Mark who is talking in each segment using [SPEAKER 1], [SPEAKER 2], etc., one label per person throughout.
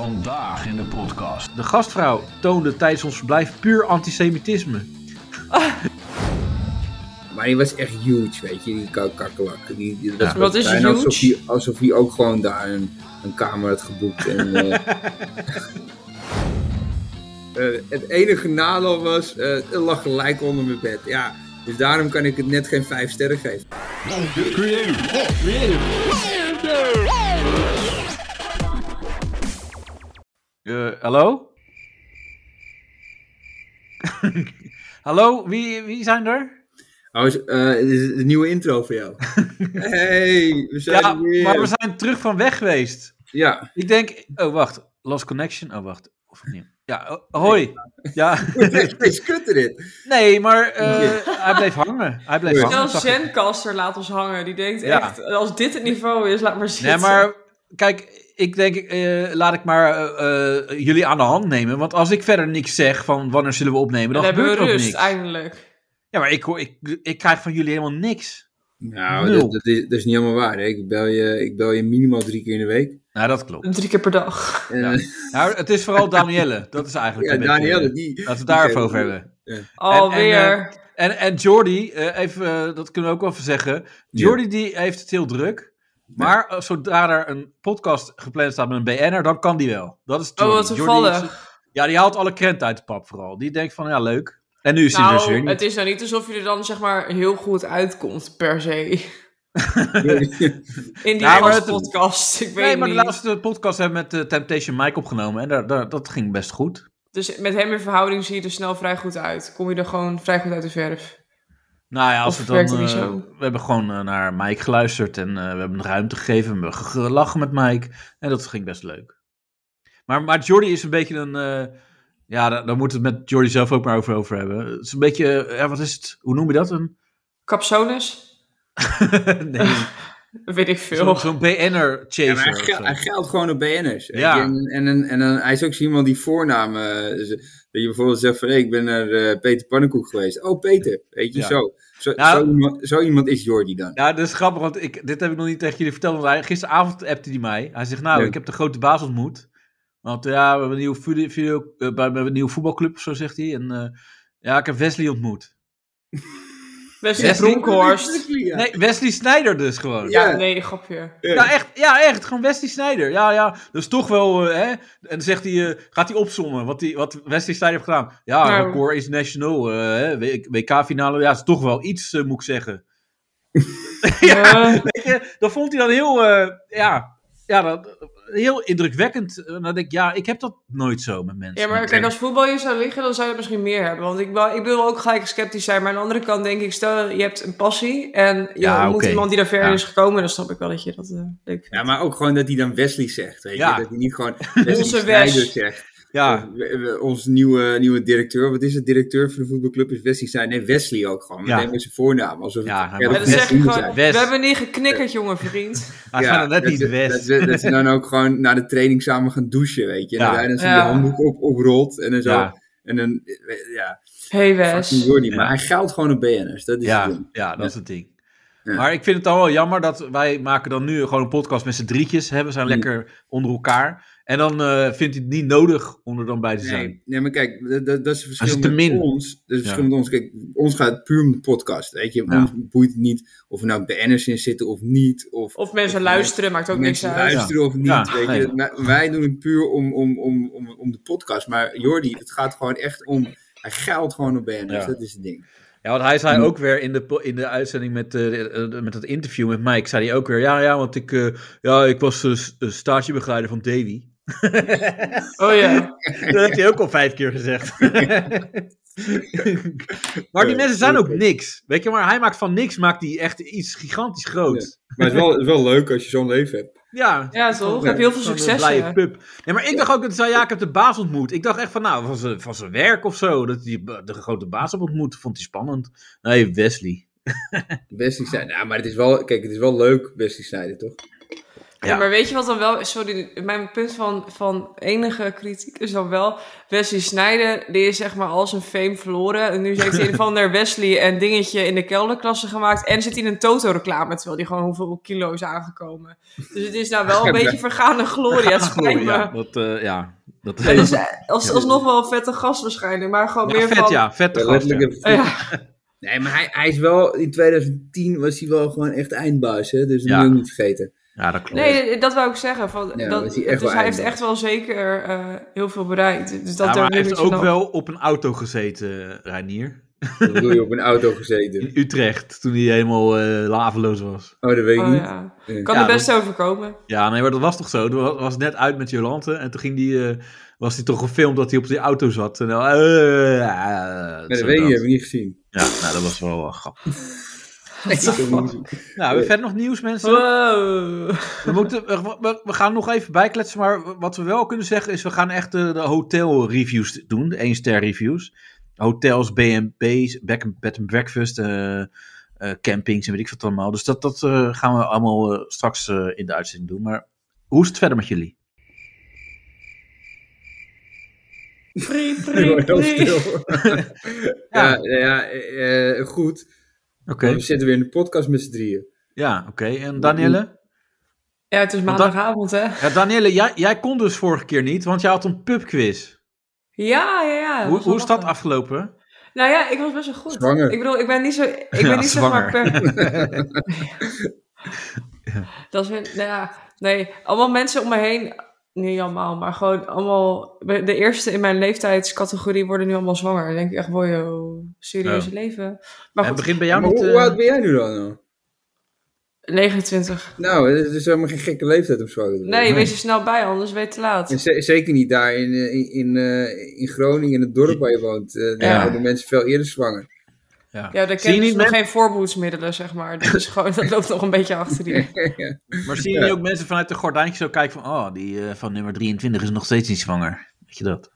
[SPEAKER 1] Vandaag in de podcast.
[SPEAKER 2] De gastvrouw toonde tijdens ons verblijf puur antisemitisme.
[SPEAKER 3] Maar die was echt huge, weet je, die kak- kakkelak. Die, die, dat
[SPEAKER 2] Ja.
[SPEAKER 3] was
[SPEAKER 4] Wat is
[SPEAKER 3] bijna Alsof
[SPEAKER 4] huge?
[SPEAKER 3] hij, alsof hij ook gewoon daar een, een kamer had geboekt. En, eh, eh, het enige nadeel was, eh, het lag gelijk onder mijn bed. Ja, dus daarom kan ik het net geen vijf sterren geven.
[SPEAKER 2] Eh, hallo? hallo, wie, wie zijn er?
[SPEAKER 3] Oh, is- eh, dit is een nieuwe intro voor jou. hey, we zijn
[SPEAKER 2] Ja,
[SPEAKER 3] er weer.
[SPEAKER 2] maar we zijn terug van weg geweest.
[SPEAKER 3] Ja,
[SPEAKER 2] Ik denk, oh wacht, Lost Connection. Oh wacht, of opnieuw. Ja, oh, hoi. Ja,
[SPEAKER 3] het is kutter dit.
[SPEAKER 2] nee, maar eh, hij bleef hangen. Hij bleef
[SPEAKER 3] Ja.
[SPEAKER 2] hangen.
[SPEAKER 4] Zelfs
[SPEAKER 2] zag ik.
[SPEAKER 4] Zencaster laat ons hangen. Die denkt
[SPEAKER 2] Ja.
[SPEAKER 4] echt, als dit het niveau is, laat maar zitten.
[SPEAKER 2] Nee, maar kijk, ik denk, eh, laat ik maar eh, eh, jullie aan de hand nemen. Want als ik verder niks zeg van wanneer zullen we opnemen,
[SPEAKER 4] dan
[SPEAKER 2] dan,
[SPEAKER 4] hebben we
[SPEAKER 2] gebeurt er ook
[SPEAKER 4] rust
[SPEAKER 2] niks.
[SPEAKER 4] eindelijk.
[SPEAKER 2] Ja, maar ik, hoor- ik, ik krijg van jullie helemaal niks.
[SPEAKER 3] Nou,
[SPEAKER 2] Nul.
[SPEAKER 3] dat, dat is, dat is niet helemaal waar. Hè. Ik, bel je, ik bel je minimaal drie keer in de week.
[SPEAKER 2] Nou, dat klopt.
[SPEAKER 4] Drie keer per dag.
[SPEAKER 3] En,
[SPEAKER 2] Ja.
[SPEAKER 3] eh,
[SPEAKER 2] Nou, het is vooral Danielle. Dat is eigenlijk.
[SPEAKER 3] ja,
[SPEAKER 2] een beetje-
[SPEAKER 3] Danielle, die...
[SPEAKER 2] Laten we het
[SPEAKER 3] die
[SPEAKER 2] daar
[SPEAKER 3] geeft
[SPEAKER 2] even over
[SPEAKER 3] me-
[SPEAKER 2] hebben.
[SPEAKER 4] Alweer.
[SPEAKER 2] en, eh, En, en Jordi, eh, even, eh, dat kunnen we ook wel even zeggen. Jordi die heeft het heel druk. Maar eh, zodra er een podcast gepland staat met een BN'er, dan kan die wel. Dat is
[SPEAKER 4] oh,
[SPEAKER 2] Jordi.
[SPEAKER 4] wat
[SPEAKER 2] Jordi is-
[SPEAKER 4] toevallig.
[SPEAKER 2] Ja, die haalt alle krenten uit de pap vooral. Die denkt van, ja, leuk. En nu is hij dus weer
[SPEAKER 4] Nou,
[SPEAKER 2] niet.
[SPEAKER 4] het is nou niet alsof je er dan zeg maar heel goed uitkomt per se. In die
[SPEAKER 2] Nou, maar
[SPEAKER 4] gastpodcast.
[SPEAKER 2] het-
[SPEAKER 4] podcast. Ik weet
[SPEAKER 2] Nee, maar de
[SPEAKER 4] niet.
[SPEAKER 2] laatste podcast hebben we met eh, Temptation Mike opgenomen. En daar, daar, dat ging best goed.
[SPEAKER 4] Dus met hem in verhouding zie je er snel vrij goed uit. Kom je er gewoon vrij goed uit de verf.
[SPEAKER 2] Nou ja, als
[SPEAKER 4] Of
[SPEAKER 2] we dan,
[SPEAKER 4] werkte die
[SPEAKER 2] eh,
[SPEAKER 4] zo?
[SPEAKER 2] we hebben gewoon eh, naar Mike geluisterd en eh, we hebben hem ruimte gegeven. We hebben gelachen met Mike en dat ging best leuk. Maar, maar Jordi is een beetje een, eh, ja, daar, daar moet het met Jordi zelf ook maar over, over hebben. Het is een beetje, eh, ja, wat is het? Hoe noem je dat? Een,
[SPEAKER 4] Capsones?
[SPEAKER 2] nee,
[SPEAKER 4] Weet ik veel.
[SPEAKER 2] zo'n zo'n BN'er
[SPEAKER 3] Ja,
[SPEAKER 2] chaser.
[SPEAKER 3] maar hij,
[SPEAKER 2] of
[SPEAKER 3] gel-
[SPEAKER 2] zo.
[SPEAKER 3] hij geldt gewoon op BN'ers. weet
[SPEAKER 2] Ja.
[SPEAKER 3] je. En, en, en, en dan- hij is ook zo iemand die voornamen... eh, z- dat je bijvoorbeeld zegt van... Hey, ik ben naar eh, Peter Pannenkoek geweest. Oh, Peter. Weet je,
[SPEAKER 2] Ja.
[SPEAKER 3] zo. Zo,
[SPEAKER 2] Nou-
[SPEAKER 3] zo, iemand, zo iemand is Jordi dan.
[SPEAKER 2] Ja, Nou, dat is grappig, want ik, dit heb ik nog niet tegen jullie verteld. Want hij, gisteravond appte hij mij. Hij zegt, nou,
[SPEAKER 3] Leuk.
[SPEAKER 2] ik heb de grote baas ontmoet. Want ja, we hebben een nieuwe, video, video, eh, bij- we hebben een nieuwe voetbalclub, of zo zegt hij. En eh, ja, ik heb Wesley ontmoet.
[SPEAKER 4] Wesley
[SPEAKER 2] Wesley?
[SPEAKER 4] Bronkhorst.
[SPEAKER 3] Ja.
[SPEAKER 2] Nee, Wesley Sneijder dus gewoon. Ja.
[SPEAKER 3] Ja.
[SPEAKER 4] Ja, nee, grapje.
[SPEAKER 2] echt, ja, echt. Gewoon Wesley Sneijder. Ja, ja. Dat is toch wel, eh, hè. En dan zegt hij, eh, gaat hij opzommen wat, die, wat Wesley Sneijder heeft gedaan. Ja,
[SPEAKER 4] Nou.
[SPEAKER 2] record international, eh, hè, WK-finale. Ja, dat is toch wel iets, eh, moet ik zeggen.
[SPEAKER 4] Eh,
[SPEAKER 2] Weet je, dat vond hij dan heel, eh, ja, ja dat, heel indrukwekkend. En dan denk ik, ja, ik heb dat nooit zo met mensen.
[SPEAKER 4] Ja, maar
[SPEAKER 2] Met-
[SPEAKER 4] kijk, als voetbal hier zou liggen, dan zou je het misschien meer hebben. Want ik, wou- ik wil ook gelijk sceptisch zijn. Maar aan de andere kant denk ik, stel je hebt een passie en je
[SPEAKER 2] Ja,
[SPEAKER 4] ontmoet
[SPEAKER 2] oké.
[SPEAKER 4] iemand die daar verder
[SPEAKER 2] Ja.
[SPEAKER 4] is gekomen, dan snap ik wel dat je dat eh, leuk vindt.
[SPEAKER 3] Ja, maar ook gewoon dat hij dan Wesley zegt. Weet
[SPEAKER 2] Ja.
[SPEAKER 3] je? Dat hij niet gewoon Wesley
[SPEAKER 4] Onze
[SPEAKER 3] Sneijder
[SPEAKER 4] Wes.
[SPEAKER 3] zegt.
[SPEAKER 2] ja,
[SPEAKER 3] We- we- onze nieuwe, nieuwe directeur. Wat is het? Directeur van de voetbalclub is Wesley zijn. Nee, Wesley ook gewoon.
[SPEAKER 2] Ja.
[SPEAKER 3] Meteen met zijn voornaam. Alsof
[SPEAKER 2] Ja,
[SPEAKER 3] het,
[SPEAKER 2] hij
[SPEAKER 3] ja,
[SPEAKER 2] mag
[SPEAKER 4] en
[SPEAKER 3] dat
[SPEAKER 4] dan
[SPEAKER 2] Wes
[SPEAKER 4] zeg je
[SPEAKER 3] Wesley
[SPEAKER 4] gewoon,
[SPEAKER 3] zijn.
[SPEAKER 2] Wes.
[SPEAKER 4] we hebben niet geknikkerd, jonge vriend.
[SPEAKER 2] hij gaat er net
[SPEAKER 3] dat
[SPEAKER 2] niet
[SPEAKER 3] ze-
[SPEAKER 2] West.
[SPEAKER 3] Dat ze, dat ze dan ook gewoon naar de training samen gaan douchen, weet je. En
[SPEAKER 2] Ja.
[SPEAKER 3] dat hij dan zijn
[SPEAKER 4] Ja.
[SPEAKER 3] handdoek op, oprolt en dan zo.
[SPEAKER 2] ja,
[SPEAKER 3] En dan, eh, ja,
[SPEAKER 4] Hey
[SPEAKER 3] fucking
[SPEAKER 4] Wes.
[SPEAKER 3] Jordi.
[SPEAKER 2] Ja.
[SPEAKER 3] Maar hij geldt gewoon op BN'ers, dat is het
[SPEAKER 2] ja,
[SPEAKER 3] ding.
[SPEAKER 2] ja, dat is het ding.
[SPEAKER 3] Ja.
[SPEAKER 2] Maar ik vind het dan wel jammer dat wij maken dan nu gewoon een podcast met z'n drietjes. Hè? We zijn
[SPEAKER 3] Mm.
[SPEAKER 2] lekker onder elkaar. En dan eh, vindt hij het niet nodig om er dan bij te zijn.
[SPEAKER 3] Nee, nee, maar kijk, dat, dat, dat is het
[SPEAKER 2] Dat is
[SPEAKER 3] verschil
[SPEAKER 2] te
[SPEAKER 3] met
[SPEAKER 2] min.
[SPEAKER 3] ons. Dat is het
[SPEAKER 2] Ja.
[SPEAKER 3] verschil met ons. Kijk, ons gaat het puur om de podcast, weet je.
[SPEAKER 2] Ja.
[SPEAKER 3] Ons boeit het niet of er nou BN'ers in zitten of niet. Of,
[SPEAKER 4] Of mensen
[SPEAKER 3] Of
[SPEAKER 4] luisteren, maakt ook niks
[SPEAKER 3] mensen
[SPEAKER 4] uit.
[SPEAKER 3] luisteren of niet,
[SPEAKER 2] Ja,
[SPEAKER 3] weet
[SPEAKER 2] nee.
[SPEAKER 3] je. Maar Wij doen het puur om, om, om, om, om de podcast. Maar Jordi, het gaat gewoon echt om... Hij geldt gewoon op BN'ers,
[SPEAKER 2] Ja.
[SPEAKER 3] dat is het ding.
[SPEAKER 2] Ja, want hij zei
[SPEAKER 3] Hmm.
[SPEAKER 2] ook weer in de, po- in de uitzending met, eh, de- eh, met dat interview met Mike, zei hij ook weer, ja, ja, want ik, eh, ja, ik was eh, s- eh, stagebegeleider van Davy.
[SPEAKER 4] Oh ja.
[SPEAKER 2] Dat heeft hij ook al vijf keer gezegd. maar die mensen zijn ook niks. Weet je, maar hij maakt van niks maakt hij echt iets gigantisch groots.
[SPEAKER 3] Maar het is wel, het is wel leuk als je zo'n leven hebt.
[SPEAKER 2] Ja.
[SPEAKER 4] Ja, toch? Heb je heel veel
[SPEAKER 2] Zo'n
[SPEAKER 4] succes.
[SPEAKER 2] blije
[SPEAKER 4] hè?
[SPEAKER 2] pup. Nee, maar ik dacht ook, dat hij zei, ja, ik heb de baas ontmoet. Ik dacht echt van, nou, van zijn, van zijn werk of zo. Dat hij de grote baas heb ontmoet. Vond hij spannend. Nee, Wesley.
[SPEAKER 3] Wesley Sneijder. Nou, maar het is wel, kijk, het is wel leuk, Wesley Sneijder, toch?
[SPEAKER 2] Ja.
[SPEAKER 4] Maar weet je wat dan wel... Sorry, mijn punt van, van enige kritiek is dan wel... Wesley Snijder, die is zeg maar al zijn fame verloren. En nu heeft hij een van der Wesley en dingetje in de kelderklasse gemaakt. En zit hij in een Toto-reclame, terwijl die gewoon hoeveel kilo is aangekomen. Dus het is nou wel een beetje vergane glorie. Het spijt
[SPEAKER 2] ja,
[SPEAKER 4] me.
[SPEAKER 2] dat, eh, ja, dat
[SPEAKER 4] Ja, dus, eh, als, alsnog wel een vette gast waarschijnlijk. Maar gewoon
[SPEAKER 2] Ja,
[SPEAKER 4] meer
[SPEAKER 2] vet,
[SPEAKER 4] van...
[SPEAKER 2] ja, vette
[SPEAKER 3] Ja,
[SPEAKER 2] gast, ja.
[SPEAKER 3] letterlijk een-
[SPEAKER 4] Ja.
[SPEAKER 3] Nee, maar hij, hij is wel, in 2010 was hij wel gewoon echt eindbaas, hè? dus dat
[SPEAKER 2] Ja.
[SPEAKER 3] moet je ook niet vergeten.
[SPEAKER 2] Ja, dat klopt.
[SPEAKER 4] Nee, dat wou ik zeggen. Van,
[SPEAKER 3] Ja,
[SPEAKER 4] dat,
[SPEAKER 3] dat hij echt
[SPEAKER 4] dus
[SPEAKER 3] wel
[SPEAKER 4] hij heeft
[SPEAKER 3] eindbaar.
[SPEAKER 4] echt wel zeker eh, heel veel bereikt. Dus dat
[SPEAKER 2] Ja,
[SPEAKER 4] daar
[SPEAKER 2] maar hij
[SPEAKER 4] moet
[SPEAKER 2] heeft
[SPEAKER 4] je
[SPEAKER 2] ook
[SPEAKER 4] nog-
[SPEAKER 2] wel op een auto gezeten, Reinier.
[SPEAKER 3] Dan bedoel je op een auto gezeten.
[SPEAKER 2] In Utrecht, toen hij helemaal eh, laveloos was.
[SPEAKER 3] Oh, dat weet ik
[SPEAKER 4] Oh,
[SPEAKER 3] niet.
[SPEAKER 4] ja.
[SPEAKER 3] Eh,
[SPEAKER 4] Kan
[SPEAKER 2] Ja,
[SPEAKER 4] er best overkomen.
[SPEAKER 2] Ja, nee, maar dat was toch zo. Toen was, was net uit met Jolante en toen ging die, eh, was hij toch gefilmd dat hij op die auto zat. En dan, eh, ja,
[SPEAKER 3] maar
[SPEAKER 2] zo
[SPEAKER 3] dat weet ik,
[SPEAKER 2] dat.
[SPEAKER 3] heb ik niet gezien.
[SPEAKER 2] Ja, nou, dat was wel eh, grappig.
[SPEAKER 3] Ik heb hem niet gezien.
[SPEAKER 2] Nou, we verder nog nieuws,
[SPEAKER 3] Eh,
[SPEAKER 2] mensen.
[SPEAKER 4] Wow.
[SPEAKER 2] We, moeten, we, we- we gaan nog even bijkletsen, maar wat we wel kunnen zeggen is, we gaan echt de, de hotel reviews doen, de 1-ster reviews. Hotels, B&B's, back- bed and breakfast, eh, eh, campings en weet ik wat allemaal. Dus dat, dat eh, gaan we allemaal eh, straks eh, in de uitzending doen. Maar hoe is het verder met jullie?
[SPEAKER 4] Prie,
[SPEAKER 3] Ik
[SPEAKER 4] prie,
[SPEAKER 3] word heel
[SPEAKER 4] prie.
[SPEAKER 3] stil. ja, nou ja, eh, eh, goed.
[SPEAKER 2] Oké,
[SPEAKER 3] We zitten weer in de podcast met z'n drieën.
[SPEAKER 2] ja, oké. En Danielle?
[SPEAKER 4] Ja, het is maandagavond, hè?
[SPEAKER 2] Ja, Danielle, jij, jij kon dus vorige keer niet, want jij had een pubquiz.
[SPEAKER 4] Ja, ja, ja.
[SPEAKER 2] hoe, hoe is dat
[SPEAKER 4] af?
[SPEAKER 2] afgelopen?
[SPEAKER 4] Nou ja, ik was best wel goed.
[SPEAKER 3] Zwanger.
[SPEAKER 4] Ik bedoel, ik ben niet zo... Ik
[SPEAKER 2] Ja,
[SPEAKER 4] ben niet zeg maar
[SPEAKER 2] zwanger.
[SPEAKER 4] per... Dat is weer... Nou ja, nee. Allemaal mensen om me heen... Niet allemaal, maar gewoon allemaal... De eerste in mijn leeftijdscategorie worden nu allemaal zwanger. Dan denk ik echt, boy, oh, serieuze
[SPEAKER 2] Oh.
[SPEAKER 4] leven. Maar
[SPEAKER 2] en
[SPEAKER 4] goed,
[SPEAKER 2] begint bij jou
[SPEAKER 3] maar
[SPEAKER 2] niet...
[SPEAKER 3] hoe,
[SPEAKER 2] eh,
[SPEAKER 3] hoe oud ben jij nu dan? nou?
[SPEAKER 4] 29.
[SPEAKER 3] Nou, het is helemaal geen gekke leeftijd om zwanger te worden.
[SPEAKER 4] Nee, wees er snel bij, anders weet je te laat.
[SPEAKER 3] En ze- zeker niet daar in, eh, in, in, eh, in Groningen, in het dorp waar je woont. eh daar
[SPEAKER 2] Ja.
[SPEAKER 3] worden mensen veel eerder zwanger.
[SPEAKER 2] ja.
[SPEAKER 4] Ja, daar
[SPEAKER 2] Zie je
[SPEAKER 4] kennen
[SPEAKER 2] niet,
[SPEAKER 4] ze nog
[SPEAKER 2] men-
[SPEAKER 4] geen voorbehoedsmiddelen, zeg maar. Dat, is gewoon, dat loopt nog een beetje achter die.
[SPEAKER 3] Dus,
[SPEAKER 2] Maar zie je
[SPEAKER 3] eh,
[SPEAKER 2] nu ook mensen vanuit de gordijntjes zo kijken van... Oh, die eh, van nummer 23 is nog steeds niet zwanger. Weet je dat?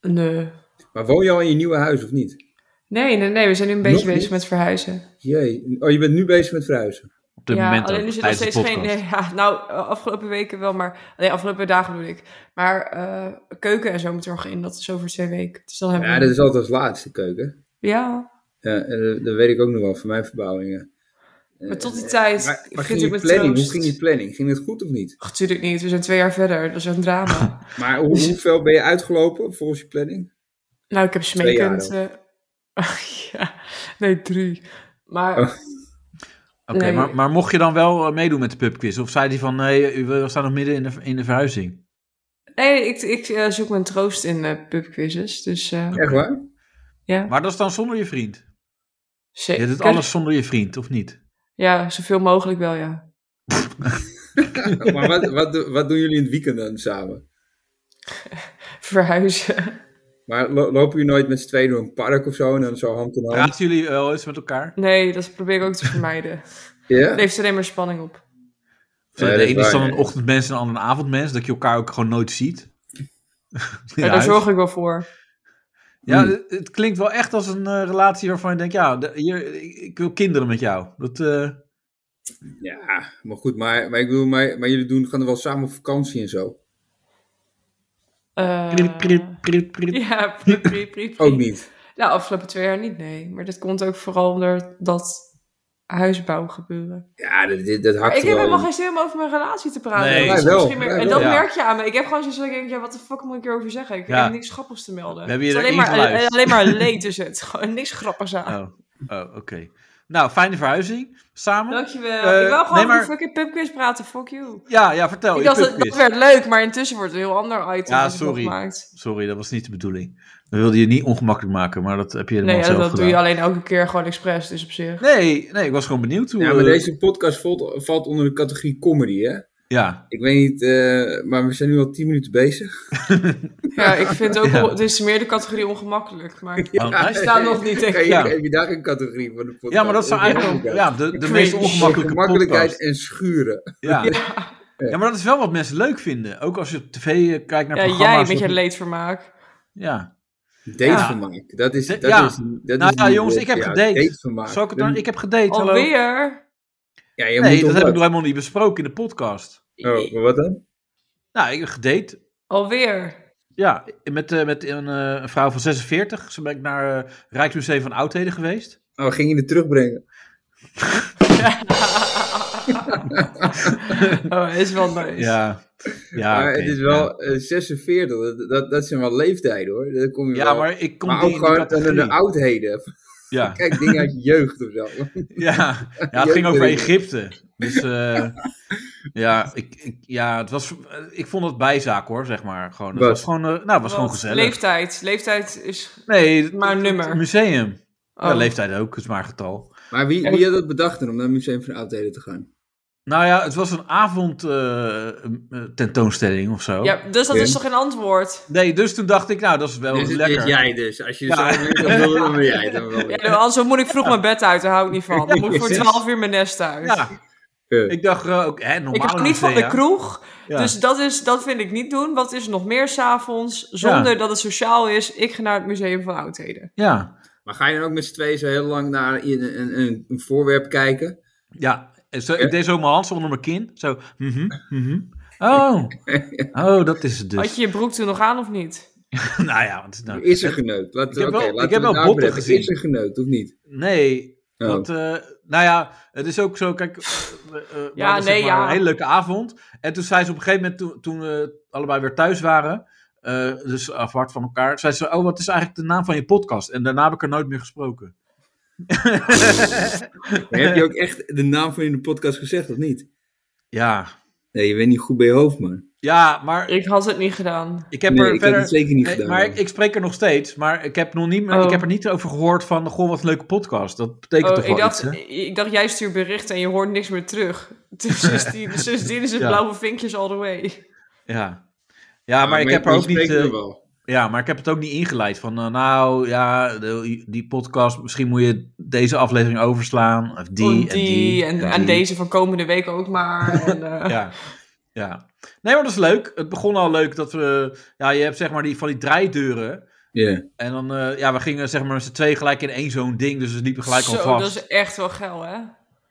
[SPEAKER 4] Nee.
[SPEAKER 3] Maar woon je al in je nieuwe huis of niet?
[SPEAKER 4] Nee, nee, nee. We zijn nu een beetje
[SPEAKER 3] Nog
[SPEAKER 4] bezig
[SPEAKER 3] niet?
[SPEAKER 4] met verhuizen.
[SPEAKER 3] Jee. Oh, je bent nu bezig met verhuizen.
[SPEAKER 2] Op dit
[SPEAKER 4] ja,
[SPEAKER 2] moment
[SPEAKER 4] alleen
[SPEAKER 2] ook,
[SPEAKER 4] is er nog
[SPEAKER 2] tijdens
[SPEAKER 4] steeds
[SPEAKER 2] de
[SPEAKER 4] geen...
[SPEAKER 2] podcast.
[SPEAKER 4] Nee, ja, nou, eh, afgelopen weken wel, maar... Nee, afgelopen dagen bedoel ik. Maar eh, keuken en zo moet er nog in. Dat is over twee weken. Dus dan hebben
[SPEAKER 3] Ja,
[SPEAKER 4] we...
[SPEAKER 3] dat is altijd als laatste keuken.
[SPEAKER 4] Ja,
[SPEAKER 3] Ja, en eh, dat, dat weet ik ook nog wel van mijn verbouwingen. Eh,
[SPEAKER 4] maar tot die tijd...
[SPEAKER 3] Maar, maar
[SPEAKER 4] vind
[SPEAKER 3] ging
[SPEAKER 4] ik
[SPEAKER 3] je
[SPEAKER 4] met
[SPEAKER 3] planning, hoe
[SPEAKER 4] troost.
[SPEAKER 3] ging je planning? Ging het goed of niet?
[SPEAKER 4] Ach, tuurlijk niet. We zijn twee jaar verder. Dat is een drama.
[SPEAKER 3] Maar hoe, hoeveel ben je uitgelopen volgens je planning?
[SPEAKER 4] nou, ik heb
[SPEAKER 3] Twee jaar
[SPEAKER 4] smeekend... eh, ja, nee, drie. Maar...
[SPEAKER 3] Oh.
[SPEAKER 2] Oké,
[SPEAKER 4] eh, Nee.
[SPEAKER 2] maar, maar mocht je dan wel eh, meedoen met de pubquiz? Of zei die van... Nee, u- we staan nog midden in de, in de verhuizing.
[SPEAKER 4] Nee, ik, ik eh, zoek mijn troost in eh, pubquizzes. Dus eh,
[SPEAKER 3] Echt waar?
[SPEAKER 4] ja,
[SPEAKER 2] Maar dat is dan zonder je vriend?
[SPEAKER 4] zeker.
[SPEAKER 2] Je doet alles zonder je vriend, of niet?
[SPEAKER 4] Ja, zoveel mogelijk wel, ja.
[SPEAKER 3] maar wat, wat, do- wat doen jullie in het weekend dan samen?
[SPEAKER 4] Verhuizen.
[SPEAKER 3] Maar lo- lopen jullie nooit met z'n tweeën door een park of zo en dan zo hand in hand?
[SPEAKER 2] Praten jullie wel eens met elkaar?
[SPEAKER 4] Nee, dat probeer ik ook te vermijden.
[SPEAKER 3] Ja?
[SPEAKER 4] Het levert alleen maar spanning op.
[SPEAKER 2] Of
[SPEAKER 3] Ja,
[SPEAKER 2] de
[SPEAKER 3] dat
[SPEAKER 2] ene
[SPEAKER 3] is
[SPEAKER 2] is dan
[SPEAKER 3] waar,
[SPEAKER 2] een
[SPEAKER 3] ja.
[SPEAKER 2] ochtendmens en de ander een avondmens. Dat je elkaar ook gewoon nooit ziet.
[SPEAKER 4] Ja,
[SPEAKER 2] Ja,
[SPEAKER 4] daar zorg ik wel voor.
[SPEAKER 2] Ja,
[SPEAKER 3] Hmm.
[SPEAKER 2] het, het klinkt wel echt als een eh, relatie waarvan je denkt... Ja, de- hier, ik, ik wil kinderen met jou. Dat... eh,
[SPEAKER 3] Ja, maar goed, maar, maar ik bedoel, maar, maar jullie doen, gaan er wel samen op vakantie en zo.
[SPEAKER 4] Eh,
[SPEAKER 2] Prit, prit, prit, prit.
[SPEAKER 4] Ja, pri, pri, pri, pri.
[SPEAKER 3] Ook niet.
[SPEAKER 4] Nou, afgelopen twee jaar niet, nee. Maar dat komt ook vooral door dat huisbouw gebeuren.
[SPEAKER 3] Ja, dat, dit- dat hakt
[SPEAKER 4] Ik
[SPEAKER 3] er
[SPEAKER 4] heb
[SPEAKER 3] wel
[SPEAKER 4] helemaal
[SPEAKER 3] in.
[SPEAKER 4] geen zin om over mijn relatie te praten.
[SPEAKER 2] Nee.
[SPEAKER 4] Dat is
[SPEAKER 3] Wij wel,
[SPEAKER 4] misschien meer-
[SPEAKER 3] wij
[SPEAKER 4] en dat
[SPEAKER 2] wel.
[SPEAKER 4] merk je aan me. Ik heb gewoon zoiets dat ik denk, ja, wat de fuck moet ik hierover zeggen? Ik
[SPEAKER 2] Ja.
[SPEAKER 4] heb niks grappigs te melden.
[SPEAKER 2] We hebben je
[SPEAKER 4] Het is alleen,
[SPEAKER 2] erin
[SPEAKER 4] maar,
[SPEAKER 2] geluisterd.
[SPEAKER 4] alleen maar leed is het. Gewoon niks grappigs aan.
[SPEAKER 2] Oh, oh oké. Nou, fijne verhuizing. Samen?
[SPEAKER 4] Dankjewel.
[SPEAKER 2] Eh,
[SPEAKER 4] ik wil gewoon
[SPEAKER 2] nee,
[SPEAKER 4] over
[SPEAKER 2] maar-
[SPEAKER 4] die fucking pubquiz praten. Fuck you.
[SPEAKER 2] Ja, ja, vertel.
[SPEAKER 4] Ik
[SPEAKER 2] je
[SPEAKER 4] dacht, dat,
[SPEAKER 2] pubquiz.
[SPEAKER 4] dat werd leuk, maar intussen wordt het een heel ander item.
[SPEAKER 2] Ja,
[SPEAKER 4] dat ik
[SPEAKER 2] sorry.
[SPEAKER 4] opmaakt.
[SPEAKER 2] Sorry, dat was niet de bedoeling. We wilden je niet ongemakkelijk maken, maar dat heb je helemaal
[SPEAKER 4] Nee, ja, dat
[SPEAKER 2] zelf
[SPEAKER 4] doe je
[SPEAKER 2] gedaan.
[SPEAKER 4] alleen elke keer gewoon expres, dus op zich.
[SPEAKER 2] Nee, nee, ik was gewoon benieuwd hoe...
[SPEAKER 3] Ja, maar
[SPEAKER 2] eh,
[SPEAKER 3] deze podcast valt, valt onder de categorie comedy, hè?
[SPEAKER 2] Ja,
[SPEAKER 3] Ik weet niet, eh, maar we zijn nu al 10 minuten bezig.
[SPEAKER 4] Ja, ik vind ook,
[SPEAKER 2] Ja.
[SPEAKER 4] wel- het is meer de categorie ongemakkelijk, maar ik
[SPEAKER 2] Oh, nice.
[SPEAKER 4] sta nog niet
[SPEAKER 3] Heb
[SPEAKER 4] tegen.
[SPEAKER 3] je,
[SPEAKER 2] Ja.
[SPEAKER 3] heb je daar een categorie voor de podcast?
[SPEAKER 2] ja maar dat zou eigenlijk
[SPEAKER 3] Ongemakkelijkheid.
[SPEAKER 2] ja, de, de
[SPEAKER 4] Cringe.
[SPEAKER 2] meest ongemakkelijke
[SPEAKER 3] Ongemakkelijkheid
[SPEAKER 2] podcast.
[SPEAKER 3] en schuren.
[SPEAKER 2] Ja. ja, maar dat is wel wat mensen leuk vinden. Ook als je op tv eh, kijkt naar
[SPEAKER 4] Ja, jij
[SPEAKER 2] programma's.
[SPEAKER 4] met
[SPEAKER 2] of-
[SPEAKER 4] je leedvermaak.
[SPEAKER 2] Ja.
[SPEAKER 3] Datevermaak. Dat is. Dat
[SPEAKER 2] Ja.
[SPEAKER 3] is, dat
[SPEAKER 2] Nou
[SPEAKER 3] is
[SPEAKER 2] ja,
[SPEAKER 3] niet
[SPEAKER 2] jongens,
[SPEAKER 3] leuk
[SPEAKER 2] ik heb
[SPEAKER 3] voor jou.
[SPEAKER 2] gedate.
[SPEAKER 3] Datevermaak.
[SPEAKER 2] Zal ik het dan? Ik heb gedate, hallo.
[SPEAKER 4] Alweer?
[SPEAKER 3] Ja,
[SPEAKER 2] Nee,
[SPEAKER 3] je
[SPEAKER 2] dat
[SPEAKER 3] moet toch
[SPEAKER 2] heb ik nog
[SPEAKER 3] wat.
[SPEAKER 2] helemaal niet besproken in de podcast.
[SPEAKER 3] Oh, maar wat dan?
[SPEAKER 2] Nou, ik heb gedate.
[SPEAKER 4] Alweer.
[SPEAKER 2] Ja, met, eh, met een, eh, een vrouw van 46. Zo ben ik naar eh, Rijksmuseum van Oudheden geweest.
[SPEAKER 3] Oh, ging je het terugbrengen?
[SPEAKER 4] Oh, is wel nice.
[SPEAKER 2] Ja, ja,
[SPEAKER 3] maar
[SPEAKER 2] oké,
[SPEAKER 3] het is
[SPEAKER 2] ja.
[SPEAKER 3] wel eh, 46, dat, dat, dat zijn wel leeftijden hoor. Dat kom je
[SPEAKER 2] Ja,
[SPEAKER 3] wel.
[SPEAKER 2] maar ik kom
[SPEAKER 3] maar
[SPEAKER 2] die
[SPEAKER 3] ook
[SPEAKER 2] in
[SPEAKER 3] gewoon
[SPEAKER 2] die
[SPEAKER 3] aan de
[SPEAKER 2] categorie.
[SPEAKER 3] oudheden.
[SPEAKER 2] Ja,
[SPEAKER 3] Kijk, dingen uit je jeugd of zo.
[SPEAKER 2] ja. ja, het
[SPEAKER 3] Jeugd
[SPEAKER 2] ging over
[SPEAKER 3] erin.
[SPEAKER 2] Egypte. Dus eh, ja, ik, ik, ja het was, ik vond het bijzaak hoor, zeg maar. Gewoon, het
[SPEAKER 3] Wat?
[SPEAKER 2] was gewoon, eh, nou, het was gewoon
[SPEAKER 4] Want
[SPEAKER 2] gezellig.
[SPEAKER 4] Leeftijd. Leeftijd is...
[SPEAKER 2] nee, het-
[SPEAKER 4] maar
[SPEAKER 2] het- het
[SPEAKER 4] nummer.
[SPEAKER 2] museum. Ja,
[SPEAKER 4] oh.
[SPEAKER 2] leeftijd ook, het is maar een getal.
[SPEAKER 3] Maar wie, wie had dat bedacht dan om naar het Museum van Oudheden te gaan?
[SPEAKER 2] Nou ja, het was een avond eh, eh, tentoonstelling of zo.
[SPEAKER 4] Ja, dus dat is toch geen antwoord?
[SPEAKER 2] Nee, dus toen dacht ik, nou, dat is wel
[SPEAKER 3] Dus het
[SPEAKER 2] lekker.
[SPEAKER 3] is jij dus. Als je
[SPEAKER 2] Ja.
[SPEAKER 3] zo doet, dan wil- dan ben jij het. dan wel.
[SPEAKER 4] Ja, anders dan moet ik vroeg mijn bed uit, daar hou ik niet van. Dan moet ik voor
[SPEAKER 2] precies.
[SPEAKER 4] 12 uur mijn nest uit.
[SPEAKER 2] Ja,
[SPEAKER 3] Ja.
[SPEAKER 2] ik dacht eh, ook, hè, normaal
[SPEAKER 4] ik hou niet van de kroeg,
[SPEAKER 2] Ja.
[SPEAKER 4] dus dat, is, dat vind ik niet doen. Wat is er nog meer s'avonds, zonder dat het sociaal is? Ik ga naar het Museum van Oudheden.
[SPEAKER 2] Ja,
[SPEAKER 3] Maar ga je dan ook met z'n tweeën zo heel lang naar een, een, een, een voorwerp kijken?
[SPEAKER 2] ja. En Zo, ik deed zo mijn hand zo onder mijn kin. Zo, mhm, mhm. Oh. oh, dat is het dus.
[SPEAKER 4] Had je je broek toen nog aan of niet?
[SPEAKER 2] nou ja, want, nou,
[SPEAKER 3] Is er geneukt? Laten,
[SPEAKER 2] Ik heb
[SPEAKER 3] oké,
[SPEAKER 2] wel-
[SPEAKER 3] laten
[SPEAKER 2] ik heb
[SPEAKER 3] we het
[SPEAKER 2] wel
[SPEAKER 3] daarover
[SPEAKER 2] botten
[SPEAKER 3] hebben.
[SPEAKER 2] gezien.
[SPEAKER 3] Is er geneukt of niet?
[SPEAKER 2] nee,
[SPEAKER 3] Oh.
[SPEAKER 2] want, eh, nou ja, het is ook zo, kijk, eh, we- eh, we
[SPEAKER 4] Ja,
[SPEAKER 2] hadden,
[SPEAKER 4] nee,
[SPEAKER 2] maar,
[SPEAKER 4] ja.
[SPEAKER 2] een hele leuke avond. En toen zei ze op een gegeven moment, toen, toen we allebei weer thuis waren, eh, dus apart van elkaar, zei ze, oh, wat is eigenlijk de naam van je podcast? En daarna heb ik er nooit meer gesproken.
[SPEAKER 3] Maar heb je ook echt de naam van je in de podcast gezegd of niet?
[SPEAKER 2] Ja,
[SPEAKER 3] Nee, je bent niet goed bij je hoofd, man.
[SPEAKER 2] ja, maar ik,
[SPEAKER 4] Ik had het niet gedaan.
[SPEAKER 2] heb
[SPEAKER 3] nee,
[SPEAKER 2] er
[SPEAKER 3] ik
[SPEAKER 2] verder...
[SPEAKER 3] heb het zeker niet
[SPEAKER 2] Nee,
[SPEAKER 3] gedaan.
[SPEAKER 2] maar
[SPEAKER 3] man.
[SPEAKER 2] ik, ik spreek er nog steeds, maar ik heb, nog niet, meer-
[SPEAKER 4] Oh.
[SPEAKER 2] ik heb er niet over gehoord van, goh, wat een leuke podcast. Dat betekent
[SPEAKER 4] Oh,
[SPEAKER 2] toch
[SPEAKER 4] ik,
[SPEAKER 2] wel
[SPEAKER 4] dacht,
[SPEAKER 2] iets, hè?
[SPEAKER 4] ik dacht, jij stuurt berichten en je hoort niks meer terug. Dus sindsdien, sindsdien is het
[SPEAKER 2] Ja.
[SPEAKER 4] blauwe vinkjes all the way.
[SPEAKER 2] Ja. Ja, maar, ik heb
[SPEAKER 3] je
[SPEAKER 2] er ook niet,
[SPEAKER 3] spreekt er
[SPEAKER 2] eh,
[SPEAKER 3] wel.
[SPEAKER 2] ja, maar ik heb het ook niet ingeleid van, eh, nou ja, de- die podcast, misschien moet je deze aflevering overslaan, of die,
[SPEAKER 4] Want
[SPEAKER 2] en die,
[SPEAKER 4] en,
[SPEAKER 2] en
[SPEAKER 4] en
[SPEAKER 2] die.
[SPEAKER 4] deze van komende week ook maar. En, eh,
[SPEAKER 2] Ja. ja. Nee, maar dat is leuk. Het begon al leuk dat we, ja, je hebt zeg maar die, van die draaideuren.
[SPEAKER 3] Ja.
[SPEAKER 2] En dan, eh, ja, we gingen zeg maar met z'n twee gelijk in één zo'n ding, dus we liepen gelijk
[SPEAKER 4] Zo,
[SPEAKER 2] al vast.
[SPEAKER 4] dat is echt wel geil, hè?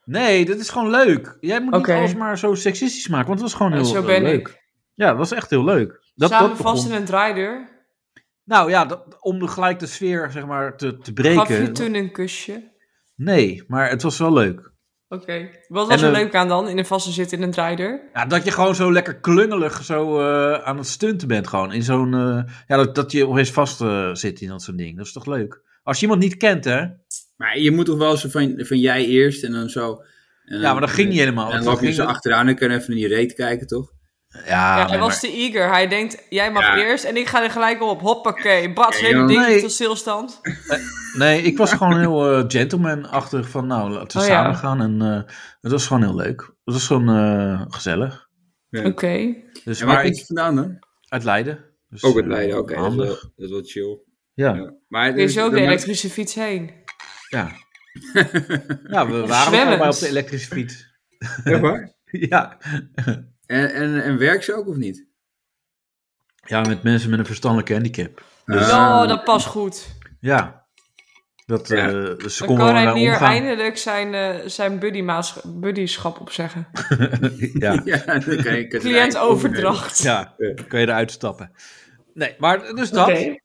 [SPEAKER 2] Nee, dat is gewoon leuk. Jij moet
[SPEAKER 4] Oké.
[SPEAKER 2] niet alles maar zo seksistisch maken, want het was gewoon
[SPEAKER 4] Ja,
[SPEAKER 2] heel
[SPEAKER 4] zo
[SPEAKER 2] eh,
[SPEAKER 4] ben
[SPEAKER 2] leuk.
[SPEAKER 4] ik.
[SPEAKER 2] Ja, dat was echt heel leuk. Dat,
[SPEAKER 4] Samen
[SPEAKER 2] dat
[SPEAKER 4] vast
[SPEAKER 2] begon-
[SPEAKER 4] in een draaideur.
[SPEAKER 2] Nou ja, dat, om de, gelijk de sfeer zeg maar te, te
[SPEAKER 4] Gaf je
[SPEAKER 2] breken.
[SPEAKER 4] toen een kusje?
[SPEAKER 2] Nee, maar het was wel leuk.
[SPEAKER 4] Oké. Wat was
[SPEAKER 2] En,
[SPEAKER 4] er
[SPEAKER 2] eh,
[SPEAKER 4] leuk aan dan, in een vaste zit in een draaideur?
[SPEAKER 2] Ja, dat je gewoon zo lekker klungelig zo eh, aan het stunten bent gewoon. In zo'n, eh, ja, dat, dat je opeens vast eh, zit in dat soort ding. Dat is toch leuk? Als je iemand niet kent, hè?
[SPEAKER 3] Maar je moet toch wel zo van, van jij eerst en dan zo. En
[SPEAKER 2] Ja, maar dat ging niet helemaal.
[SPEAKER 3] En
[SPEAKER 2] want dat
[SPEAKER 3] dan loop je
[SPEAKER 2] ging
[SPEAKER 3] zo
[SPEAKER 2] het-
[SPEAKER 3] achteraan en kan even in je reet kijken, toch?
[SPEAKER 2] Ja,
[SPEAKER 4] ja, hij
[SPEAKER 2] nee,
[SPEAKER 4] was
[SPEAKER 2] maar-
[SPEAKER 4] te eager. Hij denkt, jij mag
[SPEAKER 3] Ja.
[SPEAKER 4] eerst en ik ga er gelijk op. Hoppakee, bats,
[SPEAKER 3] Ja,
[SPEAKER 4] hele
[SPEAKER 3] joh.
[SPEAKER 4] ding
[SPEAKER 2] Nee.
[SPEAKER 4] tot stilstand.
[SPEAKER 2] nee, ik was gewoon heel eh, gentleman-achtig van, nou, laten we
[SPEAKER 4] Oh, ja.
[SPEAKER 2] samen gaan. En eh, het was gewoon heel leuk. Het was gewoon eh, gezellig.
[SPEAKER 4] Oké.
[SPEAKER 2] Dus
[SPEAKER 3] En
[SPEAKER 2] maar
[SPEAKER 3] waar komt
[SPEAKER 2] ik,
[SPEAKER 3] het vandaan dan?
[SPEAKER 2] uit Leiden. Dus,
[SPEAKER 3] Ook het
[SPEAKER 2] eh,
[SPEAKER 3] Leiden, oké. dat, is
[SPEAKER 2] handig.
[SPEAKER 3] wel- dat is wel chill.
[SPEAKER 2] Ja, ja.
[SPEAKER 3] Ja. Maar
[SPEAKER 2] dus
[SPEAKER 4] Kun je zo op de
[SPEAKER 3] dan-
[SPEAKER 4] elektrische fiets heen?
[SPEAKER 2] Ja, we
[SPEAKER 4] Of
[SPEAKER 2] waren ook
[SPEAKER 4] zwemmend.
[SPEAKER 2] allemaal op de elektrische fiets.
[SPEAKER 3] Echt waar?
[SPEAKER 2] ja.
[SPEAKER 3] En, en, en werk ze ook of niet?
[SPEAKER 2] ja, met mensen met een verstandelijke handicap. Dus,
[SPEAKER 3] Ah.
[SPEAKER 4] Oh, dat past goed.
[SPEAKER 2] Ja. Dat, eh
[SPEAKER 3] Ja.
[SPEAKER 2] dus ze
[SPEAKER 4] Dan
[SPEAKER 2] konden
[SPEAKER 4] kan
[SPEAKER 2] wel
[SPEAKER 4] hij
[SPEAKER 2] mee
[SPEAKER 4] hier
[SPEAKER 2] omgaan.
[SPEAKER 4] eindelijk zijn, eh zijn buddymaas- buddyschap opzeggen.
[SPEAKER 2] ja.
[SPEAKER 3] Ja, dan kan je- kan je
[SPEAKER 4] Cliëntoverdracht.
[SPEAKER 2] ja, dan kan je eruit stappen. Nee, maar dus dat.
[SPEAKER 4] Oké.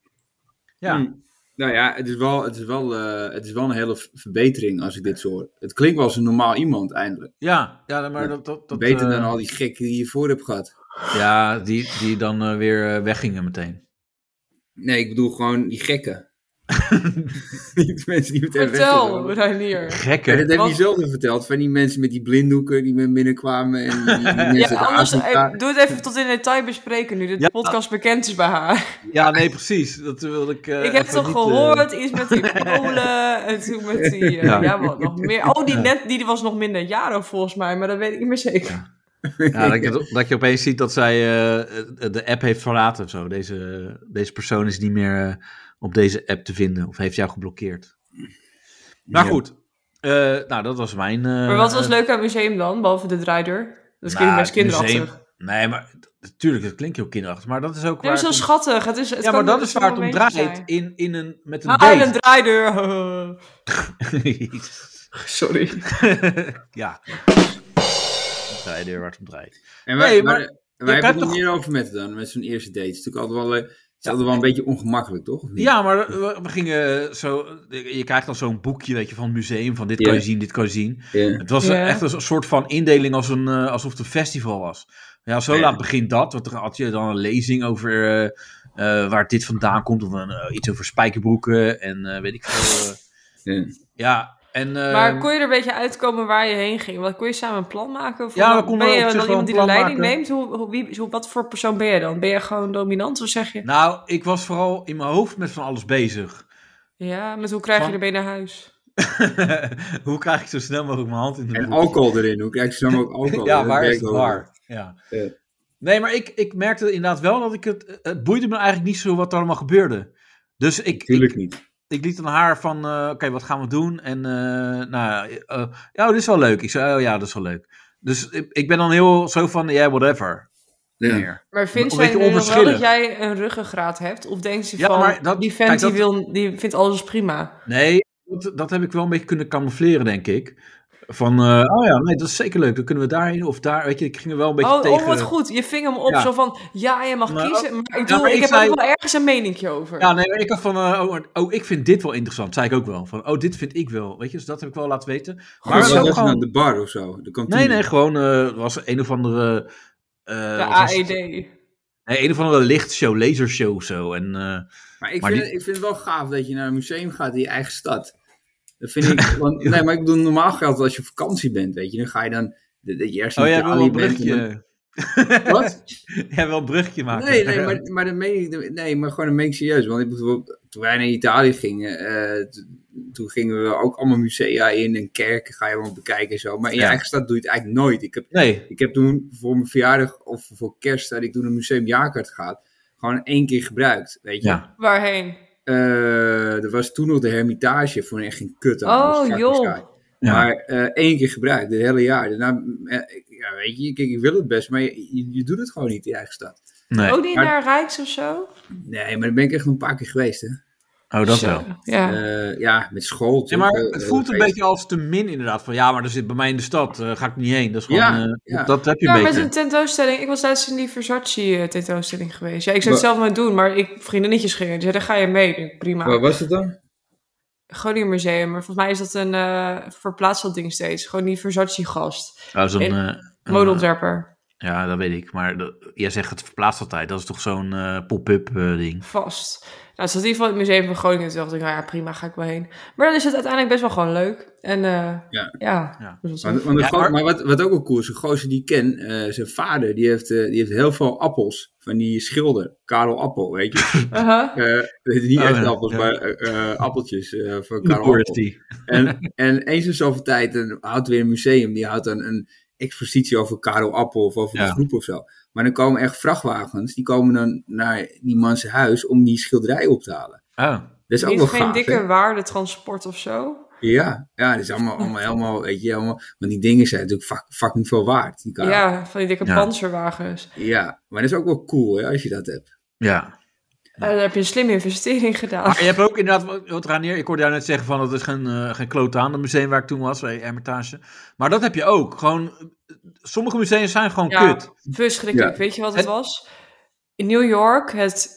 [SPEAKER 2] Ja.
[SPEAKER 3] Hm. Nou ja, het is, wel, het, is wel, eh, het is wel een hele v- verbetering als ik dit zo hoor. Het klinkt wel als een normaal iemand eindelijk.
[SPEAKER 2] Ja, ja, maar dat... dat, dat
[SPEAKER 3] Beter
[SPEAKER 2] eh,
[SPEAKER 3] dan al die gekken die je voor hebt gehad.
[SPEAKER 2] Ja, die, die dan eh, weer eh, weggingen meteen.
[SPEAKER 3] Nee, ik bedoel gewoon die gekken. die mensen die meteen
[SPEAKER 4] Vertel,
[SPEAKER 3] weggaan.
[SPEAKER 4] Reinier.
[SPEAKER 3] Ja, dat
[SPEAKER 2] Gekken.
[SPEAKER 3] heb
[SPEAKER 4] Wat-
[SPEAKER 3] je zelf al verteld, van die mensen met die blinddoeken die men binnenkwamen en die, die mensen
[SPEAKER 4] Ja,
[SPEAKER 3] uit
[SPEAKER 4] anders,
[SPEAKER 3] Afrika.
[SPEAKER 4] eh, doe het even tot in detail bespreken nu. De
[SPEAKER 2] Ja.
[SPEAKER 4] podcast bekend is bij haar.
[SPEAKER 2] Ja, nee, precies. Dat wilde ik... eh,
[SPEAKER 4] ik heb
[SPEAKER 2] even
[SPEAKER 4] toch
[SPEAKER 2] niet, eh,
[SPEAKER 4] gehoord, iets met die kolen en toen met die... eh,
[SPEAKER 2] Ja.
[SPEAKER 4] ja. wat nog meer. Oh, die, net, die was nog minder jaren volgens mij, maar dat weet ik niet meer zeker.
[SPEAKER 2] Ja, dat, je, dat je opeens ziet dat zij eh, de app heeft verlaten of zo. Deze, deze persoon is niet meer eh, op deze app te vinden of heeft jou geblokkeerd. Maar
[SPEAKER 3] Ja.
[SPEAKER 2] goed, eh, nou dat was mijn... eh,
[SPEAKER 4] maar wat was leuk aan het museum dan, behalve de draaideur? Dat
[SPEAKER 2] nou,
[SPEAKER 4] klinkt best
[SPEAKER 2] het museum-
[SPEAKER 4] kinderachtig.
[SPEAKER 2] nee, maar natuurlijk, het klinkt heel kinderachtig, maar dat is ook
[SPEAKER 4] Nee, maar
[SPEAKER 2] waar...
[SPEAKER 4] zo
[SPEAKER 2] het om-
[SPEAKER 4] schattig. Het is, het
[SPEAKER 2] ja, maar
[SPEAKER 4] kan
[SPEAKER 2] dat
[SPEAKER 4] een
[SPEAKER 2] is waar het om
[SPEAKER 4] momentje
[SPEAKER 2] draait.
[SPEAKER 4] zijn.
[SPEAKER 2] In, in een, met een
[SPEAKER 4] Ah,
[SPEAKER 2] date.
[SPEAKER 4] een draaideur.
[SPEAKER 2] Jezus.
[SPEAKER 4] Sorry.
[SPEAKER 2] ja. wedstrijden waar het om draait.
[SPEAKER 3] En wij,
[SPEAKER 2] Nee, maar-
[SPEAKER 3] maar, wij
[SPEAKER 2] kijk
[SPEAKER 3] hebben het
[SPEAKER 2] toch-
[SPEAKER 3] niet meer over met dan, met zo'n eerste date. Het is natuurlijk altijd wel, eh, het is altijd wel een beetje ongemakkelijk, toch? Of niet?
[SPEAKER 2] Ja, maar we, we gingen zo. Je krijgt dan zo'n boekje, weet je, van het museum. Van dit
[SPEAKER 3] Ja.
[SPEAKER 2] kan je zien, dit kan je zien.
[SPEAKER 3] Ja.
[SPEAKER 2] Het was
[SPEAKER 4] Ja.
[SPEAKER 2] echt een soort van indeling als een, eh, alsof het een festival was. Ja, zo
[SPEAKER 3] Ja.
[SPEAKER 2] laat begint dat. Want dan had je dan een lezing over eh, eh, waar dit vandaan komt. Of een, eh, iets over spijkerbroeken en eh, weet ik veel. eh.
[SPEAKER 3] Ja.
[SPEAKER 2] ja, en... eh,
[SPEAKER 4] Maar kon je er een beetje uitkomen waar je heen ging? Want kon je samen een plan maken? Of
[SPEAKER 2] Ja,
[SPEAKER 4] hoe-
[SPEAKER 2] we konden
[SPEAKER 4] ben
[SPEAKER 2] op
[SPEAKER 4] je
[SPEAKER 2] zich
[SPEAKER 4] dan
[SPEAKER 2] wel een
[SPEAKER 4] iemand die de
[SPEAKER 2] plan
[SPEAKER 4] leiding
[SPEAKER 2] maken.
[SPEAKER 4] neemt? Hoe, hoe, wie, hoe, wat voor persoon ben je dan? Ben je gewoon dominant of zeg je?
[SPEAKER 2] Nou, ik was vooral in mijn hoofd met van alles bezig.
[SPEAKER 4] Ja, met hoe krijg
[SPEAKER 2] Van-
[SPEAKER 4] je er mee naar huis?
[SPEAKER 2] Hoe krijg ik zo snel mogelijk mijn hand in de
[SPEAKER 3] En
[SPEAKER 2] boek?
[SPEAKER 3] alcohol erin, hoe krijg je zo ook alcohol?
[SPEAKER 2] Ja,
[SPEAKER 3] Dat
[SPEAKER 2] waar is
[SPEAKER 3] werkt
[SPEAKER 2] het
[SPEAKER 3] wel.
[SPEAKER 2] waar? Ja.
[SPEAKER 3] Ja.
[SPEAKER 2] Nee, maar ik, ik merkte inderdaad wel dat ik het... eh, Het boeide me eigenlijk niet zo wat er allemaal gebeurde. Dus ik, ik,
[SPEAKER 3] Tuurlijk niet.
[SPEAKER 2] ik liet aan haar van... eh, Oké, wat gaan we doen? En eh, nou, eh, ja, dit is wel leuk. Ik zei, oh ja, dat is wel leuk. Dus ik, ik ben dan heel zo van, ja, whatever.
[SPEAKER 3] Ja.
[SPEAKER 2] Meer.
[SPEAKER 4] Maar vindt
[SPEAKER 2] Een
[SPEAKER 4] zij
[SPEAKER 2] beetje
[SPEAKER 4] nu nog wel dat
[SPEAKER 2] onverschillig.
[SPEAKER 4] jij een ruggengraat hebt? Of denkt ze
[SPEAKER 2] Ja,
[SPEAKER 4] van,
[SPEAKER 2] maar dat-
[SPEAKER 4] die vent
[SPEAKER 2] kijk,
[SPEAKER 4] die,
[SPEAKER 2] dat-
[SPEAKER 4] wil, die vindt alles prima?
[SPEAKER 2] Nee, dat, dat heb ik wel een beetje kunnen camoufleren, denk ik. Van, eh, oh ja, nee, dat is zeker leuk. Dan kunnen we daarheen of daar. Weet je, ik ging er wel een beetje
[SPEAKER 4] Oh,
[SPEAKER 2] tegen.
[SPEAKER 4] oh, wat goed. Je ving hem op
[SPEAKER 2] Ja.
[SPEAKER 4] zo van, ja, je mag
[SPEAKER 2] Maar-
[SPEAKER 4] kiezen. Maar ik,
[SPEAKER 2] Ja,
[SPEAKER 4] doe,
[SPEAKER 2] maar
[SPEAKER 4] ik,
[SPEAKER 2] ik
[SPEAKER 4] heb
[SPEAKER 2] zei-
[SPEAKER 4] er wel ergens een meningje over.
[SPEAKER 2] Ja, nee, maar ik dacht van, eh, oh, maar- oh, ik vind dit wel interessant, zei ik ook wel. Van, oh, dit vind ik wel, weet je, dus dat heb ik wel laten weten. Maar
[SPEAKER 3] Maar
[SPEAKER 2] het
[SPEAKER 3] was
[SPEAKER 2] was ook
[SPEAKER 3] dat gewoon...
[SPEAKER 2] gewoon,
[SPEAKER 3] de bar of zo? De kantine?
[SPEAKER 2] nee, nee, gewoon, eh, het was een of andere... eh,
[SPEAKER 4] De E
[SPEAKER 2] wat was het?
[SPEAKER 4] AED.
[SPEAKER 2] Nee, een of andere lichtshow, lasershow of zo. En, eh,
[SPEAKER 3] Maar ik,
[SPEAKER 2] Maar
[SPEAKER 3] vind,
[SPEAKER 2] die-
[SPEAKER 3] ik vind het wel gaaf dat je naar een museum gaat in je eigen stad. Dat vind ik, want, nee, maar ik bedoel, normaal geldt als je op vakantie bent, weet je, dan ga je dan, dat dat je ergens in
[SPEAKER 2] oh, jij wil wel
[SPEAKER 3] Italië
[SPEAKER 2] een
[SPEAKER 3] bent. en dan-
[SPEAKER 2] bruggetje,
[SPEAKER 3] Wat?
[SPEAKER 2] jij wil een bruggetje maken.
[SPEAKER 3] Nee, nee, maar, maar dat meen ik, nee, maar gewoon, dat meen ik serieus. Want ik bijvoorbeeld, toen wij naar Italië gingen, eh, t- toen gingen we ook allemaal musea in en kerken ga je allemaal bekijken en zo. Maar in je
[SPEAKER 2] Ja.
[SPEAKER 3] eigen stad doe je het eigenlijk nooit. Ik heb,
[SPEAKER 2] Nee,
[SPEAKER 3] ik heb toen voor mijn verjaardag of voor kerst, had ik toen een museumjaarkaart gehad. Gewoon één keer gebruikt, weet je.
[SPEAKER 2] ja.
[SPEAKER 4] Waarheen?
[SPEAKER 3] Eh, er was toen nog de Hermitage voor echt geen kut aan.
[SPEAKER 4] Oh,
[SPEAKER 3] Dat was
[SPEAKER 4] joh.
[SPEAKER 3] fucking saai.
[SPEAKER 2] Ja.
[SPEAKER 3] Maar eh, één keer gebruikt, het hele jaar. Daarna, mm, eh, ja, weet je, kijk, ik wil het best, maar je, je, je doet het gewoon niet in je eigen stad.
[SPEAKER 2] nee.
[SPEAKER 4] Ook niet
[SPEAKER 3] Maar-
[SPEAKER 4] Oh, naar Rijks of zo?
[SPEAKER 3] Nee, maar daar ben ik echt nog een paar keer geweest, hè.
[SPEAKER 2] Oh, dat
[SPEAKER 4] Zo,
[SPEAKER 2] wel.
[SPEAKER 4] Ja.
[SPEAKER 3] Eh, ja, met school.
[SPEAKER 2] Ja, maar
[SPEAKER 3] natuurlijk,
[SPEAKER 2] het
[SPEAKER 3] eh,
[SPEAKER 2] voelt een
[SPEAKER 3] feest.
[SPEAKER 2] beetje als te min inderdaad. Van ja, maar er zit bij mij in de stad, eh, ga ik niet heen. Dat is gewoon,
[SPEAKER 3] Ja,
[SPEAKER 2] eh,
[SPEAKER 3] ja.
[SPEAKER 2] dat heb je
[SPEAKER 4] Ja,
[SPEAKER 2] een
[SPEAKER 4] met
[SPEAKER 2] beetje.
[SPEAKER 4] een tentoonstelling. Ik was laatst in die Versace-tentoonstelling geweest. Ja, ik zou het
[SPEAKER 3] Wa-
[SPEAKER 4] zelf maar doen, maar ik vriendinnetjes gingen. Die zeiden, ga je mee? Ik denk, prima.
[SPEAKER 3] Waar was het dan?
[SPEAKER 4] Groningen Museum. Maar volgens mij is dat een eh verplaatst dat ding steeds. Gewoon die Versace-gast.
[SPEAKER 2] Oh, zo'n,
[SPEAKER 4] in-
[SPEAKER 2] eh, een,
[SPEAKER 4] Modeontwerper.
[SPEAKER 2] Ja, dat weet ik. Maar dat- jij zegt het verplaatst altijd. Dat is toch zo'n eh, pop-up eh, ding?
[SPEAKER 4] Vast. Nou, het zat in ieder geval in het Museum van Groningen. Toen dacht ik, nou ja, prima, ga ik wel heen. Maar dan is het uiteindelijk best wel gewoon leuk. En eh,
[SPEAKER 3] Ja.
[SPEAKER 4] ja.
[SPEAKER 2] Ja.
[SPEAKER 4] Dus dat
[SPEAKER 3] Want,
[SPEAKER 4] is-
[SPEAKER 3] want de
[SPEAKER 2] Ja,
[SPEAKER 3] go-
[SPEAKER 2] maar-
[SPEAKER 3] maar wat, wat ook wel cool is, een gozer die ik ken, eh, zijn vader, die heeft, eh, die heeft heel veel appels van die schilder. Karel Appel, weet je.
[SPEAKER 4] Aha.
[SPEAKER 3] Eh, niet
[SPEAKER 2] Oh,
[SPEAKER 3] echt
[SPEAKER 2] ja,
[SPEAKER 3] appels,
[SPEAKER 2] ja.
[SPEAKER 3] maar eh, eh, appeltjes eh, van
[SPEAKER 2] De
[SPEAKER 3] Karel Appel.
[SPEAKER 2] Forestry.
[SPEAKER 3] En, en eens in zoveel tijd dan houdt weer een museum, die houdt dan een expositie over Karel Appel of over
[SPEAKER 2] Ja.
[SPEAKER 3] de groep of zo. Maar dan komen echt vrachtwagens, die komen dan naar die man zijn huis om die schilderij op te halen.
[SPEAKER 2] Oh,
[SPEAKER 3] Dat is ook
[SPEAKER 4] Niet
[SPEAKER 3] wel
[SPEAKER 4] geen
[SPEAKER 3] gaaf,
[SPEAKER 4] dikke
[SPEAKER 3] hè?
[SPEAKER 4] waarde transport of zo.
[SPEAKER 3] Ja, ja, dat is allemaal, allemaal helemaal, weet je, helemaal, want die dingen zijn natuurlijk fuck, fucking veel waard. Die
[SPEAKER 4] Ja,
[SPEAKER 3] kar.
[SPEAKER 4] van die dikke
[SPEAKER 2] Ja.
[SPEAKER 4] panzerwagens.
[SPEAKER 3] ja, maar dat is ook wel cool hè, als je dat hebt.
[SPEAKER 2] ja.
[SPEAKER 4] Eh, daar heb je een slimme investering gedaan.
[SPEAKER 2] Maar je hebt ook inderdaad, wat- wat Ranier, ik hoorde jou net zeggen van dat is geen, eh geen klote aan, het museum waar ik toen was, bij Hermitage. Maar dat heb je ook. Gewoon, eh, sommige musea zijn gewoon
[SPEAKER 4] Ja,
[SPEAKER 2] kut.
[SPEAKER 4] verschrikkelijk.
[SPEAKER 3] Ja.
[SPEAKER 4] Weet je wat het
[SPEAKER 2] Het-
[SPEAKER 4] was? In New York, het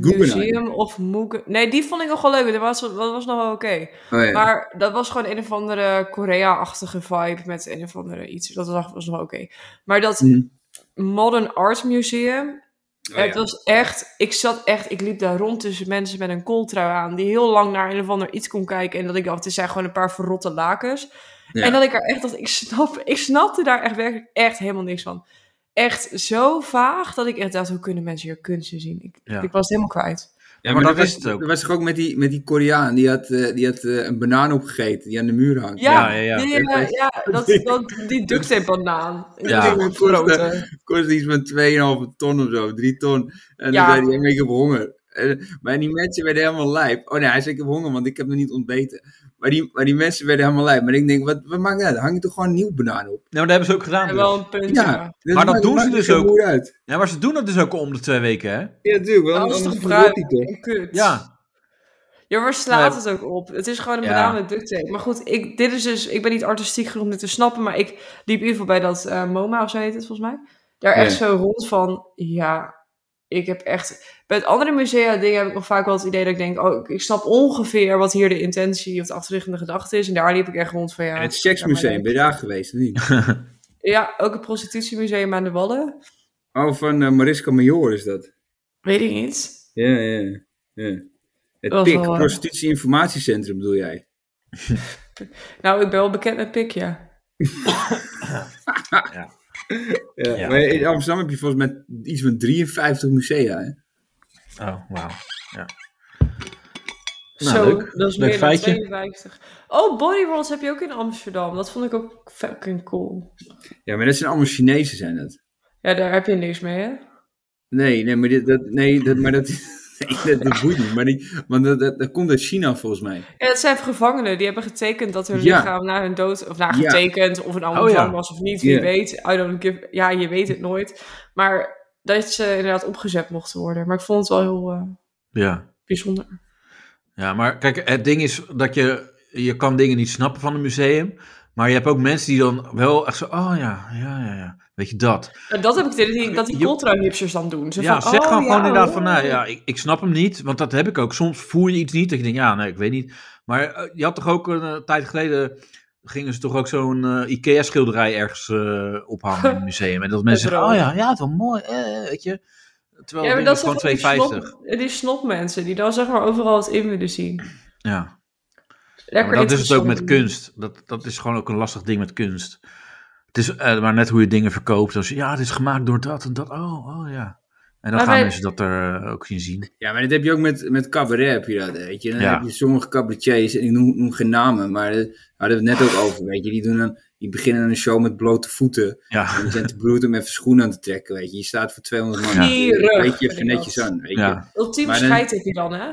[SPEAKER 3] Guggenheim.
[SPEAKER 4] Museum of Moog. Nee, die vond ik nog wel leuk. Dat was, dat was nog wel oké.
[SPEAKER 3] Oh, ja.
[SPEAKER 4] Maar dat was gewoon een of andere Korea-achtige vibe met een of andere iets. Dat was, was nog wel oké. Maar dat
[SPEAKER 3] Hm.
[SPEAKER 4] Modern Art Museum,
[SPEAKER 3] Oh, ja.
[SPEAKER 4] het was echt, ik zat echt, ik liep daar rond tussen mensen met een kooltrui aan, die heel lang naar een of ander iets kon kijken. En dat ik dacht, het zijn gewoon een paar verrotte lakens.
[SPEAKER 3] Ja.
[SPEAKER 4] En dat ik er echt dacht, ik, snap, ik snapte daar echt werkelijk echt helemaal niks van. Echt zo vaag dat ik echt dacht, hoe kunnen mensen hier kunsten zien? Ik,
[SPEAKER 2] Ja.
[SPEAKER 4] ik was het helemaal kwijt.
[SPEAKER 3] Ja,
[SPEAKER 2] maar dat
[SPEAKER 3] was-
[SPEAKER 2] is het ook.
[SPEAKER 3] Dat was toch ook met die, met die Koreaan, die had, eh, die had eh, een banaan opgegeten die aan de muur hangt.
[SPEAKER 4] Ja,
[SPEAKER 2] ja, ja.
[SPEAKER 4] Die, eh, ja dat, dat, die duct tape banaan.
[SPEAKER 2] Ja.
[SPEAKER 4] Ja, grote.
[SPEAKER 3] Kost iets van 2,5 ton of zo, 3 ton. En
[SPEAKER 4] Ja.
[SPEAKER 3] dan zei hij, "Ja, ik heb honger. En- maar die mensen werden helemaal lijp. Oh nee, hij zei, ik heb honger, want ik heb nog niet ontbeten. Maar die, maar die mensen werden helemaal lijp. Maar ik denk, wat, wat maakt dat? uit? Hang je toch gewoon een nieuw banaan op?
[SPEAKER 2] Nou, dat hebben ze ook gedaan.
[SPEAKER 4] En
[SPEAKER 2] dus.
[SPEAKER 4] wel een punt. Ja.
[SPEAKER 2] Maar dat
[SPEAKER 3] maakt-
[SPEAKER 2] doen ze
[SPEAKER 3] maakt
[SPEAKER 2] dus
[SPEAKER 3] geen
[SPEAKER 2] ook.
[SPEAKER 3] moer uit.
[SPEAKER 2] Ja, maar ze doen dat dus ook om de twee weken, hè?
[SPEAKER 3] Ja, natuurlijk.
[SPEAKER 4] Dat
[SPEAKER 3] Want
[SPEAKER 4] is
[SPEAKER 3] anders
[SPEAKER 4] toch
[SPEAKER 3] verrot
[SPEAKER 4] bruin
[SPEAKER 3] hij toch.
[SPEAKER 4] en kut.
[SPEAKER 2] Ja.
[SPEAKER 4] Ja, waar slaat
[SPEAKER 2] Nee.
[SPEAKER 4] het ook op? Het is gewoon een
[SPEAKER 2] Ja.
[SPEAKER 4] banaan met duct tape. Maar goed, ik, dit is dus, ik ben niet artistiek genoeg om dit te snappen, maar ik liep in ieder geval bij dat eh, MoMA, of zo heet het volgens mij, daar echt zo rond van, ja, ik heb echt... Bij het andere musea dingen heb ik nog vaak wel het idee dat ik denk, oh, ik, ik snap ongeveer wat hier de intentie of de achterliggende gedachte is. En daar liep ik echt rond van, ja...
[SPEAKER 3] En het seksmuseum, ben je daar geweest of niet?
[SPEAKER 4] Ja, ook het prostitutiemuseum aan de Wallen.
[SPEAKER 3] Oh, van eh, Mariska Major is dat.
[SPEAKER 4] Weet ik niet.
[SPEAKER 3] Ja, ja, ja. Het
[SPEAKER 4] Dat was
[SPEAKER 3] PIC,
[SPEAKER 4] wel, eh,
[SPEAKER 3] Prostitutie Informatiecentrum bedoel jij?
[SPEAKER 4] Nou, ik ben wel bekend met pik, ja.
[SPEAKER 3] Ja,
[SPEAKER 2] Ja.
[SPEAKER 3] Maar in Amsterdam heb je volgens mij iets van 53 musea, hè?
[SPEAKER 2] Oh, wauw. Nou,
[SPEAKER 4] Nou, Zo,
[SPEAKER 2] leuk.
[SPEAKER 4] dat is
[SPEAKER 2] Leuk
[SPEAKER 4] meer
[SPEAKER 2] feitje.
[SPEAKER 4] dan 52. Oh, bodyworlds heb je ook in Amsterdam. Dat vond ik ook fucking cool.
[SPEAKER 3] Ja, maar dat zijn allemaal Chinezen, zijn dat.
[SPEAKER 4] Ja, daar heb je niks mee, hè?
[SPEAKER 3] Nee, nee, maar, dit, dat, nee, dat, maar dat, nee, dat, dat boeit niet. Maar die, want dat, dat, dat komt uit China volgens mij.
[SPEAKER 4] Ja, dat zijn gevangenen. Die hebben getekend dat hun
[SPEAKER 3] Ja.
[SPEAKER 4] lichaam na hun dood... Of na
[SPEAKER 3] Ja.
[SPEAKER 4] getekend, of een andere
[SPEAKER 2] Oh, ja.
[SPEAKER 4] vorm was of niet. Wie
[SPEAKER 3] Ja.
[SPEAKER 4] weet. I don't give... Ja, je weet het nooit. Maar dat ze inderdaad opgezet mochten worden. Maar ik vond het wel heel eh,
[SPEAKER 2] Ja.
[SPEAKER 4] bijzonder.
[SPEAKER 2] Ja, maar kijk, het ding is dat je, je kan dingen niet snappen van een museum. Maar je hebt ook mensen die dan wel echt zo, oh ja, ja, ja, ja. Weet je dat?
[SPEAKER 4] En dat heb ik tegen die, dat die
[SPEAKER 2] Je-
[SPEAKER 4] contra-hipsters dan doen. Ze
[SPEAKER 2] ja,
[SPEAKER 4] van,
[SPEAKER 2] zeg
[SPEAKER 4] oh,
[SPEAKER 2] gewoon,
[SPEAKER 4] ja,
[SPEAKER 2] gewoon inderdaad
[SPEAKER 4] oh.
[SPEAKER 2] van, nou ja, ik, ik snap hem niet. Want dat heb ik ook. Soms voer je iets niet. Dat je denkt, ja, nee, ik weet niet. Maar eh, je had toch ook een eh, tijd geleden, gingen ze toch ook zo'n eh, IKEA-schilderij ergens eh, ophangen in een museum. En dat mensen zeggen, oh
[SPEAKER 4] brood.
[SPEAKER 2] ja, ja, het is wel mooi, eh, eh, weet je. Terwijl
[SPEAKER 4] Ja, maar
[SPEAKER 2] het
[SPEAKER 4] dat zijn
[SPEAKER 2] gewoon
[SPEAKER 4] van die,
[SPEAKER 2] 2,50.
[SPEAKER 4] snop, die snopmensen die dan zeg maar overal het in willen zien.
[SPEAKER 2] Ja. Ja,
[SPEAKER 4] Lekker
[SPEAKER 2] maar dat is het ook met
[SPEAKER 4] interessant.
[SPEAKER 2] kunst. Dat, dat is gewoon ook een lastig ding met kunst. Het is eh, maar net hoe je dingen verkoopt. Als je, ja, het is gemaakt door dat en dat. Oh, oh ja. En dan
[SPEAKER 4] Maar
[SPEAKER 2] gaan
[SPEAKER 4] wij-
[SPEAKER 2] mensen dat er eh, ook in zien.
[SPEAKER 3] Ja, maar dat heb je ook met, met cabaret, heb je dat, weet je. Dan
[SPEAKER 2] Ja.
[SPEAKER 3] heb je sommige cabaretiers, en ik noem, noem geen namen, maar dat hadden we het net ook over, weet je. Die, doen dan, die beginnen een show met blote voeten. En
[SPEAKER 2] Ja,
[SPEAKER 3] die zijn te bloed om even schoenen aan te trekken, weet je. Je staat voor 200 man.
[SPEAKER 4] Ja. Gierig,
[SPEAKER 3] Weet je,
[SPEAKER 4] vind
[SPEAKER 3] even
[SPEAKER 4] ik
[SPEAKER 3] netjes
[SPEAKER 4] dat.
[SPEAKER 3] aan, weet je.
[SPEAKER 2] ja.
[SPEAKER 4] Ultiem
[SPEAKER 3] Maar dan-
[SPEAKER 4] scheid heb je dan, hè?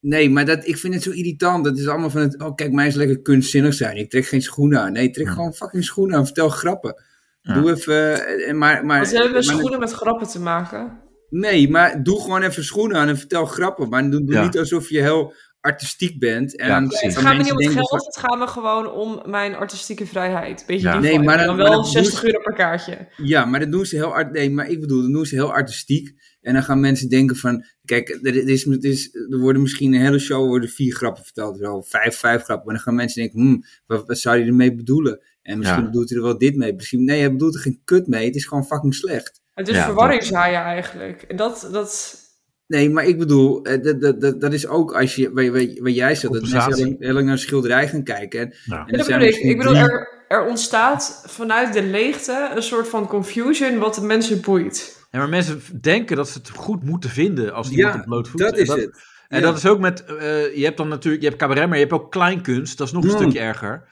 [SPEAKER 3] Nee, maar dat, ik vind het zo irritant. Dat is allemaal van het, oh kijk, mij is lekker kunstzinnig zijn. Ik trek geen schoenen aan. Nee, trek
[SPEAKER 2] Ja.
[SPEAKER 3] gewoon fucking schoenen aan. Vertel grappen.
[SPEAKER 2] Ja.
[SPEAKER 3] Doe even, eh, maar, maar,
[SPEAKER 4] Want ze hebben
[SPEAKER 3] maar-
[SPEAKER 4] schoenen met grappen te maken.
[SPEAKER 3] Nee, maar doe gewoon even schoenen aan en vertel grappen. Maar doe, doe
[SPEAKER 2] Ja.
[SPEAKER 3] niet alsof je heel artistiek bent. En
[SPEAKER 2] Ja,
[SPEAKER 3] dan
[SPEAKER 2] precies.
[SPEAKER 3] gaan
[SPEAKER 4] Het gaat me niet
[SPEAKER 3] mensen
[SPEAKER 4] om het
[SPEAKER 3] denken
[SPEAKER 4] geld,
[SPEAKER 3] van-
[SPEAKER 4] het gaat me gewoon om mijn artistieke vrijheid. Beetje
[SPEAKER 2] Ja.
[SPEAKER 4] die
[SPEAKER 3] Nee,
[SPEAKER 4] vibe.
[SPEAKER 3] maar dat-
[SPEAKER 4] En dan
[SPEAKER 3] maar
[SPEAKER 4] wel
[SPEAKER 3] dat
[SPEAKER 4] 60
[SPEAKER 3] moet-
[SPEAKER 4] euro per kaartje.
[SPEAKER 3] Ja, maar dat doen ze heel art. Nee, maar ik bedoel, dat doen ze heel artistiek. En dan gaan mensen denken van, kijk, er, er is, er, is, er worden misschien een hele show worden vier grappen verteld, wel vijf, vijf grappen. Maar dan gaan mensen denken, hmm, wat, wat zou hij ermee bedoelen? En misschien
[SPEAKER 2] Ja.
[SPEAKER 3] bedoelt hij er wel dit mee. Misschien, nee, hij bedoelt er geen kut mee. Het is gewoon fucking slecht.
[SPEAKER 4] Het is
[SPEAKER 2] Ja,
[SPEAKER 4] verwarringshaaien eigenlijk. En dat, dat...
[SPEAKER 3] Nee, maar ik bedoel, eh, dat, dat, dat, dat is ook als je, waar, waar, waar jij zat, dat mensen heel
[SPEAKER 2] Compensatie.
[SPEAKER 3] lang, heel lang naar een schilderij gaan kijken. En,
[SPEAKER 2] Ja.
[SPEAKER 3] en
[SPEAKER 4] Ja,
[SPEAKER 3] er
[SPEAKER 4] dat
[SPEAKER 3] zijn
[SPEAKER 4] bedoel ik.
[SPEAKER 3] misschien
[SPEAKER 4] Ik bedoel,
[SPEAKER 3] drie-
[SPEAKER 4] er, er ontstaat vanuit de leegte een soort van confusion wat de mensen boeit.
[SPEAKER 2] Ja, maar mensen v- denken dat ze het goed moeten vinden als iemand
[SPEAKER 3] Ja,
[SPEAKER 2] op bloot voet.
[SPEAKER 3] dat
[SPEAKER 2] En
[SPEAKER 3] is het.
[SPEAKER 2] En
[SPEAKER 3] Ja.
[SPEAKER 2] dat is ook met, eh, je hebt dan natuurlijk, je hebt cabaret, maar je hebt ook kleinkunst. Dat is nog een
[SPEAKER 3] Mm.
[SPEAKER 2] stukje erger.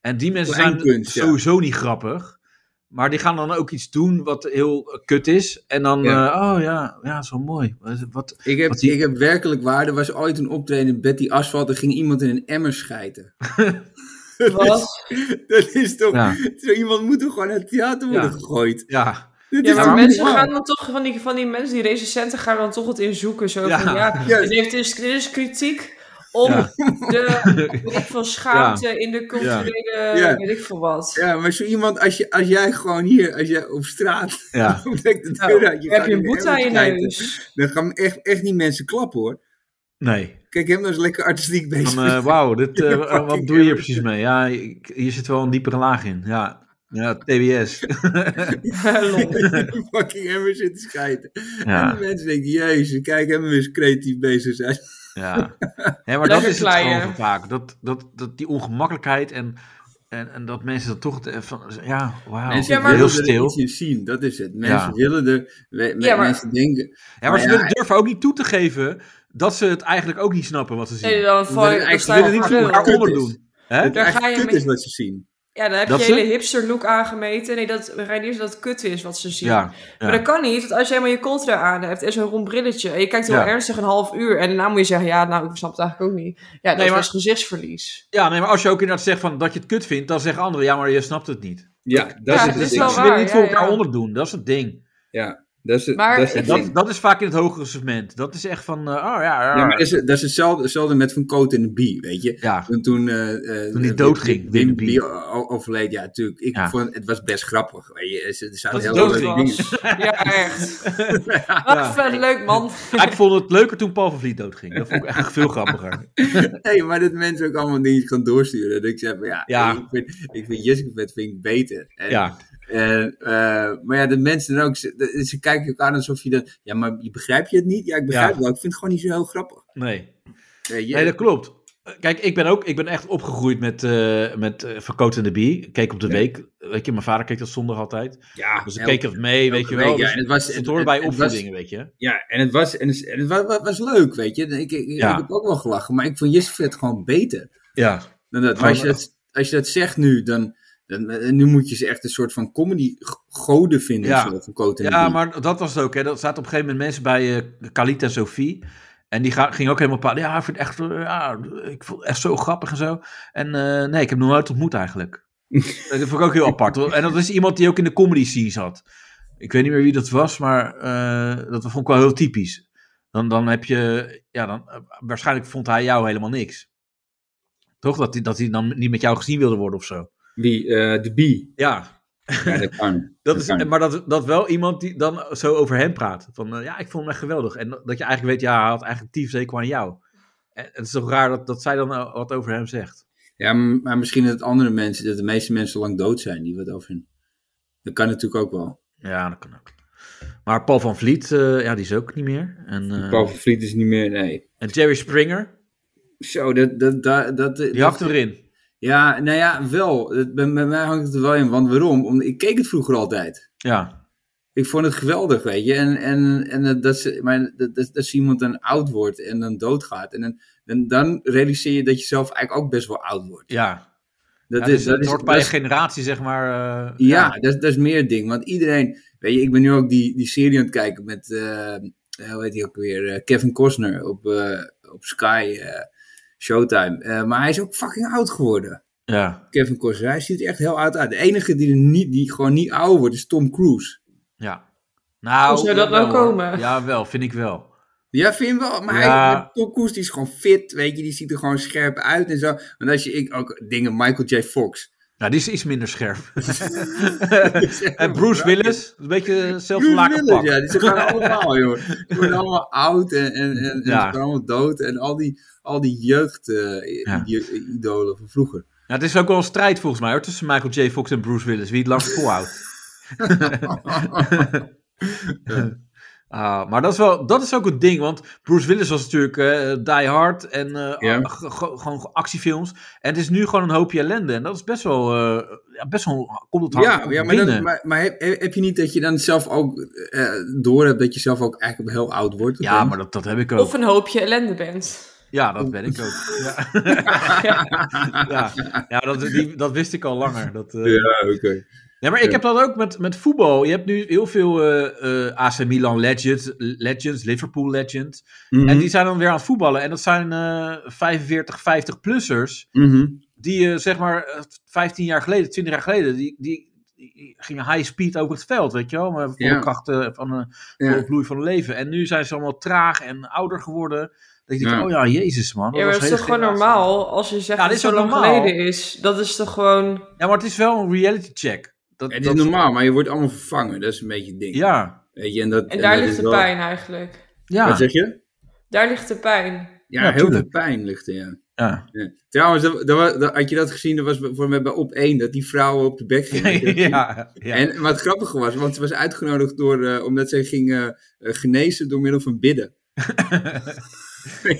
[SPEAKER 2] En die mensen
[SPEAKER 3] Kleinkunst, ja.
[SPEAKER 2] zijn sowieso niet grappig. Maar die gaan dan ook iets doen wat heel eh, kut is. En dan,
[SPEAKER 3] Ja.
[SPEAKER 2] eh, oh ja, ja, zo mooi. Wat, wat-
[SPEAKER 3] Ik heb,
[SPEAKER 2] Wat die-
[SPEAKER 3] ik heb werkelijk waar. Er was ooit een optreden in Betty Asphalt. Er ging iemand in een emmer schijten.
[SPEAKER 4] Wat?
[SPEAKER 3] Dat is toch.
[SPEAKER 2] Ja.
[SPEAKER 3] Zo iemand moet toch gewoon uit het theater worden
[SPEAKER 2] Ja.
[SPEAKER 3] gegooid.
[SPEAKER 2] ja.
[SPEAKER 3] Dit
[SPEAKER 4] Ja,
[SPEAKER 3] is
[SPEAKER 4] maar
[SPEAKER 3] toch
[SPEAKER 4] mensen
[SPEAKER 3] normaal?
[SPEAKER 4] gaan dan toch van die, van die mensen, die recensenten gaan dan toch het inzoeken. Zo
[SPEAKER 2] Ja.
[SPEAKER 4] van, ja,
[SPEAKER 3] Ja.
[SPEAKER 4] dit, heeft, dus, dit, is, dit is kritiek op
[SPEAKER 2] Ja.
[SPEAKER 4] de, weet ik veel, schaamte in de culturele,
[SPEAKER 3] Ja.
[SPEAKER 4] weet ik veel wat.
[SPEAKER 3] Ja, maar zo iemand, als, je, als jij gewoon hier, als jij op straat.
[SPEAKER 2] Ja.
[SPEAKER 3] op de deur
[SPEAKER 4] Nou,
[SPEAKER 3] uit,
[SPEAKER 4] heb
[SPEAKER 3] gaat
[SPEAKER 4] je
[SPEAKER 3] in
[SPEAKER 4] een boete aan je
[SPEAKER 3] emmer schijten,
[SPEAKER 4] neus?
[SPEAKER 3] Dan gaan echt, echt niet mensen klappen hoor.
[SPEAKER 2] Nee.
[SPEAKER 3] Kijk, hem nou is lekker artistiek bezig.
[SPEAKER 2] Van, eh, wauw, dit, eh,
[SPEAKER 3] Ja,
[SPEAKER 2] wat
[SPEAKER 3] fucking
[SPEAKER 2] doe je hier
[SPEAKER 3] erg.
[SPEAKER 2] precies mee? Ja, ik- hier zit wel een diepere laag in. Ja, ja TBS.
[SPEAKER 4] Lol.
[SPEAKER 3] fucking emmer zitten schijten. En
[SPEAKER 2] Ja,
[SPEAKER 3] de mensen denken, jezus, kijk, hem weer eens creatief bezig zijn.
[SPEAKER 2] ja. Hè, maar dat
[SPEAKER 4] Lekker
[SPEAKER 2] is het
[SPEAKER 4] kleien.
[SPEAKER 2] gewoon van vaak. Dat, dat, dat, die ongemakkelijkheid en, en, en dat mensen dan toch... eh, Van, ja, wauw.
[SPEAKER 3] Mensen
[SPEAKER 4] Ja, maar-
[SPEAKER 2] heel
[SPEAKER 3] willen er iets
[SPEAKER 2] stil.
[SPEAKER 3] in zien, dat is het. Mensen
[SPEAKER 2] Ja.
[SPEAKER 3] willen er, we-
[SPEAKER 4] Ja, maar-
[SPEAKER 3] mensen denken,
[SPEAKER 2] Ja, maar ze
[SPEAKER 3] Ja,
[SPEAKER 2] willen- durven ook niet toe te geven dat ze het eigenlijk ook niet snappen wat ze zien.
[SPEAKER 4] Nee, dan val je, dan
[SPEAKER 3] eigenlijk
[SPEAKER 4] sta je
[SPEAKER 3] willen
[SPEAKER 4] op
[SPEAKER 3] niet
[SPEAKER 4] de
[SPEAKER 3] voor
[SPEAKER 4] lul.
[SPEAKER 2] elkaar
[SPEAKER 3] kut
[SPEAKER 2] onder
[SPEAKER 3] is.
[SPEAKER 2] doen. Hè?
[SPEAKER 3] Het
[SPEAKER 4] Daar
[SPEAKER 3] echt
[SPEAKER 4] ga je
[SPEAKER 3] kut
[SPEAKER 4] mee-
[SPEAKER 3] is wat ze zien.
[SPEAKER 4] Ja, dan heb
[SPEAKER 2] Dat
[SPEAKER 4] je
[SPEAKER 2] ze-
[SPEAKER 4] hele hipster look aangemeten. Nee, dat Reinier dat het kut is wat ze zien.
[SPEAKER 2] Ja, ja.
[SPEAKER 4] Maar dat kan niet, want als je helemaal je coltra aan hebt en zo'n rond brilletje en je kijkt heel
[SPEAKER 2] Ja.
[SPEAKER 4] ernstig een half uur en daarna moet je zeggen, ja, nou, ik snap het eigenlijk ook niet. Ja, dat
[SPEAKER 2] Nee, maar-
[SPEAKER 4] was gezichtsverlies.
[SPEAKER 2] ja nee, maar als je ook inderdaad zegt van, dat je het kut vindt, dan zeggen anderen, ja, maar je snapt het niet.
[SPEAKER 3] Ja, dat
[SPEAKER 4] Ja,
[SPEAKER 3] is
[SPEAKER 4] het
[SPEAKER 3] het
[SPEAKER 4] is wel
[SPEAKER 3] ding.
[SPEAKER 2] ze
[SPEAKER 4] waar,
[SPEAKER 2] willen niet
[SPEAKER 4] ja,
[SPEAKER 2] voor elkaar
[SPEAKER 4] ja.
[SPEAKER 2] onderdoen, dat is het ding.
[SPEAKER 3] Ja. Dat is, het-
[SPEAKER 4] Maar
[SPEAKER 3] dat is het
[SPEAKER 4] ik
[SPEAKER 3] ding.
[SPEAKER 2] Dat, dat is vaak in het hogere segment. Dat is echt van, eh, oh ja, ja,
[SPEAKER 3] Ja, maar dat is, dat is hetzelfde, hetzelfde met Van Cote en de Bie, weet je.
[SPEAKER 2] ja.
[SPEAKER 3] Toen, toen, eh, eh,
[SPEAKER 2] Toen die doodging, Wim de
[SPEAKER 3] Wim
[SPEAKER 2] Bie.
[SPEAKER 3] Bie o- overleed, ja, natuurlijk. Ik
[SPEAKER 2] Ja.
[SPEAKER 3] vond het was best grappig. Weet je. Er zaten
[SPEAKER 2] Dat hij
[SPEAKER 3] heel
[SPEAKER 2] dood
[SPEAKER 3] leuke
[SPEAKER 4] was.
[SPEAKER 3] dingen.
[SPEAKER 4] Ja, echt. Wat een vet leuk man.
[SPEAKER 2] Maar Ah, Ik vond het leuker toen Paul van Vliet doodging. Dat vond ik echt veel grappiger.
[SPEAKER 3] Nee, maar dat mensen ook allemaal dingen gaan doorsturen. Dat ik zeg, van, ja,
[SPEAKER 2] Ja.
[SPEAKER 3] ik vind, ik vind Jessica Vet vind ik beter. En,
[SPEAKER 2] Ja,
[SPEAKER 3] en, eh, maar ja, de mensen dan ook, ze, de- ze kijken elkaar alsof je dat, ja, maar je begrijp je het niet? Ja, ik begrijp
[SPEAKER 2] Ja.
[SPEAKER 3] het wel. Ik vind het gewoon niet zo heel grappig.
[SPEAKER 2] nee.
[SPEAKER 3] Weet je?
[SPEAKER 2] Nee, dat klopt. Kijk, ik ben ook, ik ben echt opgegroeid met, eh met eh, Van Cote en de Bie. Ik keek op de
[SPEAKER 3] Ja.
[SPEAKER 2] week. Weet je, mijn vader keek dat zondag altijd.
[SPEAKER 3] ja,
[SPEAKER 2] Dus ik
[SPEAKER 3] elke-
[SPEAKER 2] keek dat mee, weet
[SPEAKER 3] elke
[SPEAKER 2] je wel.
[SPEAKER 3] week, ja,
[SPEAKER 2] Dus
[SPEAKER 3] en het was,
[SPEAKER 2] het,
[SPEAKER 3] het-
[SPEAKER 2] hoort
[SPEAKER 3] het-
[SPEAKER 2] bij
[SPEAKER 3] het was-
[SPEAKER 2] opvoedingen, weet je.
[SPEAKER 3] Ja, en het was, en het, en het wa- wa- was, leuk, weet je. Ik, ik,
[SPEAKER 2] Ja.
[SPEAKER 3] ik heb ook wel gelachen, maar ik vond Jessica Vet gewoon beter.
[SPEAKER 2] Ja,
[SPEAKER 3] Dan dat. Maar als je dat, als je dat zegt nu, dan, dan eh, nu moet je ze echt een soort van comedy-goden vinden.
[SPEAKER 2] Ja.
[SPEAKER 3] Ja, zo, van Cote en de
[SPEAKER 2] Ja,
[SPEAKER 3] Bie.
[SPEAKER 2] maar dat was het ook. Hè. Dat zaten op een gegeven moment mensen bij eh Kalita en Sophie. En die ga, ging ook helemaal praten. Ja, ik vind het echt, eh, ja, ik vond het echt zo grappig en zo. En eh, nee, ik heb hem nog nooit ontmoet eigenlijk. dat vond ik ook heel apart. hoor. En dat is iemand die ook in de comedy scene zat. Ik weet niet meer wie dat was, maar eh, dat vond ik wel heel typisch. Dan, dan heb je, ja, dan, eh, waarschijnlijk vond hij jou helemaal niks. Toch? Dat hij, dat hij dan niet met jou gezien wilde worden of zo.
[SPEAKER 3] Wie? eh, de Bie.
[SPEAKER 2] Ja,
[SPEAKER 3] Ja, dat kan.
[SPEAKER 2] Dat is,
[SPEAKER 3] kan.
[SPEAKER 2] maar dat, dat wel iemand die dan zo over hem praat. Van eh, ja, ik vond hem echt geweldig. En dat je eigenlijk weet, ja, hij had eigenlijk tief zeker aan jou. En het is toch raar dat, dat zij dan eh, wat over hem zegt.
[SPEAKER 3] Ja, m- maar misschien dat andere mensen, dat de meeste mensen lang dood zijn die wat over hun. Dat kan natuurlijk ook wel.
[SPEAKER 2] Ja, dat kan ook. Maar Paul van Vliet, eh, ja, die is ook niet meer. En, eh,
[SPEAKER 3] Paul van Vliet is niet meer, nee.
[SPEAKER 2] en Jerry Springer,
[SPEAKER 3] Zo, dat... dat, dat, dat
[SPEAKER 2] die hakt erin.
[SPEAKER 3] Ja, nou ja, wel. Dat- Bij, bij mij hangt het er wel in, want waarom? Omdat, ik keek het vroeger altijd.
[SPEAKER 2] Ja,
[SPEAKER 3] Ik vond het geweldig, weet je. En, en, en dat- dat, ze, maar dat, dat, dat ze iemand dan oud wordt en dan doodgaat. En dan, dan, dan realiseer je dat je zelf eigenlijk ook best wel oud wordt.
[SPEAKER 2] ja.
[SPEAKER 3] Dat,
[SPEAKER 2] Ja,
[SPEAKER 3] is,
[SPEAKER 2] dus
[SPEAKER 3] dat
[SPEAKER 2] het
[SPEAKER 3] is,
[SPEAKER 2] hoort
[SPEAKER 3] dat
[SPEAKER 2] bij
[SPEAKER 3] is-
[SPEAKER 2] een generatie, zeg maar. eh,
[SPEAKER 3] Ja, Dat, dat is meer het ding. Want iedereen, weet je, ik ben nu ook die, die serie aan het kijken met, eh, hoe heet hij ook weer, eh, Kevin Costner op, eh, op Sky eh, Showtime. Eh, maar hij is ook fucking oud geworden,
[SPEAKER 2] ja,
[SPEAKER 3] Kevin Costner. Hij ziet er echt heel oud uit. De enige die, er niet, die gewoon niet ouder wordt is Tom Cruise.
[SPEAKER 2] ja. Nou,
[SPEAKER 4] Hoe zou dat nou
[SPEAKER 2] jawel, hoor.
[SPEAKER 4] komen?
[SPEAKER 2] Ja, wel, vind ik wel.
[SPEAKER 3] Ja, vind je wel. Maar
[SPEAKER 2] Ja.
[SPEAKER 3] hij, Tom Cruise die is gewoon fit, weet je, die ziet er gewoon scherp uit en zo. Want als je, ik ook dingen, Michael J. Fox.
[SPEAKER 2] Nou, die is iets minder scherp. en Bruce Willis, een beetje hetzelfde
[SPEAKER 3] Bruce
[SPEAKER 2] laken
[SPEAKER 3] Willis,
[SPEAKER 2] pak.
[SPEAKER 3] Ja, die ze gaan allemaal, joh. Ze worden allemaal oud en, en, en, en ze
[SPEAKER 2] Ja.
[SPEAKER 3] gaan allemaal dood. En al die, al die
[SPEAKER 2] Ja.
[SPEAKER 3] jeugd-idolen van vroeger.
[SPEAKER 2] Ja, het is ook wel een strijd volgens mij hoor, tussen Michael J. Fox en Bruce Willis. Wie het langst volhoudt. Ah, maar dat is, wel, dat is ook een ding, want Bruce Willis was natuurlijk eh, Die Hard en eh,
[SPEAKER 3] Ja.
[SPEAKER 2] ah, ge- ge- gewoon actiefilms. En het is nu gewoon een hoopje ellende. En dat is best wel, eh, ja, best wel, komt het hard
[SPEAKER 3] ja, ja, maar,
[SPEAKER 2] binnen.
[SPEAKER 3] dan, maar, maar heb, heb je niet dat je dan zelf ook eh, door hebt dat je zelf ook eigenlijk heel oud wordt?
[SPEAKER 2] ja, maar dat, dat heb ik ook.
[SPEAKER 4] Of een hoopje ellende bent.
[SPEAKER 2] Ja, dat ben ik ook. Ja,
[SPEAKER 4] Ja.
[SPEAKER 2] ja. ja dat, die, dat wist ik al langer. Dat, eh,
[SPEAKER 3] Ja, oké.
[SPEAKER 2] Ja, maar ik
[SPEAKER 3] Ja.
[SPEAKER 2] heb dat ook met, met voetbal. Je hebt nu heel veel eh, eh, AC Milan legends, legends, Liverpool legends.
[SPEAKER 3] Mhm,
[SPEAKER 2] En die zijn dan weer aan het voetballen. En dat zijn eh 45, 50-plussers.
[SPEAKER 3] mhm.
[SPEAKER 2] Die eh, zeg maar eh, 15 jaar geleden, 20 jaar geleden, die, die, die gingen high speed over het veld. Weet je wel, maar volle
[SPEAKER 3] Ja.
[SPEAKER 2] krachten van eh,
[SPEAKER 3] Ja.
[SPEAKER 2] volle bloei van het leven. En nu zijn ze allemaal traag en ouder geworden. Dat je denkt,
[SPEAKER 3] Ja.
[SPEAKER 2] oh ja, jezus man. dat
[SPEAKER 4] Ja, maar
[SPEAKER 2] was
[SPEAKER 4] dat is
[SPEAKER 2] een
[SPEAKER 4] toch
[SPEAKER 2] hele
[SPEAKER 4] gewoon
[SPEAKER 2] generatie.
[SPEAKER 4] normaal als je zegt
[SPEAKER 2] Ja,
[SPEAKER 4] dat
[SPEAKER 2] dit
[SPEAKER 4] het
[SPEAKER 2] is
[SPEAKER 4] zo
[SPEAKER 2] ook
[SPEAKER 4] lang
[SPEAKER 2] normaal.
[SPEAKER 4] geleden is. Dat is toch gewoon...
[SPEAKER 2] Ja, maar het is wel een reality check. Dat,
[SPEAKER 3] Het is
[SPEAKER 2] dat-
[SPEAKER 3] normaal, maar je wordt allemaal vervangen. Dat is een beetje het ding.
[SPEAKER 2] Ja,
[SPEAKER 3] Weet je, en dat,
[SPEAKER 4] En daar
[SPEAKER 3] dat
[SPEAKER 4] ligt
[SPEAKER 3] is
[SPEAKER 4] de
[SPEAKER 3] wel-
[SPEAKER 4] pijn eigenlijk.
[SPEAKER 2] ja,
[SPEAKER 3] Wat zeg je?
[SPEAKER 4] Daar ligt de pijn.
[SPEAKER 2] Ja,
[SPEAKER 3] Ja, heel veel
[SPEAKER 2] tuurlijk.
[SPEAKER 3] pijn ligt er, ja.
[SPEAKER 2] ja.
[SPEAKER 3] Ja. Trouwens, dat, dat wa- dat- had je dat gezien? Dat was voor mij bij op één dat die vrouwen op de bek gingen.
[SPEAKER 2] ja, ja.
[SPEAKER 3] En wat grappig was, want ze was uitgenodigd door, eh, omdat zij ging eh, eh, genezen door middel van bidden.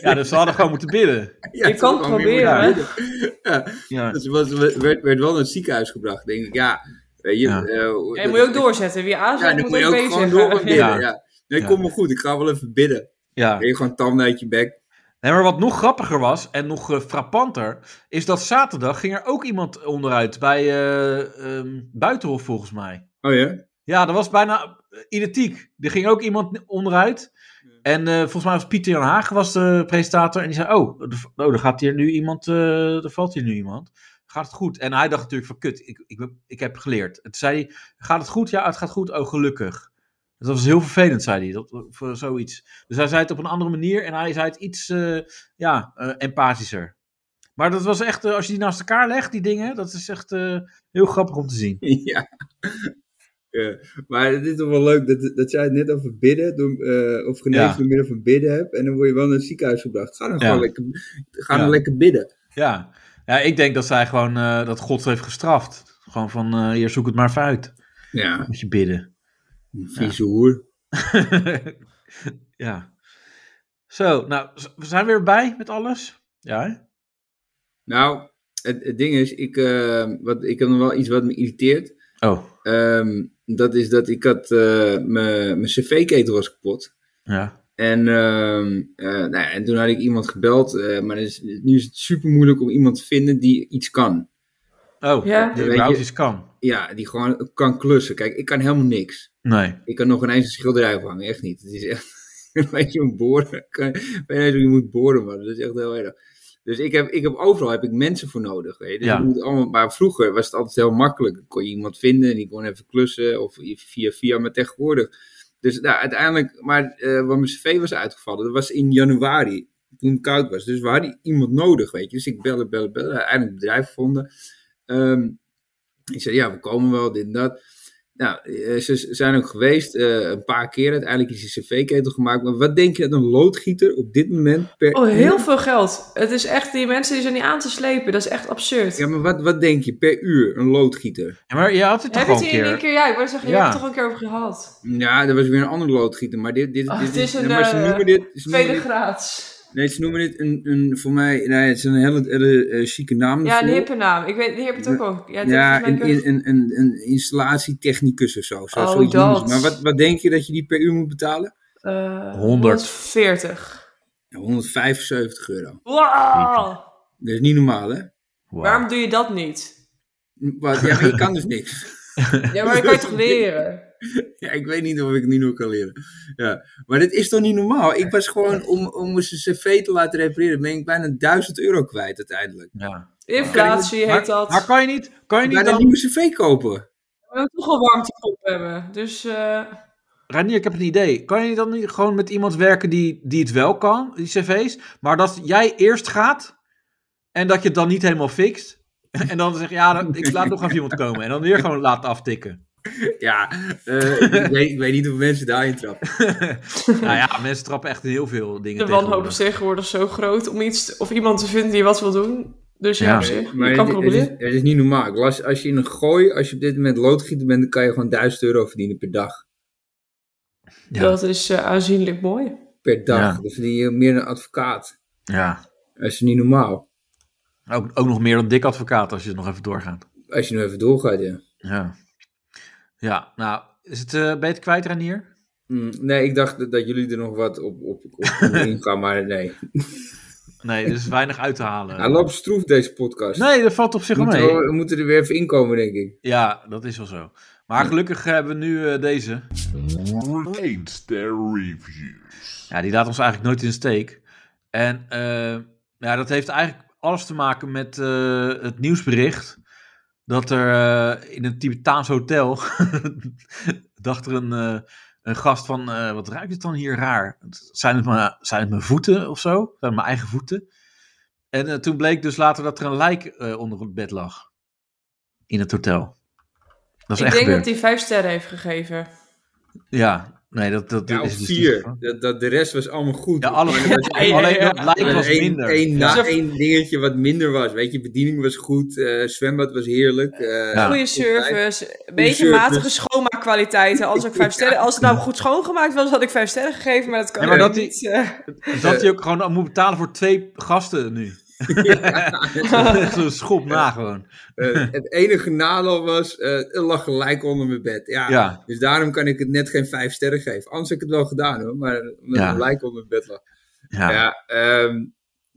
[SPEAKER 2] Ja, dus ze hadden gewoon moeten bidden.
[SPEAKER 3] Ja,
[SPEAKER 4] Je kan
[SPEAKER 3] ze kwam weer
[SPEAKER 4] proberen,
[SPEAKER 3] met bidden. Ja,
[SPEAKER 2] Ja.
[SPEAKER 3] dus ze was, werd, werd wel naar het ziekenhuis gebracht. Denk ik, ja. Weet je,
[SPEAKER 2] Ja.
[SPEAKER 3] eh,
[SPEAKER 4] En
[SPEAKER 3] dat-
[SPEAKER 4] moet je ook doorzetten. Wie aanzet
[SPEAKER 3] Ja, dan
[SPEAKER 4] moet,
[SPEAKER 3] moet je
[SPEAKER 4] ook
[SPEAKER 3] ook
[SPEAKER 4] bezig.
[SPEAKER 3] gewoon door met bidden.
[SPEAKER 2] Ja.
[SPEAKER 3] Ja. Nee,
[SPEAKER 2] Ja.
[SPEAKER 3] kom maar goed, ik ga wel even bidden.
[SPEAKER 2] ja.
[SPEAKER 3] Weet je, gewoon tanden uit je bek.
[SPEAKER 2] Nee, maar wat nog grappiger was en nog eh, frappanter, is dat zaterdag ging er ook iemand onderuit bij eh, ehm, Buitenhof volgens mij.
[SPEAKER 3] Oh ja?
[SPEAKER 2] Ja, dat was bijna eh, identiek. Er ging ook iemand onderuit. En eh, volgens mij was Pieter Jan Haag was de presentator. En die zei, oh, er, oh, er gaat hier nu iemand, eh, er valt hier nu iemand. Gaat het goed? En hij dacht natuurlijk van, kut, ik, ik, ik heb geleerd. En toen zei hij, gaat het goed? Ja, het gaat goed. Oh, gelukkig. Dat was heel vervelend, zei hij, dat, voor zoiets. Dus hij zei het op een andere manier en hij zei het iets eh, ja, eh, empathischer. Maar dat was echt, eh, als je die naast elkaar legt, die dingen, dat is echt eh, heel grappig om te zien.
[SPEAKER 3] ja. Ja. Maar het is toch wel leuk dat, dat jij het net over bidden, door, eh, of genezen
[SPEAKER 2] Ja.
[SPEAKER 3] door middel van bidden hebt. En dan word je wel naar het ziekenhuis gebracht. Ga dan
[SPEAKER 2] Ja.
[SPEAKER 3] gewoon lekker, ga dan
[SPEAKER 2] Ja.
[SPEAKER 3] lekker bidden.
[SPEAKER 2] Ja, ja ik denk dat zij gewoon eh, dat God ze heeft gestraft. Gewoon van, eh, hier zoek het maar even uit.
[SPEAKER 3] Ja,
[SPEAKER 2] Moet je bidden.
[SPEAKER 3] vieze hoer.
[SPEAKER 2] ja. Zo, nou, z- we zijn weer bij met alles. Ja, hè?
[SPEAKER 3] Nou, het, het ding is, ik, eh, wat, ik heb nog wel iets wat me irriteert.
[SPEAKER 2] Oh,
[SPEAKER 3] Ehm, dat is dat ik had, eh, mijn mijn cv-ketel was kapot.
[SPEAKER 2] ja.
[SPEAKER 3] En, ehm, eh, nou ja, en toen had ik iemand gebeld, eh, maar het is, nu is het super moeilijk om iemand te vinden die iets kan.
[SPEAKER 2] Oh,
[SPEAKER 4] Ja.
[SPEAKER 2] die
[SPEAKER 3] Weet
[SPEAKER 2] überhaupt
[SPEAKER 3] je-
[SPEAKER 2] iets kan.
[SPEAKER 3] Ja, die gewoon kan klussen. Kijk, ik kan helemaal niks.
[SPEAKER 2] Nee.
[SPEAKER 3] Ik kan nog ineens een schilderij ophangen, echt niet. Het is echt, weet je, een boren. Ik kan- Ik weet niet hoe je moet boren, maar dat is echt heel erg. Dus ik heb, ik heb overal heb ik mensen voor nodig. Weet je. Dus
[SPEAKER 2] Ja.
[SPEAKER 3] ik moet allemaal, maar vroeger was het altijd heel makkelijk. Dan kon je iemand vinden en die kon even klussen of via via, maar tegenwoordig. Dus nou, uiteindelijk, maar eh waar mijn cv was uitgevallen, dat was in januari, toen het koud was. Dus we hadden iemand nodig, weet je. Dus ik bellen, bellen, bellen, uiteindelijk een bedrijf gevonden. Ehm, ik zei, ja, we komen wel, dit en dat. Nou, eh, ze z- zijn ook geweest eh, een paar keer. Uiteindelijk is die cv-ketel gemaakt. Maar wat denk je dat een loodgieter op dit moment per
[SPEAKER 4] Oh, heel
[SPEAKER 3] uur-
[SPEAKER 4] veel geld. Het is echt, die mensen die zijn niet aan te slepen. Dat is echt absurd.
[SPEAKER 3] Ja, maar wat, wat denk je per uur, een loodgieter?
[SPEAKER 2] Ja, maar je had het toch
[SPEAKER 4] heb je
[SPEAKER 2] al
[SPEAKER 4] het
[SPEAKER 2] een
[SPEAKER 4] hier
[SPEAKER 2] keer.
[SPEAKER 4] een keer? Ja, ik wou zeggen, je
[SPEAKER 2] Ja.
[SPEAKER 4] hebt het toch een keer over gehad.
[SPEAKER 3] Ja, er was weer een andere loodgieter. Maar dit, dit,
[SPEAKER 4] Oh,
[SPEAKER 3] dit
[SPEAKER 4] het is een,
[SPEAKER 3] nee, maar ze
[SPEAKER 4] eh,
[SPEAKER 3] noemen dit, ze noemen
[SPEAKER 4] Tweede
[SPEAKER 3] dit,
[SPEAKER 4] graads.
[SPEAKER 3] nee, ze noemen dit een, een voor mij, nee, het is een hele, hele eh, chique naam.
[SPEAKER 4] Ja, die
[SPEAKER 3] daarvoor.
[SPEAKER 4] heeft een naam. Ik weet, die heb het ook al. Ja, het
[SPEAKER 3] Ja,
[SPEAKER 4] ja,
[SPEAKER 3] een, een, een, een, een installatietechnicus of zo. zo
[SPEAKER 4] Oh,
[SPEAKER 3] zoiets noemen ze.
[SPEAKER 4] dat.
[SPEAKER 3] Maar wat, wat denk je dat je die per uur moet betalen?
[SPEAKER 4] eh,
[SPEAKER 2] 100.
[SPEAKER 4] 140.
[SPEAKER 3] Ja, 175 euro.
[SPEAKER 4] Wow.
[SPEAKER 3] Dat is niet normaal, hè?
[SPEAKER 2] Wauw.
[SPEAKER 4] Waarom doe je dat niet?
[SPEAKER 3] Wat, ja, maar je kan dus niks.
[SPEAKER 4] Ja, maar je kan je toch leren?
[SPEAKER 3] Ja, ik weet niet of ik het nu nog kan leren. Ja. Maar dit is toch niet normaal? Ik was gewoon, om, om eens een cv te laten repareren, ben ik bijna 1000 euro kwijt uiteindelijk.
[SPEAKER 2] Ja.
[SPEAKER 4] Inflatie
[SPEAKER 2] Maar,
[SPEAKER 4] heet dat.
[SPEAKER 2] maar
[SPEAKER 4] We
[SPEAKER 2] kan je niet, kan je niet
[SPEAKER 3] Bijna een
[SPEAKER 2] dan...
[SPEAKER 3] nieuwe cv kopen.
[SPEAKER 4] moeten toch wel warmtepomp hebben. Dus eh,
[SPEAKER 2] Ranier, ik heb een idee. Kan je dan niet gewoon met iemand werken die, die het wel kan, die cv's, maar dat jij eerst gaat en dat je het dan niet helemaal fixt? En dan zeg je, ja, dan, ik laat nog even iemand komen. En dan weer gewoon laten aftikken.
[SPEAKER 3] Ja, eh, ik, weet, ik weet niet of mensen daarin trappen.
[SPEAKER 2] Nou ja, mensen trappen echt in heel veel dingen
[SPEAKER 4] de wanhoop
[SPEAKER 2] tegenwoordig.
[SPEAKER 4] is tegenwoordig zo groot om iets of iemand te vinden die wat wil doen. Dus ja,
[SPEAKER 2] Ja.
[SPEAKER 4] op zich.
[SPEAKER 3] Maar
[SPEAKER 4] je kan
[SPEAKER 3] het, het is,
[SPEAKER 4] proberen.
[SPEAKER 3] het is niet normaal. Ik las, als je in een gooi, als je op dit moment loodgieter bent, dan kan je gewoon 1000 euro verdienen per dag.
[SPEAKER 2] Ja.
[SPEAKER 4] Dat is eh, aanzienlijk mooi.
[SPEAKER 3] Per dag.
[SPEAKER 2] Ja.
[SPEAKER 3] Dus verdien je meer dan een advocaat.
[SPEAKER 2] Ja,
[SPEAKER 3] Dat is niet normaal.
[SPEAKER 2] ook, ook nog meer dan dik advocaat als je het nog even doorgaat.
[SPEAKER 3] Als je nu even doorgaat, ja.
[SPEAKER 2] Ja, ja nou, is het, eh ben je het kwijt, Ranier?
[SPEAKER 3] Mm, Nee, ik dacht dat, dat jullie er nog wat op, op, op konden ingaan, maar nee.
[SPEAKER 2] Nee, er is weinig uit te halen.
[SPEAKER 3] Hij loopt stroef deze podcast.
[SPEAKER 2] Ah. Nee, dat valt op zich wel
[SPEAKER 3] moeten
[SPEAKER 2] mee.
[SPEAKER 3] we, we moeten er weer even inkomen, denk ik.
[SPEAKER 2] Ja, dat is wel zo. Maar gelukkig hebben we nu eh, deze.
[SPEAKER 1] Eens ter reviews.
[SPEAKER 2] Ja, die laat ons eigenlijk nooit in de steek. En eh, ja, dat heeft eigenlijk alles te maken met eh, het nieuwsbericht. Dat er eh, in een Tibetaans hotel. dacht er een, eh, een gast van. eh, wat ruikt het dan hier raar? Zijn het, mijn, zijn het mijn voeten of zo? Zijn het mijn eigen voeten? En eh, toen bleek dus later dat er een lijk eh, onder het bed lag. In het hotel. Dat is
[SPEAKER 4] Ik
[SPEAKER 2] echt
[SPEAKER 4] denk dat
[SPEAKER 2] gebeurd.
[SPEAKER 4] hij vijf sterren heeft gegeven.
[SPEAKER 2] Ja, nee, dat, dat
[SPEAKER 3] Ja, of
[SPEAKER 2] is dus niet zo.
[SPEAKER 3] vier. Dat, dat, de rest was allemaal goed.
[SPEAKER 2] Ja, alles
[SPEAKER 3] Maar er
[SPEAKER 2] goed.
[SPEAKER 3] was
[SPEAKER 4] ja,
[SPEAKER 2] Alleen
[SPEAKER 4] ja.
[SPEAKER 2] dat lijk
[SPEAKER 3] er
[SPEAKER 2] was
[SPEAKER 3] één-
[SPEAKER 2] minder.
[SPEAKER 3] één na,
[SPEAKER 4] Ja.
[SPEAKER 3] één dingetje wat minder was. Weet je, bediening was goed, eh, zwembad was heerlijk. eh,
[SPEAKER 2] Ja.
[SPEAKER 4] Goede service, een beetje
[SPEAKER 3] service.
[SPEAKER 4] matige schoonmaakkwaliteiten. Als ik vijf sterren. Als het nou goed schoongemaakt was, had ik vijf sterren gegeven, maar dat kan
[SPEAKER 2] Ja, maar
[SPEAKER 4] ook
[SPEAKER 2] dat die-
[SPEAKER 4] niet. eh.
[SPEAKER 2] Dat hij ook gewoon moet betalen voor twee gasten nu. Echt Zo'n schop na gewoon.
[SPEAKER 3] eh, het enige nadeel was, eh er lag gelijk onder mijn bed. Ja,
[SPEAKER 2] Ja.
[SPEAKER 3] Dus daarom kan ik het net geen vijf sterren geven. Anders heb ik het wel gedaan hoor, maar omdat
[SPEAKER 2] Ja.
[SPEAKER 3] er gelijk onder mijn bed lag.
[SPEAKER 2] Ja, ja.
[SPEAKER 3] Ja, ehm,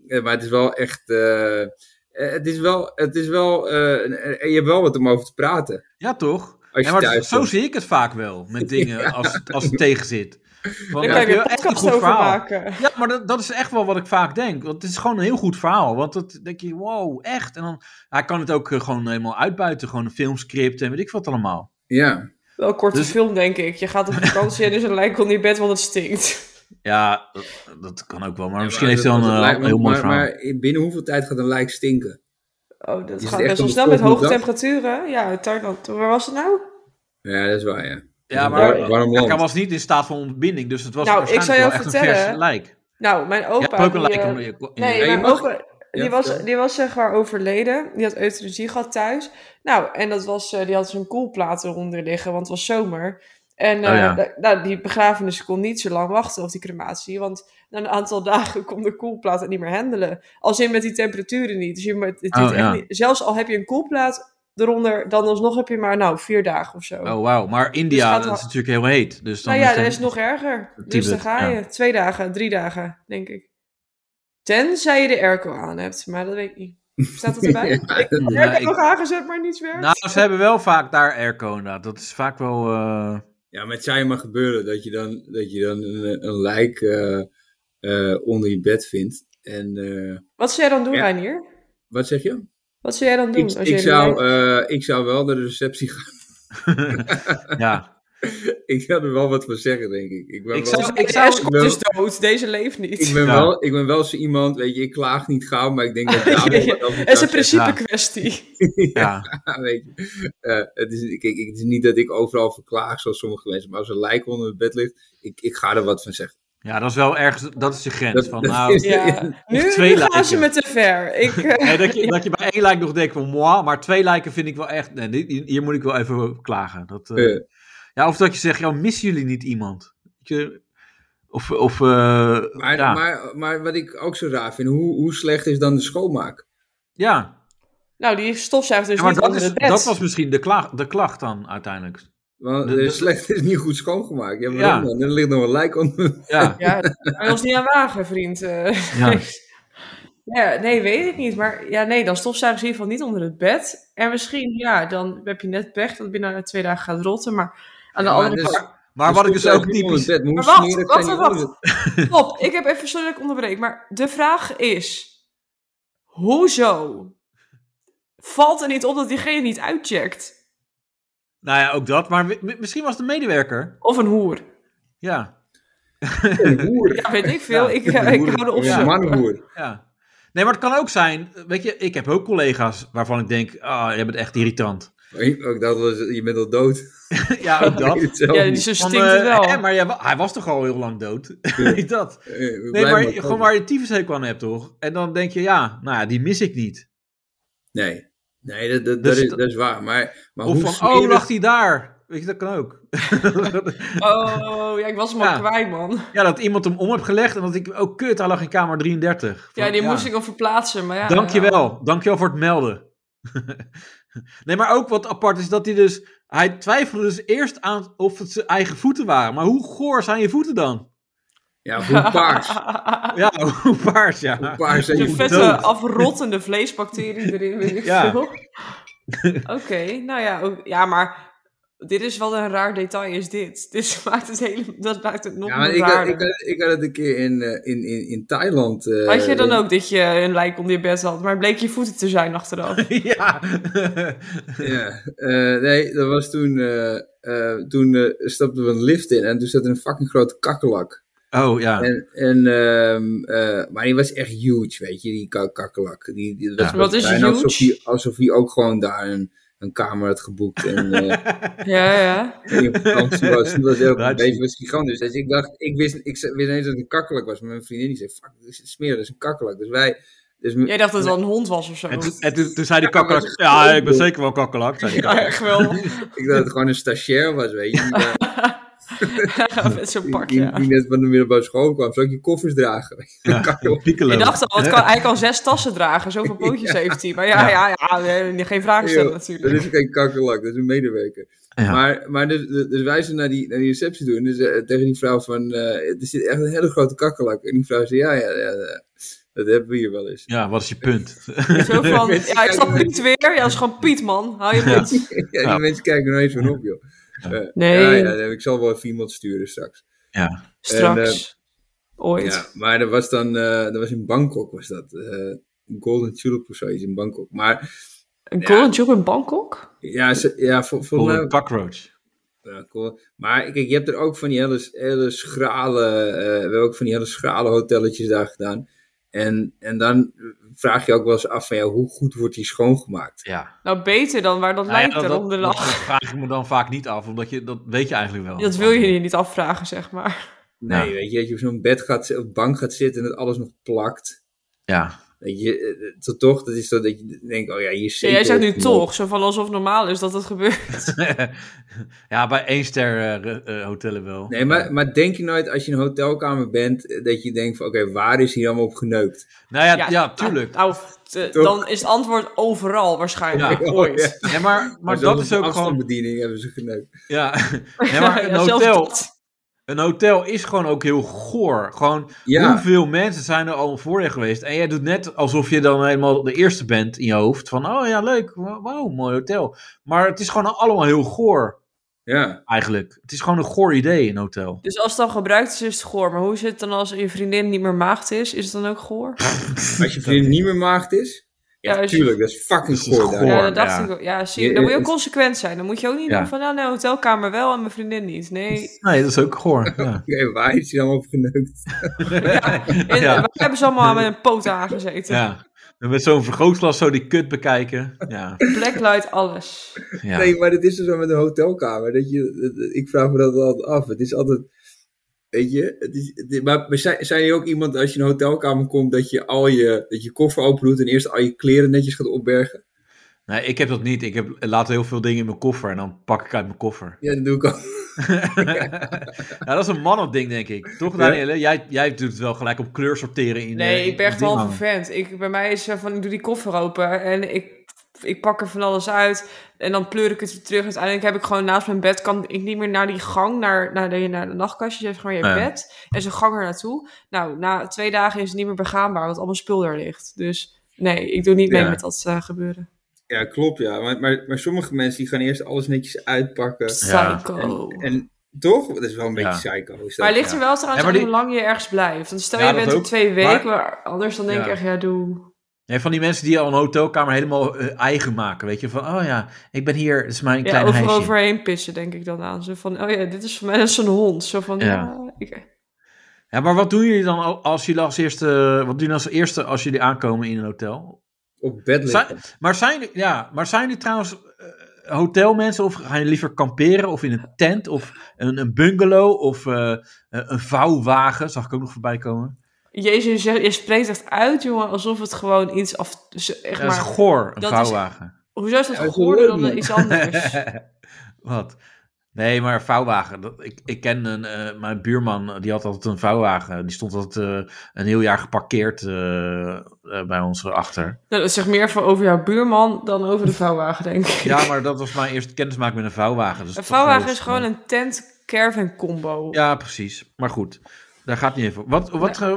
[SPEAKER 3] eh, maar het is wel echt. eh, eh, het is wel. Het is wel eh, en- en je hebt wel wat om over te praten.
[SPEAKER 2] toch?
[SPEAKER 3] je
[SPEAKER 2] Ja, maar
[SPEAKER 3] thuis
[SPEAKER 2] zo
[SPEAKER 3] bent.
[SPEAKER 2] zie ik het vaak wel met dingen als, het- als het tegen zit. Van,
[SPEAKER 4] Daar
[SPEAKER 2] heb
[SPEAKER 4] kan je
[SPEAKER 2] je
[SPEAKER 4] weer
[SPEAKER 2] echt een
[SPEAKER 4] podcast
[SPEAKER 2] goed
[SPEAKER 4] over
[SPEAKER 2] verhaal.
[SPEAKER 4] maken.
[SPEAKER 2] Ja, maar dat, dat is echt wel wat ik vaak denk. Want het is gewoon een heel goed verhaal. Want dat denk je, wow, echt. En dan hij kan het ook eh, gewoon helemaal uitbuiten. Gewoon een filmscript en weet ik wat allemaal.
[SPEAKER 3] Ja.
[SPEAKER 4] Wel een korte
[SPEAKER 2] Dus-
[SPEAKER 4] film, denk ik. Je gaat op vakantie en dus een lijk onder je bed, want het stinkt.
[SPEAKER 2] Ja, dat, dat kan ook wel. Maar
[SPEAKER 3] Ja,
[SPEAKER 2] misschien
[SPEAKER 3] maar
[SPEAKER 2] heeft hij dan
[SPEAKER 3] dat- dat
[SPEAKER 2] eh,
[SPEAKER 3] lijkt
[SPEAKER 2] een
[SPEAKER 3] me-
[SPEAKER 2] heel mooi
[SPEAKER 3] maar,
[SPEAKER 2] verhaal.
[SPEAKER 3] maar binnen hoeveel tijd gaat een lijk stinken?
[SPEAKER 4] Oh, dat
[SPEAKER 3] het
[SPEAKER 4] gaat
[SPEAKER 3] echt
[SPEAKER 4] best wel
[SPEAKER 3] om de
[SPEAKER 4] snel met hoge
[SPEAKER 3] volgende dag?
[SPEAKER 4] temperaturen. Ja, Thailand. Waar was het nou?
[SPEAKER 3] Ja, dat is waar, ja.
[SPEAKER 2] Ja,
[SPEAKER 3] Waar-
[SPEAKER 2] maar
[SPEAKER 3] waarom
[SPEAKER 2] hij
[SPEAKER 3] land?
[SPEAKER 2] was niet in staat van ontbinding, dus het was
[SPEAKER 4] Nou, ik
[SPEAKER 2] waarschijnlijk
[SPEAKER 4] zou
[SPEAKER 2] wel
[SPEAKER 4] je
[SPEAKER 2] echt een
[SPEAKER 4] vertellen-
[SPEAKER 2] vers lijk.
[SPEAKER 4] Nou, mijn
[SPEAKER 2] Je
[SPEAKER 4] opa...
[SPEAKER 2] hebt ook een
[SPEAKER 4] die,
[SPEAKER 2] lijk
[SPEAKER 4] eh,
[SPEAKER 2] onder je ko- in je-
[SPEAKER 4] Nee,
[SPEAKER 3] Ja, je
[SPEAKER 4] mijn
[SPEAKER 3] mag-
[SPEAKER 4] opa, die,
[SPEAKER 3] Ja,
[SPEAKER 4] was,
[SPEAKER 3] vertel.
[SPEAKER 4] die was zeg maar overleden. Die had euthanasie gehad thuis. Nou, en dat was, eh, die had zo'n koelplaat eronder liggen, want het was zomer. En eh,
[SPEAKER 2] Oh ja.
[SPEAKER 4] da- nou, die begrafenis kon niet zo lang wachten op die crematie. Want na een aantal dagen kon de koelplaat het niet meer handelen. Als in met die temperaturen niet. Dus je, moet- het, het
[SPEAKER 2] Oh,
[SPEAKER 4] is echt
[SPEAKER 2] ja.
[SPEAKER 4] niet- zelfs al heb je een koelplaat eronder, dan alsnog heb je maar nou, vier dagen of zo.
[SPEAKER 2] Oh, wauw. Maar India,
[SPEAKER 4] Dus gaat wel-
[SPEAKER 2] dat is natuurlijk heel heet. Dus dan
[SPEAKER 4] nou ja,
[SPEAKER 2] het-
[SPEAKER 4] dat is nog erger. dus
[SPEAKER 2] Tibet,
[SPEAKER 4] dan ga je.
[SPEAKER 2] ja.
[SPEAKER 4] Twee dagen, drie dagen, denk ik. Tenzij je de airco aan hebt, maar dat weet ik niet. Staat dat erbij? ik heb
[SPEAKER 3] Ja.
[SPEAKER 2] Nee,
[SPEAKER 4] het
[SPEAKER 2] ik-
[SPEAKER 4] nog aangezet, maar niets werkt.
[SPEAKER 2] Nou, ze hebben wel vaak daar airco inderdaad. Dat is vaak wel... eh,
[SPEAKER 3] Ja, maar het zou je maar gebeuren dat je dan, dat je dan een, een lijk eh, eh, onder je bed vindt. En eh,
[SPEAKER 4] Wat zou jij dan doen,
[SPEAKER 3] Ja.
[SPEAKER 4] Reinier?
[SPEAKER 3] wat zeg je?
[SPEAKER 4] Wat zou jij dan doen?
[SPEAKER 3] Ik, ik,
[SPEAKER 4] als jij
[SPEAKER 3] zou,
[SPEAKER 4] erbij-
[SPEAKER 3] eh, ik zou wel naar de receptie gaan.
[SPEAKER 2] ja.
[SPEAKER 3] Ik zou er wel wat van zeggen, denk ik. Ik ben,
[SPEAKER 2] Ik
[SPEAKER 3] wel,
[SPEAKER 2] zou-
[SPEAKER 4] De
[SPEAKER 2] ik zou-
[SPEAKER 4] escort
[SPEAKER 3] ik wil-
[SPEAKER 4] is dood, deze leeft niet.
[SPEAKER 3] ik ben
[SPEAKER 2] Ja.
[SPEAKER 3] wel, ik ben wel zo iemand, weet je, ik klaag niet gauw, maar ik denk dat
[SPEAKER 4] Ja, ja.
[SPEAKER 3] wat over
[SPEAKER 4] Het is
[SPEAKER 3] zou
[SPEAKER 4] een principe
[SPEAKER 2] Ja.
[SPEAKER 4] kwestie.
[SPEAKER 3] zeggen.
[SPEAKER 2] ja.
[SPEAKER 3] Ja, weet je. Eh, het, is, kijk, ik- het is niet dat ik overal verklaag zoals sommige mensen, maar als een lijk onder het bed ligt, ik, ik ga er wat van zeggen.
[SPEAKER 2] Ja, dat is wel ergens... Dat is de grens.
[SPEAKER 3] Dat-
[SPEAKER 2] van,
[SPEAKER 3] dat
[SPEAKER 2] nou,
[SPEAKER 3] is-
[SPEAKER 4] Ja. Nu, nu
[SPEAKER 2] twee
[SPEAKER 4] gaan ze
[SPEAKER 2] lijken.
[SPEAKER 4] me te ver. Ik, eh,
[SPEAKER 2] nee, dat, je, dat je bij één lijk nog denkt van... Moi, maar twee lijken vind ik wel echt... Nee, dit- hier moet ik wel even over klagen. Dat, eh,
[SPEAKER 3] Eh,
[SPEAKER 2] Ja, of dat je zegt... Ja, missen jullie niet iemand? Weet Je, of... of eh,
[SPEAKER 3] maar,
[SPEAKER 2] ja.
[SPEAKER 3] maar, maar wat ik ook zo raar vind, hoe, hoe slecht is dan de schoonmaak?
[SPEAKER 2] ja.
[SPEAKER 4] nou, die stofzuigt dus
[SPEAKER 2] Ja, maar
[SPEAKER 4] niet
[SPEAKER 2] dat,
[SPEAKER 4] onder
[SPEAKER 2] is,
[SPEAKER 4] het bed.
[SPEAKER 2] dat was misschien de, klaag, de klacht dan uiteindelijk.
[SPEAKER 3] Want
[SPEAKER 2] De-
[SPEAKER 3] eh,
[SPEAKER 2] de-
[SPEAKER 3] slecht is niet goed schoongemaakt. Ja,
[SPEAKER 2] Ja.
[SPEAKER 3] waarom dan? Er ligt nog een lijk onder.
[SPEAKER 2] Ja,
[SPEAKER 4] Ja, daar kan je ons niet aan wagen, vriend. Eh,
[SPEAKER 2] ja.
[SPEAKER 4] Ja, nee, weet ik niet. Maar ja, nee, dan stofzuigen ze in ieder geval niet onder het bed. En misschien, ja, dan heb je net pech dat binnen twee dagen gaat rotten. Maar aan de
[SPEAKER 3] Ja,
[SPEAKER 4] andere
[SPEAKER 3] dus-
[SPEAKER 4] kant...
[SPEAKER 2] Maar wat ik dus ook
[SPEAKER 3] niet onder het
[SPEAKER 2] typisch...
[SPEAKER 3] bed. Maar hoe
[SPEAKER 4] Maar wacht,
[SPEAKER 3] smerig
[SPEAKER 4] wacht,
[SPEAKER 3] zijn die
[SPEAKER 4] wacht,
[SPEAKER 3] oren?
[SPEAKER 4] Top, ik heb even, sorry dat ik onderbreek. Maar de vraag is... Hoezo? Valt er niet op dat diegene niet uitcheckt?
[SPEAKER 2] Nou ja, ook dat. Maar mi- mi- misschien was het een medewerker.
[SPEAKER 4] Of een hoer?
[SPEAKER 2] Ja,
[SPEAKER 3] Een hoer.
[SPEAKER 4] Ja, weet ik veel.
[SPEAKER 2] Ja,
[SPEAKER 4] ik,
[SPEAKER 3] Een
[SPEAKER 4] ik
[SPEAKER 3] hoer.
[SPEAKER 4] hou
[SPEAKER 3] Ja,
[SPEAKER 4] de opzoek.
[SPEAKER 3] Een mannenhoer.
[SPEAKER 2] ja. Nee, maar het kan ook zijn... Weet je, ik heb ook collega's waarvan ik denk... Ah, jij bent echt irritant.
[SPEAKER 3] Ik dacht, wel eens, je bent al dood.
[SPEAKER 2] ja, ook dat.
[SPEAKER 3] Ik weet het zelf
[SPEAKER 4] Ja,
[SPEAKER 3] niet.
[SPEAKER 4] dus ze
[SPEAKER 2] Van,
[SPEAKER 4] stinkt
[SPEAKER 2] eh,
[SPEAKER 4] het wel.
[SPEAKER 2] hè, maar jij wa- hij was toch al heel lang dood? Weet dat?
[SPEAKER 3] Eh, we
[SPEAKER 2] Nee,
[SPEAKER 3] blijven
[SPEAKER 2] maar
[SPEAKER 3] komen.
[SPEAKER 2] gewoon waar je tyfushekel aan hebt, toch? En dan denk je, ja, nou ja, die mis ik niet.
[SPEAKER 3] Nee, nee dat, dat,
[SPEAKER 2] Dus
[SPEAKER 3] dat, is,
[SPEAKER 2] dat-
[SPEAKER 3] dat is waar. Maar, maar
[SPEAKER 2] Of
[SPEAKER 3] hoe
[SPEAKER 2] van,
[SPEAKER 3] smerig...
[SPEAKER 2] oh, lag hij daar? Weet je, dat kan ook.
[SPEAKER 4] Oh, ja, ik was hem al
[SPEAKER 2] Ja.
[SPEAKER 4] kwijt, man.
[SPEAKER 2] ja, dat iemand hem om heeft gelegd en dat ik, oh kut, hij lag in kamer 33. Van,
[SPEAKER 4] Ja, die moest ik al verplaatsen, maar ja.
[SPEAKER 2] Dankjewel. Dankjewel voor het melden. nee, maar ook wat apart is dat hij dus... Hij twijfelde dus eerst aan of het zijn eigen voeten waren. Maar hoe goor zijn je voeten dan?
[SPEAKER 3] Ja, hoe paars.
[SPEAKER 2] Ja, hoe paars, ja.
[SPEAKER 3] Hoe paars zijn
[SPEAKER 4] Zo'n
[SPEAKER 3] je
[SPEAKER 4] vette
[SPEAKER 2] dood.
[SPEAKER 4] afrottende vleesbacterie erin, weet ik
[SPEAKER 2] Ja.
[SPEAKER 4] veel. Oké, nou ja, ook- ja, maar dit is wel een raar detail, is dit. Dit maakt het, hele, dat maakt het nog
[SPEAKER 3] Ja,
[SPEAKER 4] ja,
[SPEAKER 3] maar ik had,
[SPEAKER 4] raarder.
[SPEAKER 3] ik, eh, had, ik had het een keer in, eh, in, in, in Thailand. eh,
[SPEAKER 4] had je dan ook dat je een lijk onder je bed had, maar bleek je voeten te zijn achteraf?
[SPEAKER 2] ja.
[SPEAKER 3] Ja, eh, nee, dat was toen. eh, eh, toen eh, stapten we een lift in en toen zat er een fucking grote kakkelak.
[SPEAKER 2] oh, ja.
[SPEAKER 3] En, en, ehm, eh, maar die was echt huge, weet je, die ka- kakkelak. Die, die, dat
[SPEAKER 2] Ja.
[SPEAKER 4] Wat is
[SPEAKER 3] bijna
[SPEAKER 4] huge?
[SPEAKER 3] Alsof hij, alsof hij ook gewoon daar een, een kamer had geboekt. En, eh,
[SPEAKER 4] ja, ja.
[SPEAKER 3] die op vakantie was. Die was heel
[SPEAKER 2] Daar
[SPEAKER 3] een
[SPEAKER 2] zie je.
[SPEAKER 3] beetje was gigantisch. Dus ik dacht, ik wist, ik wist ineens dat het een kakkelak was. Maar mijn vriendin die zei, fuck, dit is smerig, dat is een kakkelak. Dus wij... Dus m-
[SPEAKER 4] Jij dacht dat het wel een hond was of zo.
[SPEAKER 2] En, toen- en toen, toen zei de kakkelak... Ja, ik ben zeker wel kakkelak, zei de
[SPEAKER 4] Ja,
[SPEAKER 2] kakkelak.
[SPEAKER 4] echt wel.
[SPEAKER 3] ik dacht dat het gewoon een stagiair was, weet je. Die, eh,
[SPEAKER 4] Met zo'n
[SPEAKER 3] die,
[SPEAKER 4] pak,
[SPEAKER 3] die,
[SPEAKER 4] ja.
[SPEAKER 3] die net van de middelbare school kwam. Zou ik je koffers dragen? weet je. Kakkelak.
[SPEAKER 2] Piekelen.
[SPEAKER 4] Je dacht al, het kan, hij kan zes tassen dragen, zoveel pootjes heeft hij. Maar ja, ja, ja, nee, geen vragen stellen
[SPEAKER 3] Eeuw,
[SPEAKER 4] natuurlijk.
[SPEAKER 3] Dat is geen kakkelak, dat is een medewerker.
[SPEAKER 2] Ja.
[SPEAKER 3] Maar, maar dus, dus wij zijn naar die, naar die receptie toe en dus, eh, tegen die vrouw van, eh, er zit echt een hele grote kakkelak. En die vrouw zei, ja, ja, ja, ja, dat hebben we hier wel eens.
[SPEAKER 2] Ja, wat is je punt?
[SPEAKER 4] Zo van,
[SPEAKER 3] Mensen
[SPEAKER 4] ja, ik snap
[SPEAKER 3] kijken-
[SPEAKER 4] Piet weer. Ja, dat is gewoon Piet, man. Hou je mond.
[SPEAKER 3] Ja, die
[SPEAKER 2] Ja.
[SPEAKER 3] mensen kijken er eens van op, joh.
[SPEAKER 4] Nee,
[SPEAKER 3] Ja, ja, ik zal wel even iemand sturen straks.
[SPEAKER 2] Ja.
[SPEAKER 4] straks. Ooit.
[SPEAKER 3] Ja, maar er was dan, eh dat was in Bangkok was dat. eh, Golden Tulip of zoiets in Bangkok. Maar
[SPEAKER 4] Een golden job in Bangkok?
[SPEAKER 3] ja, ze, ja voor, voor
[SPEAKER 2] Voor
[SPEAKER 4] eh,
[SPEAKER 3] mij,
[SPEAKER 2] een cockroach.
[SPEAKER 3] Ja, cool. Maar kijk, je hebt er ook van die hele, hele schrale, eh, we hebben ook van die hele schrale hotelletjes daar gedaan. En, en dan vraag je ook wel eens af van ja, hoe goed wordt die schoongemaakt?
[SPEAKER 2] Ja.
[SPEAKER 4] Nou, beter dan waar dat
[SPEAKER 2] Nou ja,
[SPEAKER 4] lijkt er onder
[SPEAKER 2] dat
[SPEAKER 4] lag.
[SPEAKER 2] vraag ik me dan vaak niet af, omdat je, dat weet je eigenlijk wel.
[SPEAKER 4] Dat wil je je niet afvragen, zeg maar.
[SPEAKER 3] Nee,
[SPEAKER 2] Ja.
[SPEAKER 3] weet je, dat je op zo'n bed gaat, zi- op bank gaat zitten en dat alles nog plakt.
[SPEAKER 2] Ja.
[SPEAKER 3] Weet je, eh, eh, dat toch, dat is zo dat je denkt, oh ja, je
[SPEAKER 4] Ja, jij zegt nu toch, zo van alsof het normaal is dat het gebeurt.
[SPEAKER 2] ja, bij één ster eh, re- eh, hotellen wel.
[SPEAKER 3] Nee, maar, maar denk je nooit als je in een hotelkamer bent, eh, dat je denkt van oké, waar is hier allemaal op geneukt?
[SPEAKER 2] Nou ja, ja, tuurlijk.
[SPEAKER 4] Nou, eh,
[SPEAKER 3] Toch?
[SPEAKER 4] dan is het antwoord overal waarschijnlijk.
[SPEAKER 2] Ja.
[SPEAKER 4] Ooit.
[SPEAKER 3] Oh, ja.
[SPEAKER 2] Nee, maar, maar dat is ook gewoon...
[SPEAKER 3] bediening hebben ze geneukt.
[SPEAKER 2] Ja. Nee, maar een
[SPEAKER 4] Ja, zelfs
[SPEAKER 2] hotel,
[SPEAKER 4] dat.
[SPEAKER 2] een hotel is gewoon ook heel goor. Gewoon,
[SPEAKER 3] Ja.
[SPEAKER 2] hoeveel mensen zijn er al voor je geweest? En jij doet net alsof je dan helemaal de eerste bent in je hoofd. Van, oh ja, leuk. wa- Wauw, mooi hotel. Maar het is gewoon allemaal heel goor,
[SPEAKER 3] Ja.
[SPEAKER 2] eigenlijk. Het is gewoon een goor idee, een hotel.
[SPEAKER 4] Dus als het dan gebruikt is, is het goor. Maar hoe zit het dan als je vriendin niet meer maagd is? Is het dan ook goor?
[SPEAKER 3] Als je vriendin niet meer maagd is, ja,
[SPEAKER 4] Ja, als je-
[SPEAKER 3] tuurlijk, dat is fucking
[SPEAKER 2] Dat is
[SPEAKER 3] goor. daar.
[SPEAKER 2] goor.
[SPEAKER 4] ja, dat dacht
[SPEAKER 2] ja.
[SPEAKER 4] ik ook. Ja, zie je,
[SPEAKER 3] Je-
[SPEAKER 4] dan moet je ook
[SPEAKER 3] het-
[SPEAKER 4] consequent zijn. Dan moet je ook niet
[SPEAKER 2] Ja.
[SPEAKER 4] doen van, nou, nee, hotelkamer wel en mijn vriendin niet. Nee,
[SPEAKER 2] Nee, dat is ook goor. Ja.
[SPEAKER 3] Oké, waar is hier allemaal op geneukt?
[SPEAKER 4] en,
[SPEAKER 2] Ja.
[SPEAKER 4] waar hebben ze allemaal met een poot aangezeten?
[SPEAKER 2] Ja. En met zo'n vergrootglas zo die kut bekijken. Ja.
[SPEAKER 4] Blacklight, alles.
[SPEAKER 2] ja.
[SPEAKER 3] Nee, maar dat is dus zo met een hotelkamer. Dat je, dat- dat- ik vraag me dat altijd af. Het is altijd, weet je, het is, het is- maar maar zijn, zijn je ook iemand als je in een hotelkamer komt dat je al je, dat je koffer open doet en eerst al je kleren netjes gaat opbergen?
[SPEAKER 2] Nee, ik heb dat niet. Ik heb, eh, laat heel veel dingen in mijn koffer en dan pak ik uit mijn koffer.
[SPEAKER 3] Ja, dat doe ik ook.
[SPEAKER 2] ja, dat is een mannending, ding, denk ik. Toch, Danielle? Jij, jij doet het wel gelijk op kleur sorteren. In, eh,
[SPEAKER 4] Nee,
[SPEAKER 2] in
[SPEAKER 4] ik ben echt
[SPEAKER 2] dingen.
[SPEAKER 4] half een vent. Ik, bij mij is eh, van, ik doe die koffer open en ik, ik pak er van alles uit. En dan pleur ik het weer terug. Uiteindelijk heb ik gewoon naast mijn bed, kan ik niet meer naar die gang, naar, naar, de, naar de nachtkastjes. Je hebt gewoon je
[SPEAKER 2] Ja.
[SPEAKER 4] bed en zo'n gang er naartoe. Nou, na twee dagen is het niet meer begaanbaar, want allemaal spul daar ligt. Dus nee, ik doe niet mee
[SPEAKER 2] Ja.
[SPEAKER 4] met dat eh, gebeuren.
[SPEAKER 3] Ja, klopt ja. Maar, maar, maar sommige mensen die gaan eerst alles netjes uitpakken.
[SPEAKER 2] Ja.
[SPEAKER 4] Psycho.
[SPEAKER 3] En toch? Dat is wel een beetje
[SPEAKER 2] Ja.
[SPEAKER 3] psycho. Is dat?
[SPEAKER 4] maar het ligt er wel
[SPEAKER 2] Ja,
[SPEAKER 4] trouwens
[SPEAKER 2] maar
[SPEAKER 4] aan
[SPEAKER 2] die-
[SPEAKER 4] hoe lang je ergens blijft. Want stel
[SPEAKER 2] Ja,
[SPEAKER 4] je
[SPEAKER 2] dat
[SPEAKER 4] bent er
[SPEAKER 2] ook.
[SPEAKER 4] twee
[SPEAKER 2] Maar-
[SPEAKER 4] weken, maar anders dan denk ik
[SPEAKER 2] Ja.
[SPEAKER 4] echt, ja, doe.
[SPEAKER 2] Nee, van die mensen die al een hotelkamer helemaal eh, eigen maken. Weet je, van oh ja, ik ben hier, het is mijn
[SPEAKER 4] Ja,
[SPEAKER 2] klein
[SPEAKER 4] overal
[SPEAKER 2] huisje.
[SPEAKER 4] overheen pissen, denk ik dan aan. Zo van, oh ja, dit is voor mij net zo'n hond. Zo van,
[SPEAKER 2] Ja.
[SPEAKER 4] ja. ik,
[SPEAKER 2] Ja, maar wat doen jullie dan al- als jullie als eerste, wat doen jullie als eerste als jullie aankomen in een hotel?
[SPEAKER 3] Op bed liggen.
[SPEAKER 2] Zijn, maar, zijn, jullie- ja, maar zijn jullie trouwens eh, hotelmensen of gaan jullie liever kamperen of in een tent of een, een bungalow of eh, eh, een vouwwagen? Zag ik ook nog voorbij komen.
[SPEAKER 4] Jezus, je, zegt- je spreekt echt uit, jongen, alsof het gewoon iets af... z- Echt
[SPEAKER 2] Ja, dat is
[SPEAKER 4] maar,
[SPEAKER 2] goor, een
[SPEAKER 4] dat is-
[SPEAKER 2] vouwwagen.
[SPEAKER 4] hoezo is
[SPEAKER 3] Ja,
[SPEAKER 4] dat
[SPEAKER 3] dat is
[SPEAKER 4] geworden
[SPEAKER 3] leuk,
[SPEAKER 4] dan
[SPEAKER 3] man.
[SPEAKER 4] iets anders?
[SPEAKER 2] Wat? Nee, maar vouwwagen. Dat, ik, ik ken een, eh, mijn buurman, eh, die had altijd een vouwwagen. Die stond altijd eh, een heel jaar geparkeerd eh, eh, bij ons achter.
[SPEAKER 4] nou, dat zegt meer van over jouw buurman dan over de vouwwagen, denk ik.
[SPEAKER 2] Ja, maar dat was mijn eerste kennismaking met een vouwwagen. Dus
[SPEAKER 4] een
[SPEAKER 2] dat
[SPEAKER 4] vouwwagen
[SPEAKER 2] wel-
[SPEAKER 4] is gewoon een tent caravan combo.
[SPEAKER 2] Ja, precies. Maar goed, daar gaat het niet even. om. Wat, wat, eh,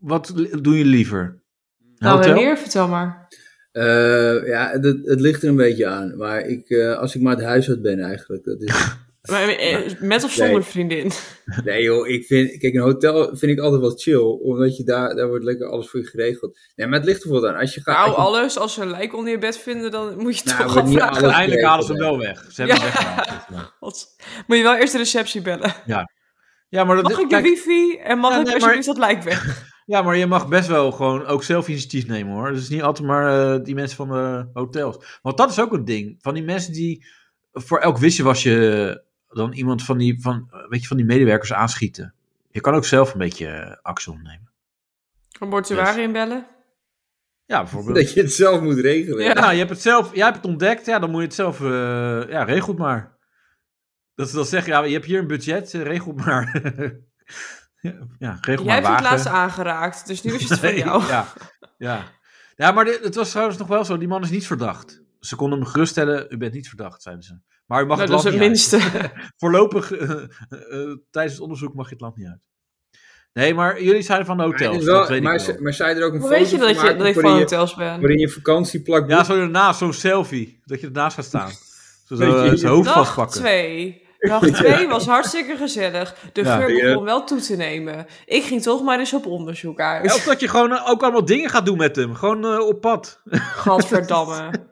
[SPEAKER 2] wat li- doen jullie liever? Een
[SPEAKER 4] nou,
[SPEAKER 2] hotel?
[SPEAKER 4] wanneer? Vertel maar.
[SPEAKER 3] Eh, ja, het, het ligt er een beetje aan. Maar ik, eh, als ik maar het huis uit ben eigenlijk. Dat is,
[SPEAKER 4] Maar, eh, Met of zonder
[SPEAKER 3] Nee.
[SPEAKER 4] vriendin?
[SPEAKER 3] nee joh, ik vind, kijk een hotel vind ik altijd wel chill. Omdat je daar, daar wordt lekker alles voor je geregeld. Nee, maar het ligt er wel aan. Als je gaat,
[SPEAKER 4] Nou,
[SPEAKER 3] als je-
[SPEAKER 4] alles. Als ze een lijk onder je bed vinden, dan moet je
[SPEAKER 3] Nou,
[SPEAKER 4] toch
[SPEAKER 3] maar niet
[SPEAKER 4] afvragen.
[SPEAKER 3] alles.
[SPEAKER 2] Uiteindelijk halen ze hem wel weg. Ze hebben
[SPEAKER 4] Ja.
[SPEAKER 2] hem weggehaald.
[SPEAKER 4] Wat? Moet je wel eerst de receptie bellen.
[SPEAKER 2] Ja, maar dat
[SPEAKER 4] Mag ik de
[SPEAKER 2] kijk,
[SPEAKER 4] wifi en mag
[SPEAKER 2] Ja,
[SPEAKER 4] ik
[SPEAKER 2] nee,
[SPEAKER 4] alsjeblieft dat lijk weg?
[SPEAKER 2] Ja, maar je mag best wel gewoon ook zelf initiatief nemen hoor. Dus Het is niet altijd maar eh, die mensen van de hotels. Want dat is ook een ding. Van die mensen die voor elk wisje was je dan iemand van die, van, eh, weet je, van die medewerkers aanschieten. Je kan ook zelf een beetje eh, actie ondernemen.
[SPEAKER 4] Een mortuarium inbellen?
[SPEAKER 2] Ja, bijvoorbeeld.
[SPEAKER 3] dat je het zelf moet regelen.
[SPEAKER 4] Ja.
[SPEAKER 2] Ja, je hebt het zelf, jij hebt het ontdekt. Ja, dan moet je het zelf, eh, ja, regel het maar. Dat ze dan zeggen, ja, je hebt hier een budget, eh, regel het maar. ja, regel
[SPEAKER 4] Jij
[SPEAKER 2] maar
[SPEAKER 4] hebt het
[SPEAKER 2] wagen.
[SPEAKER 4] laatst aangeraakt, dus nu is het van
[SPEAKER 2] Nee,
[SPEAKER 4] jou.
[SPEAKER 2] Ja, ja. ja maar dit- het was trouwens nog wel zo. Die man is niet verdacht. Ze konden hem geruststellen. U bent niet verdacht, zeiden ze. Maar u mag het
[SPEAKER 4] Nou, dat
[SPEAKER 2] land
[SPEAKER 4] is
[SPEAKER 2] niet
[SPEAKER 4] het
[SPEAKER 2] uit.
[SPEAKER 4] minste.
[SPEAKER 2] Voorlopig, eh, eh, eh, tijdens het onderzoek mag je het land niet uit. Nee, maar jullie zijn van de
[SPEAKER 3] Maar, het
[SPEAKER 2] hotels.
[SPEAKER 3] is wel-
[SPEAKER 2] dat weet
[SPEAKER 3] maar,
[SPEAKER 2] ik
[SPEAKER 3] ze-
[SPEAKER 2] wel.
[SPEAKER 3] maar zij er ook een
[SPEAKER 4] Hoe
[SPEAKER 3] foto
[SPEAKER 4] weet je dat,
[SPEAKER 3] van
[SPEAKER 4] je,
[SPEAKER 3] maken
[SPEAKER 4] dat ik van
[SPEAKER 3] waarin, je,
[SPEAKER 4] hotels ben?
[SPEAKER 3] waarin je vakantieplak
[SPEAKER 2] Ja,
[SPEAKER 3] boekt?
[SPEAKER 2] zo ernaast, zo'n selfie. Dat je ernaast gaat staan. Zo
[SPEAKER 3] Weet je,
[SPEAKER 2] zo, eh, zijn hoofd
[SPEAKER 4] Dag
[SPEAKER 2] vastpakken.
[SPEAKER 4] 2. Dag 2 was hartstikke gezellig. De
[SPEAKER 2] Ja.
[SPEAKER 4] geur
[SPEAKER 3] Ja.
[SPEAKER 4] begon wel toe te nemen. Ik ging toch maar eens op onderzoek
[SPEAKER 2] Ja,
[SPEAKER 4] uit.
[SPEAKER 2] Of dat je gewoon eh, ook allemaal dingen gaat doen met hem. Gewoon eh, op pad.
[SPEAKER 4] Gadverdamme.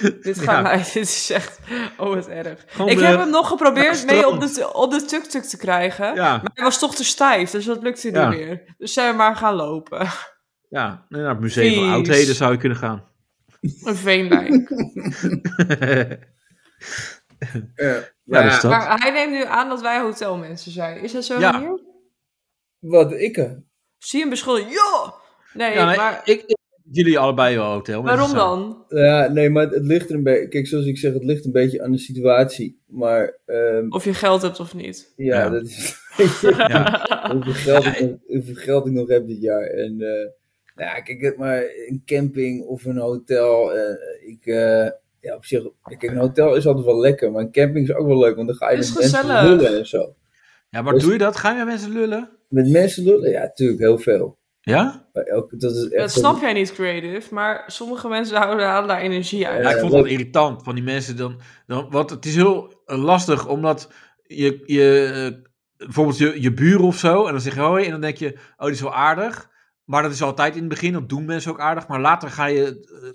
[SPEAKER 4] Dit
[SPEAKER 2] Ja.
[SPEAKER 4] gaat mij, dit is echt, oh wat erg.
[SPEAKER 2] Gewoon
[SPEAKER 4] ik
[SPEAKER 2] de-
[SPEAKER 4] heb hem nog geprobeerd
[SPEAKER 2] het
[SPEAKER 4] mee op
[SPEAKER 2] strand.
[SPEAKER 4] de, op de tuk-tuk te krijgen.
[SPEAKER 2] Ja,
[SPEAKER 4] Maar hij was toch te stijf, dus dat lukte
[SPEAKER 2] Ja.
[SPEAKER 4] niet meer. Dus zijn we maar gaan lopen.
[SPEAKER 2] ja. Nee, naar het museum van
[SPEAKER 4] Vies.
[SPEAKER 2] oudheden zou je kunnen gaan.
[SPEAKER 4] Een veendijk.
[SPEAKER 3] Eh,
[SPEAKER 2] ja, dus dat.
[SPEAKER 4] maar hij neemt nu aan dat wij hotelmensen zijn. Is dat zo?
[SPEAKER 2] Ja.
[SPEAKER 4] Michiel?
[SPEAKER 3] Wat, ikke?
[SPEAKER 4] Zie je hem beschuldigen? Ja! Nee,
[SPEAKER 2] Ja, maar
[SPEAKER 4] maar
[SPEAKER 2] ik, ik- jullie allebei wel hotel. mensen
[SPEAKER 4] waarom
[SPEAKER 2] zijn.
[SPEAKER 4] dan?
[SPEAKER 5] Ja, nee, maar het, het ligt er een beetje. Kijk, zoals ik zeg, het ligt een beetje aan de situatie. Maar ehm,
[SPEAKER 4] Of je geld hebt of niet.
[SPEAKER 5] ja,
[SPEAKER 2] Ja.
[SPEAKER 5] dat is.
[SPEAKER 2] Ja.
[SPEAKER 5] hoeveel, geld ik nog, hoeveel geld ik nog heb dit jaar. En eh, nou ja, kijk, het maar een camping of een hotel. eh, ik, eh, ja, op zich, kijk, een hotel is altijd wel lekker, maar een camping is ook wel leuk, want dan ga je
[SPEAKER 4] Is
[SPEAKER 5] met mensen
[SPEAKER 4] gezellig.
[SPEAKER 5] lullen en zo.
[SPEAKER 2] Ja, maar
[SPEAKER 5] Dus-
[SPEAKER 2] doe je dat? Ga je met mensen lullen?
[SPEAKER 5] Met mensen lullen? Ja, natuurlijk, heel veel.
[SPEAKER 2] Ja?
[SPEAKER 5] Maar elke, dat is echt
[SPEAKER 4] Dat snap jij niet, creative, maar sommige mensen houden halen daar energie uit.
[SPEAKER 2] ja ik vond
[SPEAKER 5] dat-
[SPEAKER 2] dat irritant van die mensen. Dan, dan, want het is heel eh, lastig, omdat je, je eh, bijvoorbeeld je, je buren of zo, en dan zeg je hoi, en dan denk je, oh, die is wel aardig. Maar dat is altijd in het begin, dat doen mensen ook aardig. Maar later ga je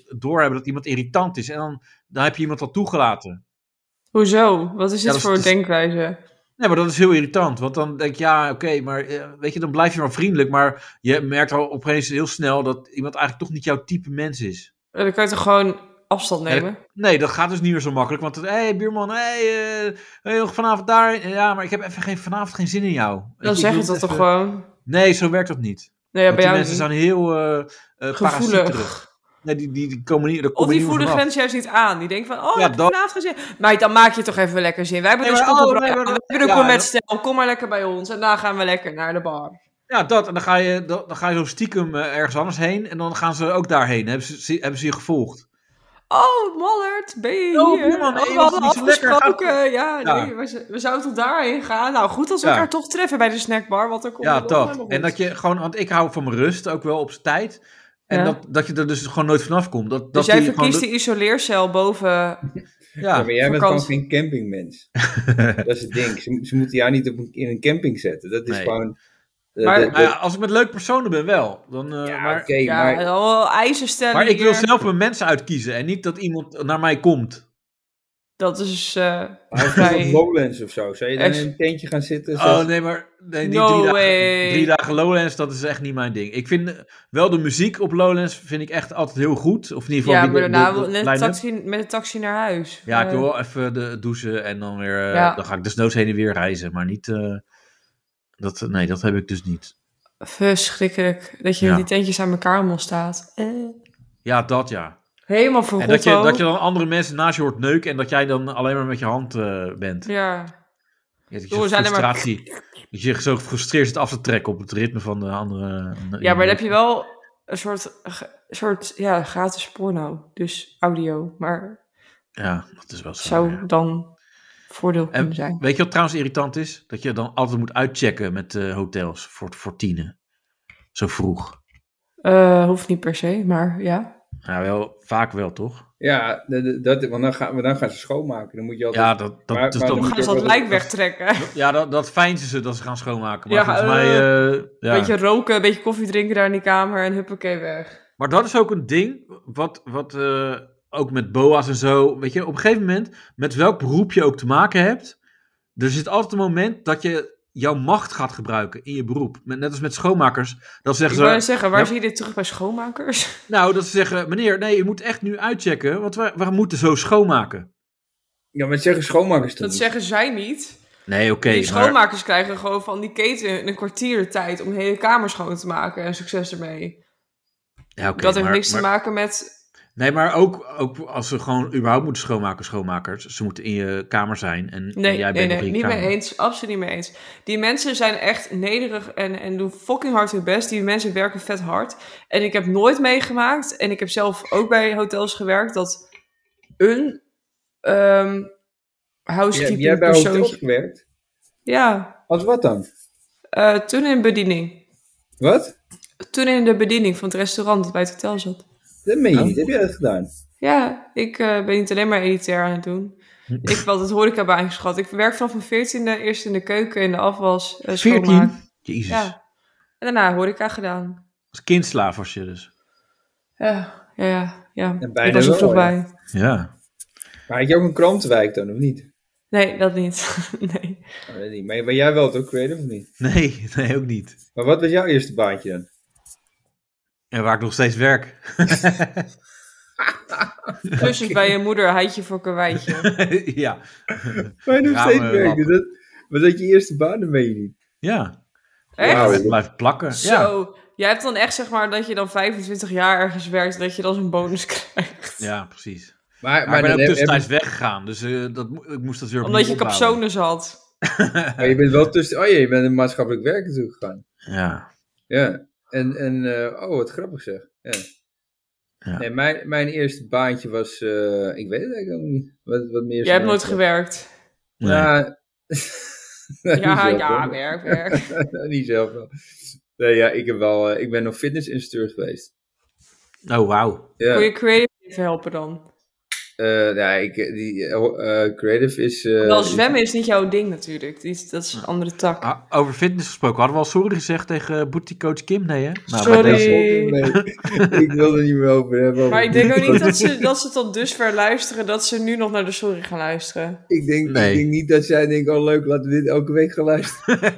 [SPEAKER 2] eh, doorhebben dat iemand irritant is. En dan, dan heb je iemand al toegelaten.
[SPEAKER 4] Hoezo? Wat is dit
[SPEAKER 2] dat is- dus-
[SPEAKER 4] voor
[SPEAKER 2] dat is-
[SPEAKER 4] denkwijze?
[SPEAKER 2] Nee, maar dat is heel irritant. Want dan denk ik, ja, oké, maar eh, weet je, dan blijf je maar vriendelijk. Maar je merkt al opeens heel snel dat iemand eigenlijk toch niet jouw type mens is.
[SPEAKER 4] Eh, Dan kan je toch gewoon afstand
[SPEAKER 2] Ja, dat-
[SPEAKER 4] nemen?
[SPEAKER 2] Nee, dat gaat dus niet meer zo makkelijk. Want, hé, hey, buurman, hé, hey, eh, hey, nog vanavond daar. Eh, Ja, maar ik heb even geen, vanavond geen zin in jou. Ik-
[SPEAKER 4] Dan
[SPEAKER 2] ik
[SPEAKER 4] zeg
[SPEAKER 2] wil
[SPEAKER 4] je dat
[SPEAKER 2] even-
[SPEAKER 4] toch gewoon?
[SPEAKER 2] Nee, zo werkt dat niet.
[SPEAKER 4] Nee, ja,
[SPEAKER 2] Want
[SPEAKER 4] bij
[SPEAKER 2] die
[SPEAKER 4] jou
[SPEAKER 2] mensen
[SPEAKER 4] niet.
[SPEAKER 2] zijn heel eh eh
[SPEAKER 4] Gevoelig.
[SPEAKER 2] parasieterig. Nee, die, die, die komen niet, daar
[SPEAKER 4] Of
[SPEAKER 2] komen
[SPEAKER 4] die
[SPEAKER 2] niet
[SPEAKER 4] voelen de
[SPEAKER 2] vanaf.
[SPEAKER 4] grens juist niet aan. Die denken van, oh,
[SPEAKER 2] Ja,
[SPEAKER 4] heb ik
[SPEAKER 2] dat-
[SPEAKER 4] vanavond gezien. Maar dan maak je toch even lekker zin. Wij hebben
[SPEAKER 2] Nee,
[SPEAKER 4] dus
[SPEAKER 2] maar-
[SPEAKER 4] een
[SPEAKER 2] oh,
[SPEAKER 4] broodje.
[SPEAKER 2] nee, maar
[SPEAKER 4] We
[SPEAKER 2] dat-
[SPEAKER 4] hebben
[SPEAKER 2] ja,
[SPEAKER 4] de gourmet
[SPEAKER 2] dat-
[SPEAKER 4] stijl. Kom maar lekker bij ons. En daarna gaan we lekker naar de bar.
[SPEAKER 2] Ja, dat. En dan ga je, dan, dan ga je zo stiekem eh, ergens anders heen. En dan gaan ze ook daarheen. Hebben ze, ze- hebben ze je gevoorgd.
[SPEAKER 4] Oh, Mallert, ben je
[SPEAKER 2] Oh,
[SPEAKER 4] hier?
[SPEAKER 2] buurman,
[SPEAKER 4] oh,
[SPEAKER 2] hey,
[SPEAKER 4] we
[SPEAKER 2] was
[SPEAKER 4] hadden
[SPEAKER 2] het niet zo lekker?
[SPEAKER 4] afgesproken. Ja,
[SPEAKER 2] Ja.
[SPEAKER 4] nee, we, z- we zouden tot daarheen gaan. Nou, goed als we
[SPEAKER 2] Ja.
[SPEAKER 4] elkaar toch treffen bij de snackbar. Want dan komt
[SPEAKER 2] Ja,
[SPEAKER 4] het nog
[SPEAKER 2] dat.
[SPEAKER 4] helemaal
[SPEAKER 2] En
[SPEAKER 4] goed.
[SPEAKER 2] dat je gewoon, want ik hou van mijn rust, ook wel op zijn tijd. En
[SPEAKER 4] Ja.
[SPEAKER 2] dat, dat je er dus gewoon nooit vanaf komt. Dat, dat
[SPEAKER 4] Dus jij
[SPEAKER 2] die gewoon
[SPEAKER 4] verkiest die isoleercel boven...
[SPEAKER 2] de- Ja,
[SPEAKER 5] maar jij bent
[SPEAKER 4] vakantie.
[SPEAKER 5] gewoon geen campingmens. dat is het ding. Ze, ze moeten jou niet op een, in een camping zetten. Dat is
[SPEAKER 2] Nee.
[SPEAKER 5] gewoon. eh,
[SPEAKER 4] Maar-
[SPEAKER 5] dat-
[SPEAKER 2] Maar Nou ja,
[SPEAKER 5] dat-
[SPEAKER 2] als ik met leuke personen ben, wel. Dan, eh,
[SPEAKER 5] ja,
[SPEAKER 2] maar,
[SPEAKER 5] oké,
[SPEAKER 4] Ja,
[SPEAKER 5] maar
[SPEAKER 4] oh, eisen stellen
[SPEAKER 2] maar ik wil
[SPEAKER 4] hier.
[SPEAKER 2] zelf mijn mensen uitkiezen en niet dat iemand naar mij komt.
[SPEAKER 4] Dat is... eh,
[SPEAKER 5] Maar of
[SPEAKER 4] Bij-
[SPEAKER 5] op Lowlands of zo. Zou je dan
[SPEAKER 4] Echt?
[SPEAKER 5] in een tentje gaan zitten?
[SPEAKER 2] Oh
[SPEAKER 5] zoals-
[SPEAKER 2] nee, maar nee, die
[SPEAKER 4] No
[SPEAKER 2] drie,
[SPEAKER 4] way.
[SPEAKER 2] dagen, drie dagen Lowlands, dat is echt niet mijn ding. Ik vind eh, wel de muziek op Lowlands vind ik echt altijd heel goed. Of in ieder geval
[SPEAKER 4] ja,
[SPEAKER 2] die-
[SPEAKER 4] maar
[SPEAKER 2] de-
[SPEAKER 4] daarna
[SPEAKER 2] de- de
[SPEAKER 4] wil- net
[SPEAKER 2] line-up.
[SPEAKER 4] taxi, met de taxi naar huis.
[SPEAKER 2] Ja, ik
[SPEAKER 4] Eh,
[SPEAKER 2] wil wel even de, douchen en dan weer. eh,
[SPEAKER 4] Ja.
[SPEAKER 2] Dan ga ik desnoods heen en weer reizen. Maar niet. eh, dat, nee, dat heb ik dus niet.
[SPEAKER 4] Verschrikkelijk. Dat je
[SPEAKER 2] Ja.
[SPEAKER 4] die tentjes aan elkaar allemaal staat. Eh,
[SPEAKER 2] Ja, dat ja.
[SPEAKER 4] Helemaal voor
[SPEAKER 2] En dat je, dat je dan andere mensen naast je hoort neuken en dat jij dan alleen maar met je hand eh, bent.
[SPEAKER 4] Ja.
[SPEAKER 2] Ja, dat je
[SPEAKER 4] Joh,
[SPEAKER 2] zo'n
[SPEAKER 4] we zijn er maar-
[SPEAKER 2] frustratie. Dat je zo gefrustreerd zit af te trekken op het ritme van de andere.
[SPEAKER 4] ja, maar dan heb je wel een soort, ge- soort ja, gratis porno. Dus audio. Maar
[SPEAKER 2] Ja, dat is wel zo. Oh, ja.
[SPEAKER 4] zou dan voordeel kunnen
[SPEAKER 2] En
[SPEAKER 4] zijn.
[SPEAKER 2] weet je wat trouwens irritant is? Dat je dan altijd moet uitchecken met eh, hotels voor, voor tienen. Zo vroeg.
[SPEAKER 4] Eh, hoeft niet per se, maar ja.
[SPEAKER 2] Ja, wel, vaak wel toch?
[SPEAKER 5] Ja, dat- dat, dat- want dan gaan, we- dan gaan ze schoonmaken. Dan moet je altijd...
[SPEAKER 2] Ja, dat, dat,
[SPEAKER 5] Maar-
[SPEAKER 2] dus
[SPEAKER 5] maar
[SPEAKER 2] dan
[SPEAKER 5] dan
[SPEAKER 4] Dan gaan ze dat
[SPEAKER 5] dat-
[SPEAKER 4] lijk wegtrekken.
[SPEAKER 2] Ja, dat, dat feinzen ze dat ze gaan schoonmaken. Maar
[SPEAKER 4] Ja,
[SPEAKER 2] volgens mij. eh, ja.
[SPEAKER 4] Beetje roken, een beetje koffie drinken daar in die kamer en huppakee weg.
[SPEAKER 2] Maar dat is ook een ding. Wat, wat eh, ook met boa's en zo. Weet je, op een gegeven moment. Met welk beroep je ook te maken hebt. Er zit altijd een moment dat je jouw macht gaat gebruiken in je beroep. Met- Net als met schoonmakers. Dat
[SPEAKER 4] Ik
[SPEAKER 2] zeggen
[SPEAKER 4] wou
[SPEAKER 2] ze.
[SPEAKER 4] net zeggen, waar
[SPEAKER 2] Ja.
[SPEAKER 4] zie je dit terug bij schoonmakers?
[SPEAKER 2] Nou, dat ze zeggen. Meneer, nee, je moet echt nu uitchecken. Want we, we moeten zo schoonmaken.
[SPEAKER 5] Ja, maar het zeggen schoonmakers toch
[SPEAKER 4] Dat
[SPEAKER 5] niet?
[SPEAKER 4] zeggen zij niet.
[SPEAKER 2] Nee, oké.
[SPEAKER 4] die
[SPEAKER 2] maar-
[SPEAKER 4] schoonmakers krijgen gewoon van die keten een kwartier de tijd om de hele kamer schoon te maken en succes ermee.
[SPEAKER 2] ja, oké,
[SPEAKER 4] dat heeft
[SPEAKER 2] maar-
[SPEAKER 4] niks
[SPEAKER 2] maar-
[SPEAKER 4] te maken met.
[SPEAKER 2] Nee, maar ook, ook als ze gewoon überhaupt moeten schoonmaken, schoonmakers. Ze moeten in je kamer zijn. En, en
[SPEAKER 4] Nee,
[SPEAKER 2] jij
[SPEAKER 4] nee,
[SPEAKER 2] bent
[SPEAKER 4] nee,
[SPEAKER 2] nog in je
[SPEAKER 4] niet
[SPEAKER 2] kamer.
[SPEAKER 4] mee eens. Absoluut niet mee eens. Die mensen zijn echt nederig en, en doen fucking hard hun best. Die mensen werken vet hard. En ik heb nooit meegemaakt, en ik heb zelf ook bij hotels gewerkt, dat een ehm
[SPEAKER 5] Jij,
[SPEAKER 4] housekeeping
[SPEAKER 5] jij hebt bij hotels
[SPEAKER 4] persoontje.
[SPEAKER 5] gewerkt?
[SPEAKER 4] Ja,
[SPEAKER 5] Als wat dan?
[SPEAKER 4] eh, toen in bediening.
[SPEAKER 5] Wat?
[SPEAKER 4] Toen in de bediening van het restaurant dat bij het hotel zat.
[SPEAKER 5] Dat meen je niet. Heb jij dat gedaan?
[SPEAKER 4] Ja, ik eh, ben niet alleen maar elitair aan het doen. Ik heb altijd horecabaan geschat. Ik werk vanaf mijn veertiende eerst in de keuken, in de afwas, eh,
[SPEAKER 2] 14?
[SPEAKER 4] schoonmaak.
[SPEAKER 2] Jezus.
[SPEAKER 4] Ja. En daarna horeca gedaan.
[SPEAKER 2] Als kindslaaf was je dus.
[SPEAKER 4] Ja, ja, ja. ja.
[SPEAKER 3] En
[SPEAKER 4] Ik
[SPEAKER 3] bijna
[SPEAKER 4] was er
[SPEAKER 3] wel,
[SPEAKER 4] vroeg
[SPEAKER 3] ja.
[SPEAKER 4] bij.
[SPEAKER 2] Ja.
[SPEAKER 3] Maar had je ook een krantenwijk dan, of niet?
[SPEAKER 4] Nee, dat niet. nee.
[SPEAKER 3] Oh, dat niet. Maar ben jij wel toch creative of niet?
[SPEAKER 2] Nee, nee, ook niet.
[SPEAKER 3] Maar wat was jouw eerste baantje dan?
[SPEAKER 2] En waar ik nog steeds werk.
[SPEAKER 4] Klusjes bij je moeder, heidje voor karweitje.
[SPEAKER 2] ja.
[SPEAKER 3] Maar nog
[SPEAKER 2] Ramen
[SPEAKER 3] steeds werk.
[SPEAKER 2] lappen.
[SPEAKER 3] Dus dat, maar dat je eerste baan, dan weet je niet.
[SPEAKER 2] Ja.
[SPEAKER 4] Echt?
[SPEAKER 3] Wauw.
[SPEAKER 2] Blijf plakken. Ja.
[SPEAKER 4] Zo. Jij hebt dan echt zeg maar dat je dan 25 jaar ergens werkt en dat je dan zo'n bonus krijgt.
[SPEAKER 2] ja, precies. Maar,
[SPEAKER 3] Maar, maar,
[SPEAKER 2] Ah, ik ben
[SPEAKER 3] dan
[SPEAKER 2] ook
[SPEAKER 3] heb-
[SPEAKER 2] tussentijds weggegaan, dus eh, dat, mo- ik moest dat weer
[SPEAKER 4] Omdat je
[SPEAKER 2] opnieuw opbouwen.
[SPEAKER 4] capsones had.
[SPEAKER 3] heb- maar je bent wel tussen... Oh ja, je bent een maatschappelijk werk naartoe gegaan.
[SPEAKER 2] Ja.
[SPEAKER 3] Ja. En, en eh, oh, wat grappig zeg. Ja.
[SPEAKER 2] Ja.
[SPEAKER 3] Nee, mijn, mijn eerste baantje was... eh, ik weet het eigenlijk helemaal niet. Wat, wat meer Nou,
[SPEAKER 4] Jij hebt nooit gewerkt.
[SPEAKER 2] Nee.
[SPEAKER 3] Ja, nou,
[SPEAKER 4] Ja, ja, werk, werk.
[SPEAKER 3] niet zelf wel. Nee, ja, ik, heb wel, eh, ik ben nog fitnessinstructeur geweest.
[SPEAKER 2] Oh, wauw.
[SPEAKER 3] Ja.
[SPEAKER 4] Kun je creative even helpen dan?
[SPEAKER 3] Eh, nou, ik, die, eh, creative is... eh,
[SPEAKER 4] Wel,
[SPEAKER 3] is-
[SPEAKER 4] zwemmen is niet jouw ding natuurlijk. Die is- Dat is een andere tak.
[SPEAKER 2] Ah, over fitness gesproken, hadden we al sorry gezegd tegen eh, bootycoach Kim, nee hè? Nou, bij
[SPEAKER 4] Sorry.
[SPEAKER 2] deze-
[SPEAKER 3] Nee, ik wil er niet meer over hebben.
[SPEAKER 4] Maar ik denk ook niet dat ze, dat ze tot dusver luisteren dat ze nu nog naar de sorry gaan luisteren.
[SPEAKER 3] Ik denk,
[SPEAKER 2] Nee.
[SPEAKER 3] ik denk niet dat zij denkt, oh leuk, laten we dit elke week gaan luisteren.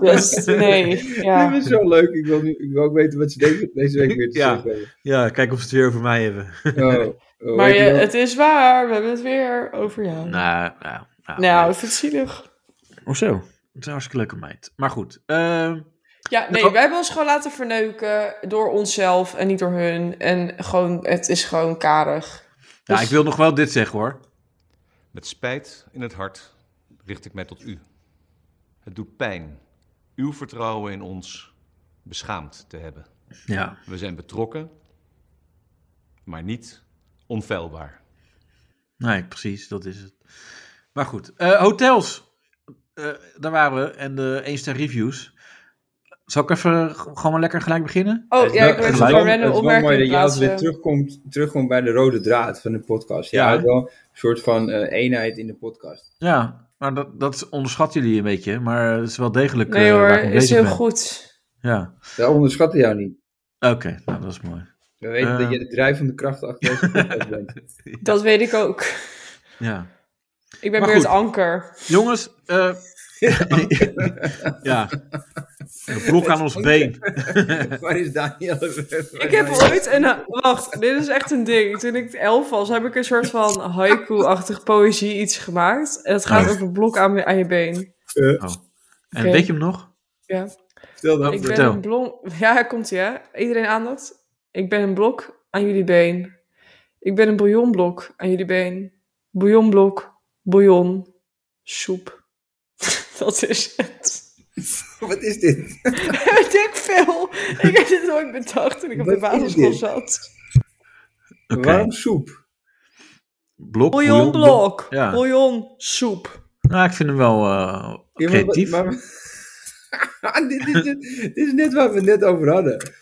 [SPEAKER 4] Dus nee,
[SPEAKER 3] Dit
[SPEAKER 4] ja.
[SPEAKER 3] is zo leuk. Ik wil, nu, ik wil ook weten wat ze denken deze week weer te
[SPEAKER 2] Ja.
[SPEAKER 3] zeggen.
[SPEAKER 2] Ja, kijk of ze het weer over mij hebben.
[SPEAKER 3] Oh, oh,
[SPEAKER 4] Maar
[SPEAKER 3] weet
[SPEAKER 4] je,
[SPEAKER 3] je wel?
[SPEAKER 4] het is waar, we hebben het weer over jou.
[SPEAKER 2] Nou, nou, nou.
[SPEAKER 4] Nou, ik vind het zielig.
[SPEAKER 2] Of zo. Het is een hartstikke leuke meid. Maar goed. ehm,
[SPEAKER 4] Ja, nee, wij hebben ons gewoon laten verneuken door onszelf en niet door hun. En gewoon, het is gewoon karig.
[SPEAKER 2] ja,
[SPEAKER 4] Dus-
[SPEAKER 2] ik wil nog wel dit zeggen hoor.
[SPEAKER 6] Met spijt in het hart richt ik mij tot u. Het doet pijn uw vertrouwen in ons beschaamd te hebben.
[SPEAKER 2] Ja.
[SPEAKER 6] We zijn betrokken, maar niet onfeilbaar.
[SPEAKER 2] Nee, precies. Dat is het. Maar goed. eh, hotels. Eh, daar waren we. En de 1 ster reviews. Zal ik even g- gewoon maar lekker gelijk beginnen?
[SPEAKER 4] Oh, ja, ik
[SPEAKER 3] Nou, het
[SPEAKER 4] werd
[SPEAKER 3] is
[SPEAKER 4] een
[SPEAKER 2] gelijk.
[SPEAKER 3] wel-
[SPEAKER 4] random
[SPEAKER 3] Het is wel mooi
[SPEAKER 4] opmerking
[SPEAKER 3] dat je altijd weer
[SPEAKER 4] plaatsen.
[SPEAKER 3] terugkomt, terugkomt bij de rode draad van de podcast. Ja,
[SPEAKER 2] Ja.
[SPEAKER 3] het is wel een soort van eh, eenheid in de podcast.
[SPEAKER 2] Ja. Maar dat, dat onderschatten jullie een beetje. Maar het is wel degelijk
[SPEAKER 4] Nee
[SPEAKER 2] eh,
[SPEAKER 4] hoor,
[SPEAKER 2] waar ik mee
[SPEAKER 4] is
[SPEAKER 2] bezig
[SPEAKER 4] heel
[SPEAKER 2] ben.
[SPEAKER 4] goed.
[SPEAKER 2] Ja.
[SPEAKER 3] Wij onderschatten jou niet.
[SPEAKER 2] Oké. Nou, dat is mooi.
[SPEAKER 3] We weten
[SPEAKER 2] Eh.
[SPEAKER 3] dat je de drijvende kracht achter deze podcast bent.
[SPEAKER 4] Dat weet ik ook.
[SPEAKER 2] Ja.
[SPEAKER 4] Ik
[SPEAKER 2] Maar
[SPEAKER 4] ben weer
[SPEAKER 2] goed.
[SPEAKER 4] het anker.
[SPEAKER 2] Jongens, eh ja. Een blok aan ons been.
[SPEAKER 3] Waar is Daniel?
[SPEAKER 4] Ik heb ooit een... Wacht, dit is echt een ding. Toen ik elf was, heb ik een soort van haiku-achtig poëzie iets gemaakt. En het gaat
[SPEAKER 2] Oh.
[SPEAKER 4] over een blok aan, aan je been.
[SPEAKER 2] En
[SPEAKER 4] Oké.
[SPEAKER 2] weet je hem nog?
[SPEAKER 4] Ja.
[SPEAKER 3] Stel dan
[SPEAKER 4] Ik ben
[SPEAKER 2] vertel.
[SPEAKER 4] een blok... Ja, komt ie hè. Iedereen aandacht. Ik ben een blok aan jullie been. Ik ben een bouillonblok aan jullie been. Bouillonblok, bouillon, soep. Dat is het.
[SPEAKER 3] Wat is dit?
[SPEAKER 4] Weet ik veel. Ik heb dit nooit bedacht toen ik op de
[SPEAKER 3] Wat is
[SPEAKER 4] basisschool
[SPEAKER 3] dit?
[SPEAKER 4] zat.
[SPEAKER 2] Oké.
[SPEAKER 3] Waarom soep?
[SPEAKER 2] Blok.
[SPEAKER 4] Bouillon blok.
[SPEAKER 2] Ja.
[SPEAKER 4] Bouillon soep.
[SPEAKER 2] Nou, ik vind hem wel eh,
[SPEAKER 3] Ja, maar-
[SPEAKER 2] creatief.
[SPEAKER 3] maar- Ah, dit, is net, dit is net waar we het net over hadden.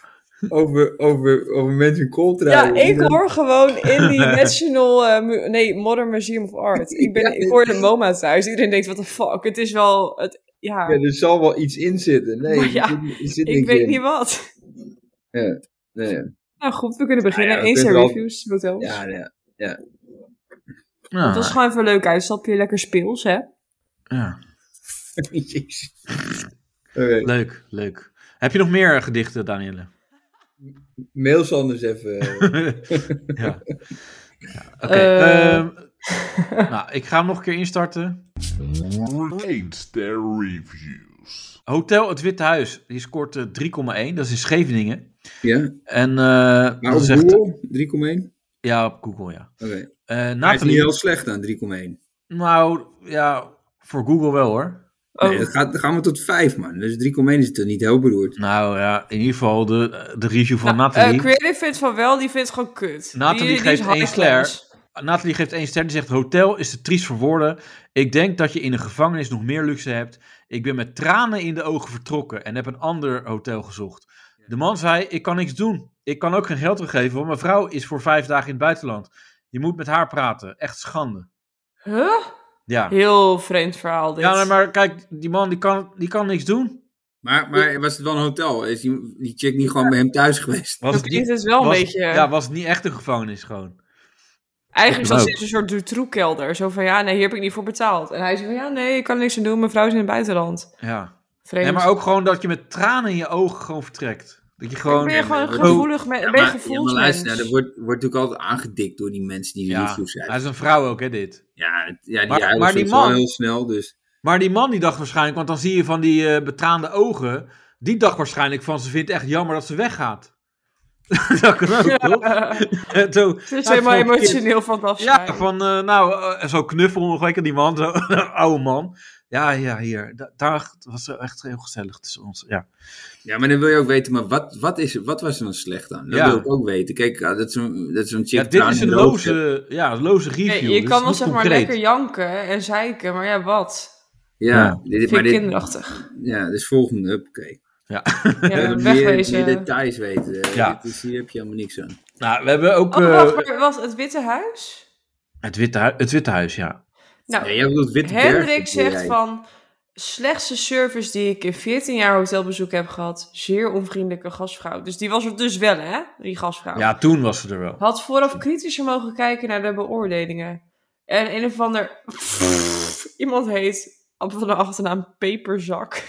[SPEAKER 3] Over, over, over mensen in
[SPEAKER 4] Ja,
[SPEAKER 3] kooltrui.
[SPEAKER 4] ik hoor gewoon in die National... eh, mu- nee, Modern Museum of Art. Ik, ben,
[SPEAKER 3] Ja,
[SPEAKER 4] ik hoor de MoMA thuis. Iedereen denkt, what the fuck. Het is wel... Het,
[SPEAKER 3] Ja,
[SPEAKER 4] ja,
[SPEAKER 3] er dus zal wel iets in zitten. Nee,
[SPEAKER 4] Maar
[SPEAKER 3] er
[SPEAKER 4] ja,
[SPEAKER 3] zit, niet- er zit
[SPEAKER 4] ik
[SPEAKER 3] niks
[SPEAKER 4] weet
[SPEAKER 3] in.
[SPEAKER 4] niet wat.
[SPEAKER 3] Ja, nee,
[SPEAKER 4] Nou goed, we kunnen beginnen.
[SPEAKER 3] ja, we
[SPEAKER 4] Eens zijn
[SPEAKER 3] kunnen wel-
[SPEAKER 4] reviews, hotels.
[SPEAKER 3] ja, ja.
[SPEAKER 2] Ja, Nou,
[SPEAKER 4] Het was gewoon even een leuk uitstapje. Lekker speels, hè?
[SPEAKER 2] ja.
[SPEAKER 3] Jezus. Oké,
[SPEAKER 2] Leuk, leuk. Heb je nog meer eh, gedichten, Danielle?
[SPEAKER 3] mail Sanders even.
[SPEAKER 2] ja. Ja, Oké.
[SPEAKER 4] Eh.
[SPEAKER 2] ehm, nou, ik ga hem nog een keer instarten.
[SPEAKER 1] Rate their reviews.
[SPEAKER 2] Hotel Het Witte Huis. Die scoort eh, 3,1. Dat is in Scheveningen.
[SPEAKER 3] Ja,
[SPEAKER 2] En eh,
[SPEAKER 3] maar
[SPEAKER 2] dat
[SPEAKER 3] op
[SPEAKER 2] is echt-
[SPEAKER 3] Google 3,1?
[SPEAKER 2] Ja, op Google, ja.
[SPEAKER 3] Oké.
[SPEAKER 2] Eh
[SPEAKER 3] Hij is niet
[SPEAKER 2] Nathalie.
[SPEAKER 3] heel slecht dan 3,1.
[SPEAKER 2] Nou, ja, voor Google wel hoor.
[SPEAKER 4] Oh,
[SPEAKER 3] Nee, dat gaat, dan gaan we tot 5, man. Dus 3,1 is toch niet heel beroerd.
[SPEAKER 2] Nou ja, in ieder geval de, de review van
[SPEAKER 4] Nou,
[SPEAKER 2] Nathalie.
[SPEAKER 4] eh, Creative vindt van wel, die vindt gewoon kut.
[SPEAKER 2] Nathalie
[SPEAKER 4] Die- die is
[SPEAKER 2] geeft één
[SPEAKER 4] high
[SPEAKER 2] ster.
[SPEAKER 4] class.
[SPEAKER 2] Nathalie geeft één ster. Die zegt: Hotel is te triest voor woorden. Ik denk dat je in een gevangenis nog meer luxe hebt. Ik ben met tranen in de ogen vertrokken en heb een ander hotel gezocht. De man zei: Ik kan niks doen. Ik kan ook geen geld teruggeven, want mijn vrouw is voor vijf dagen in het buitenland. Je moet met haar praten. Echt schande.
[SPEAKER 4] Huh?
[SPEAKER 2] Ja.
[SPEAKER 4] Heel vreemd verhaal dit.
[SPEAKER 2] Ja, nee, maar kijk, die man die kan, die kan niks doen.
[SPEAKER 3] Maar, maar was het wel een hotel? Is die, die chick niet gewoon bij hem thuis geweest?
[SPEAKER 2] Was
[SPEAKER 4] Dat klinkt dus wel een
[SPEAKER 2] was-
[SPEAKER 4] beetje-
[SPEAKER 2] Ja, was het niet echt een gevangenis gewoon.
[SPEAKER 4] Eigenlijk
[SPEAKER 2] Dat
[SPEAKER 4] was
[SPEAKER 2] kan
[SPEAKER 4] dit een soort Dutroux-kelder. Zo van, ja, nee, hier heb ik niet voor betaald. En hij zei van, ja, nee, ik kan er niks aan doen. Mijn vrouw is in het buitenland.
[SPEAKER 2] Ja.
[SPEAKER 4] Vreemd.
[SPEAKER 2] Nee, maar ook gewoon dat je met tranen in je ogen gewoon vertrekt. Dat je
[SPEAKER 4] Ik
[SPEAKER 2] gewoon...
[SPEAKER 4] ben je gewoon een
[SPEAKER 3] Oh.
[SPEAKER 4] gevoelig me-
[SPEAKER 3] Ja,
[SPEAKER 4] ben je
[SPEAKER 3] maar, ja, maar
[SPEAKER 4] gevoelsmens.
[SPEAKER 3] luister, nou, er wordt, wordt natuurlijk altijd aangedikt door die mensen die ja.
[SPEAKER 2] Ja,
[SPEAKER 3] reviews zijn.
[SPEAKER 2] hij is een vrouw ook, hè, dit.
[SPEAKER 3] Ja, het- ja die
[SPEAKER 2] Maar-
[SPEAKER 3] huilen
[SPEAKER 2] maar die
[SPEAKER 3] soms wel
[SPEAKER 2] man-
[SPEAKER 3] heel snel, dus...
[SPEAKER 2] Maar die man die dacht waarschijnlijk, want dan zie je van die eh, betraande ogen, die dacht waarschijnlijk van ze vindt het echt jammer dat ze weggaat. dat kan ook, toch? En toen-
[SPEAKER 4] Het is
[SPEAKER 2] hij
[SPEAKER 4] helemaal
[SPEAKER 2] zo'n kind-
[SPEAKER 4] emotioneel van het afscheid.
[SPEAKER 2] Ja, van eh, nou, eh, zo knuffel nog lekker die man, zo oude man. Ja, ja, hier. Da- daar was het echt heel gezellig tussen ons. Ja,
[SPEAKER 3] Ja, maar dan wil je ook weten, maar wat, wat, is, er- wat was er dan slecht aan? Dat
[SPEAKER 2] Ja.
[SPEAKER 3] wil ik ook weten. Kijk, ah, dat is een, dat is een chick
[SPEAKER 2] ja dit is
[SPEAKER 3] trouwens
[SPEAKER 2] een
[SPEAKER 3] die loopt,
[SPEAKER 2] loze, ja, een loze review.
[SPEAKER 4] Nee,
[SPEAKER 2] dus
[SPEAKER 4] je kan wel
[SPEAKER 2] niet
[SPEAKER 4] zeg maar
[SPEAKER 2] concreet.
[SPEAKER 4] lekker janken en zeiken, maar ja, wat?
[SPEAKER 3] hè. Ja,
[SPEAKER 2] Ja.
[SPEAKER 3] Dit,
[SPEAKER 4] Vind
[SPEAKER 3] maar
[SPEAKER 4] ik
[SPEAKER 3] dit,
[SPEAKER 4] kinderachtig.
[SPEAKER 3] ja, dus volgende, oké.
[SPEAKER 4] Ja,
[SPEAKER 3] meer,
[SPEAKER 4] wegwezen.
[SPEAKER 3] meer details weten. eh,
[SPEAKER 2] Ja.
[SPEAKER 3] dit is- hier heb je helemaal niks aan.
[SPEAKER 2] Nou, we hebben ook
[SPEAKER 4] Oh,
[SPEAKER 2] eh,
[SPEAKER 4] wacht, maar was het Witte Huis?
[SPEAKER 2] het, Witte Hu- het Witte Huis, ja.
[SPEAKER 4] Nou,
[SPEAKER 3] Ja, jij bedoelt Witte Berg,
[SPEAKER 4] Hendrik
[SPEAKER 3] bedoel
[SPEAKER 4] zegt
[SPEAKER 3] jij.
[SPEAKER 4] van... Slechtste service die ik in 14 jaar hotelbezoek heb gehad. Zeer onvriendelijke gastvrouw. Dus die was er dus wel, hè? Die gastvrouw.
[SPEAKER 2] Ja, toen was ze er wel.
[SPEAKER 4] Had vooraf kritischer mogen kijken naar de beoordelingen. En een of ander... Iemand heet van de achternaam Peperzak.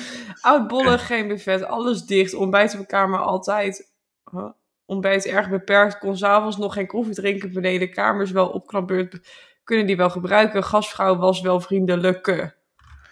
[SPEAKER 4] Oudbollig, geen buffet, alles dicht. Ontbijt op de kamer altijd. Huh? Ontbijt erg beperkt. Kon s'avonds nog geen koffie drinken beneden. Kamers wel opknapbeurt. Kunnen die wel gebruiken. Gastvrouw was wel vriendelijke.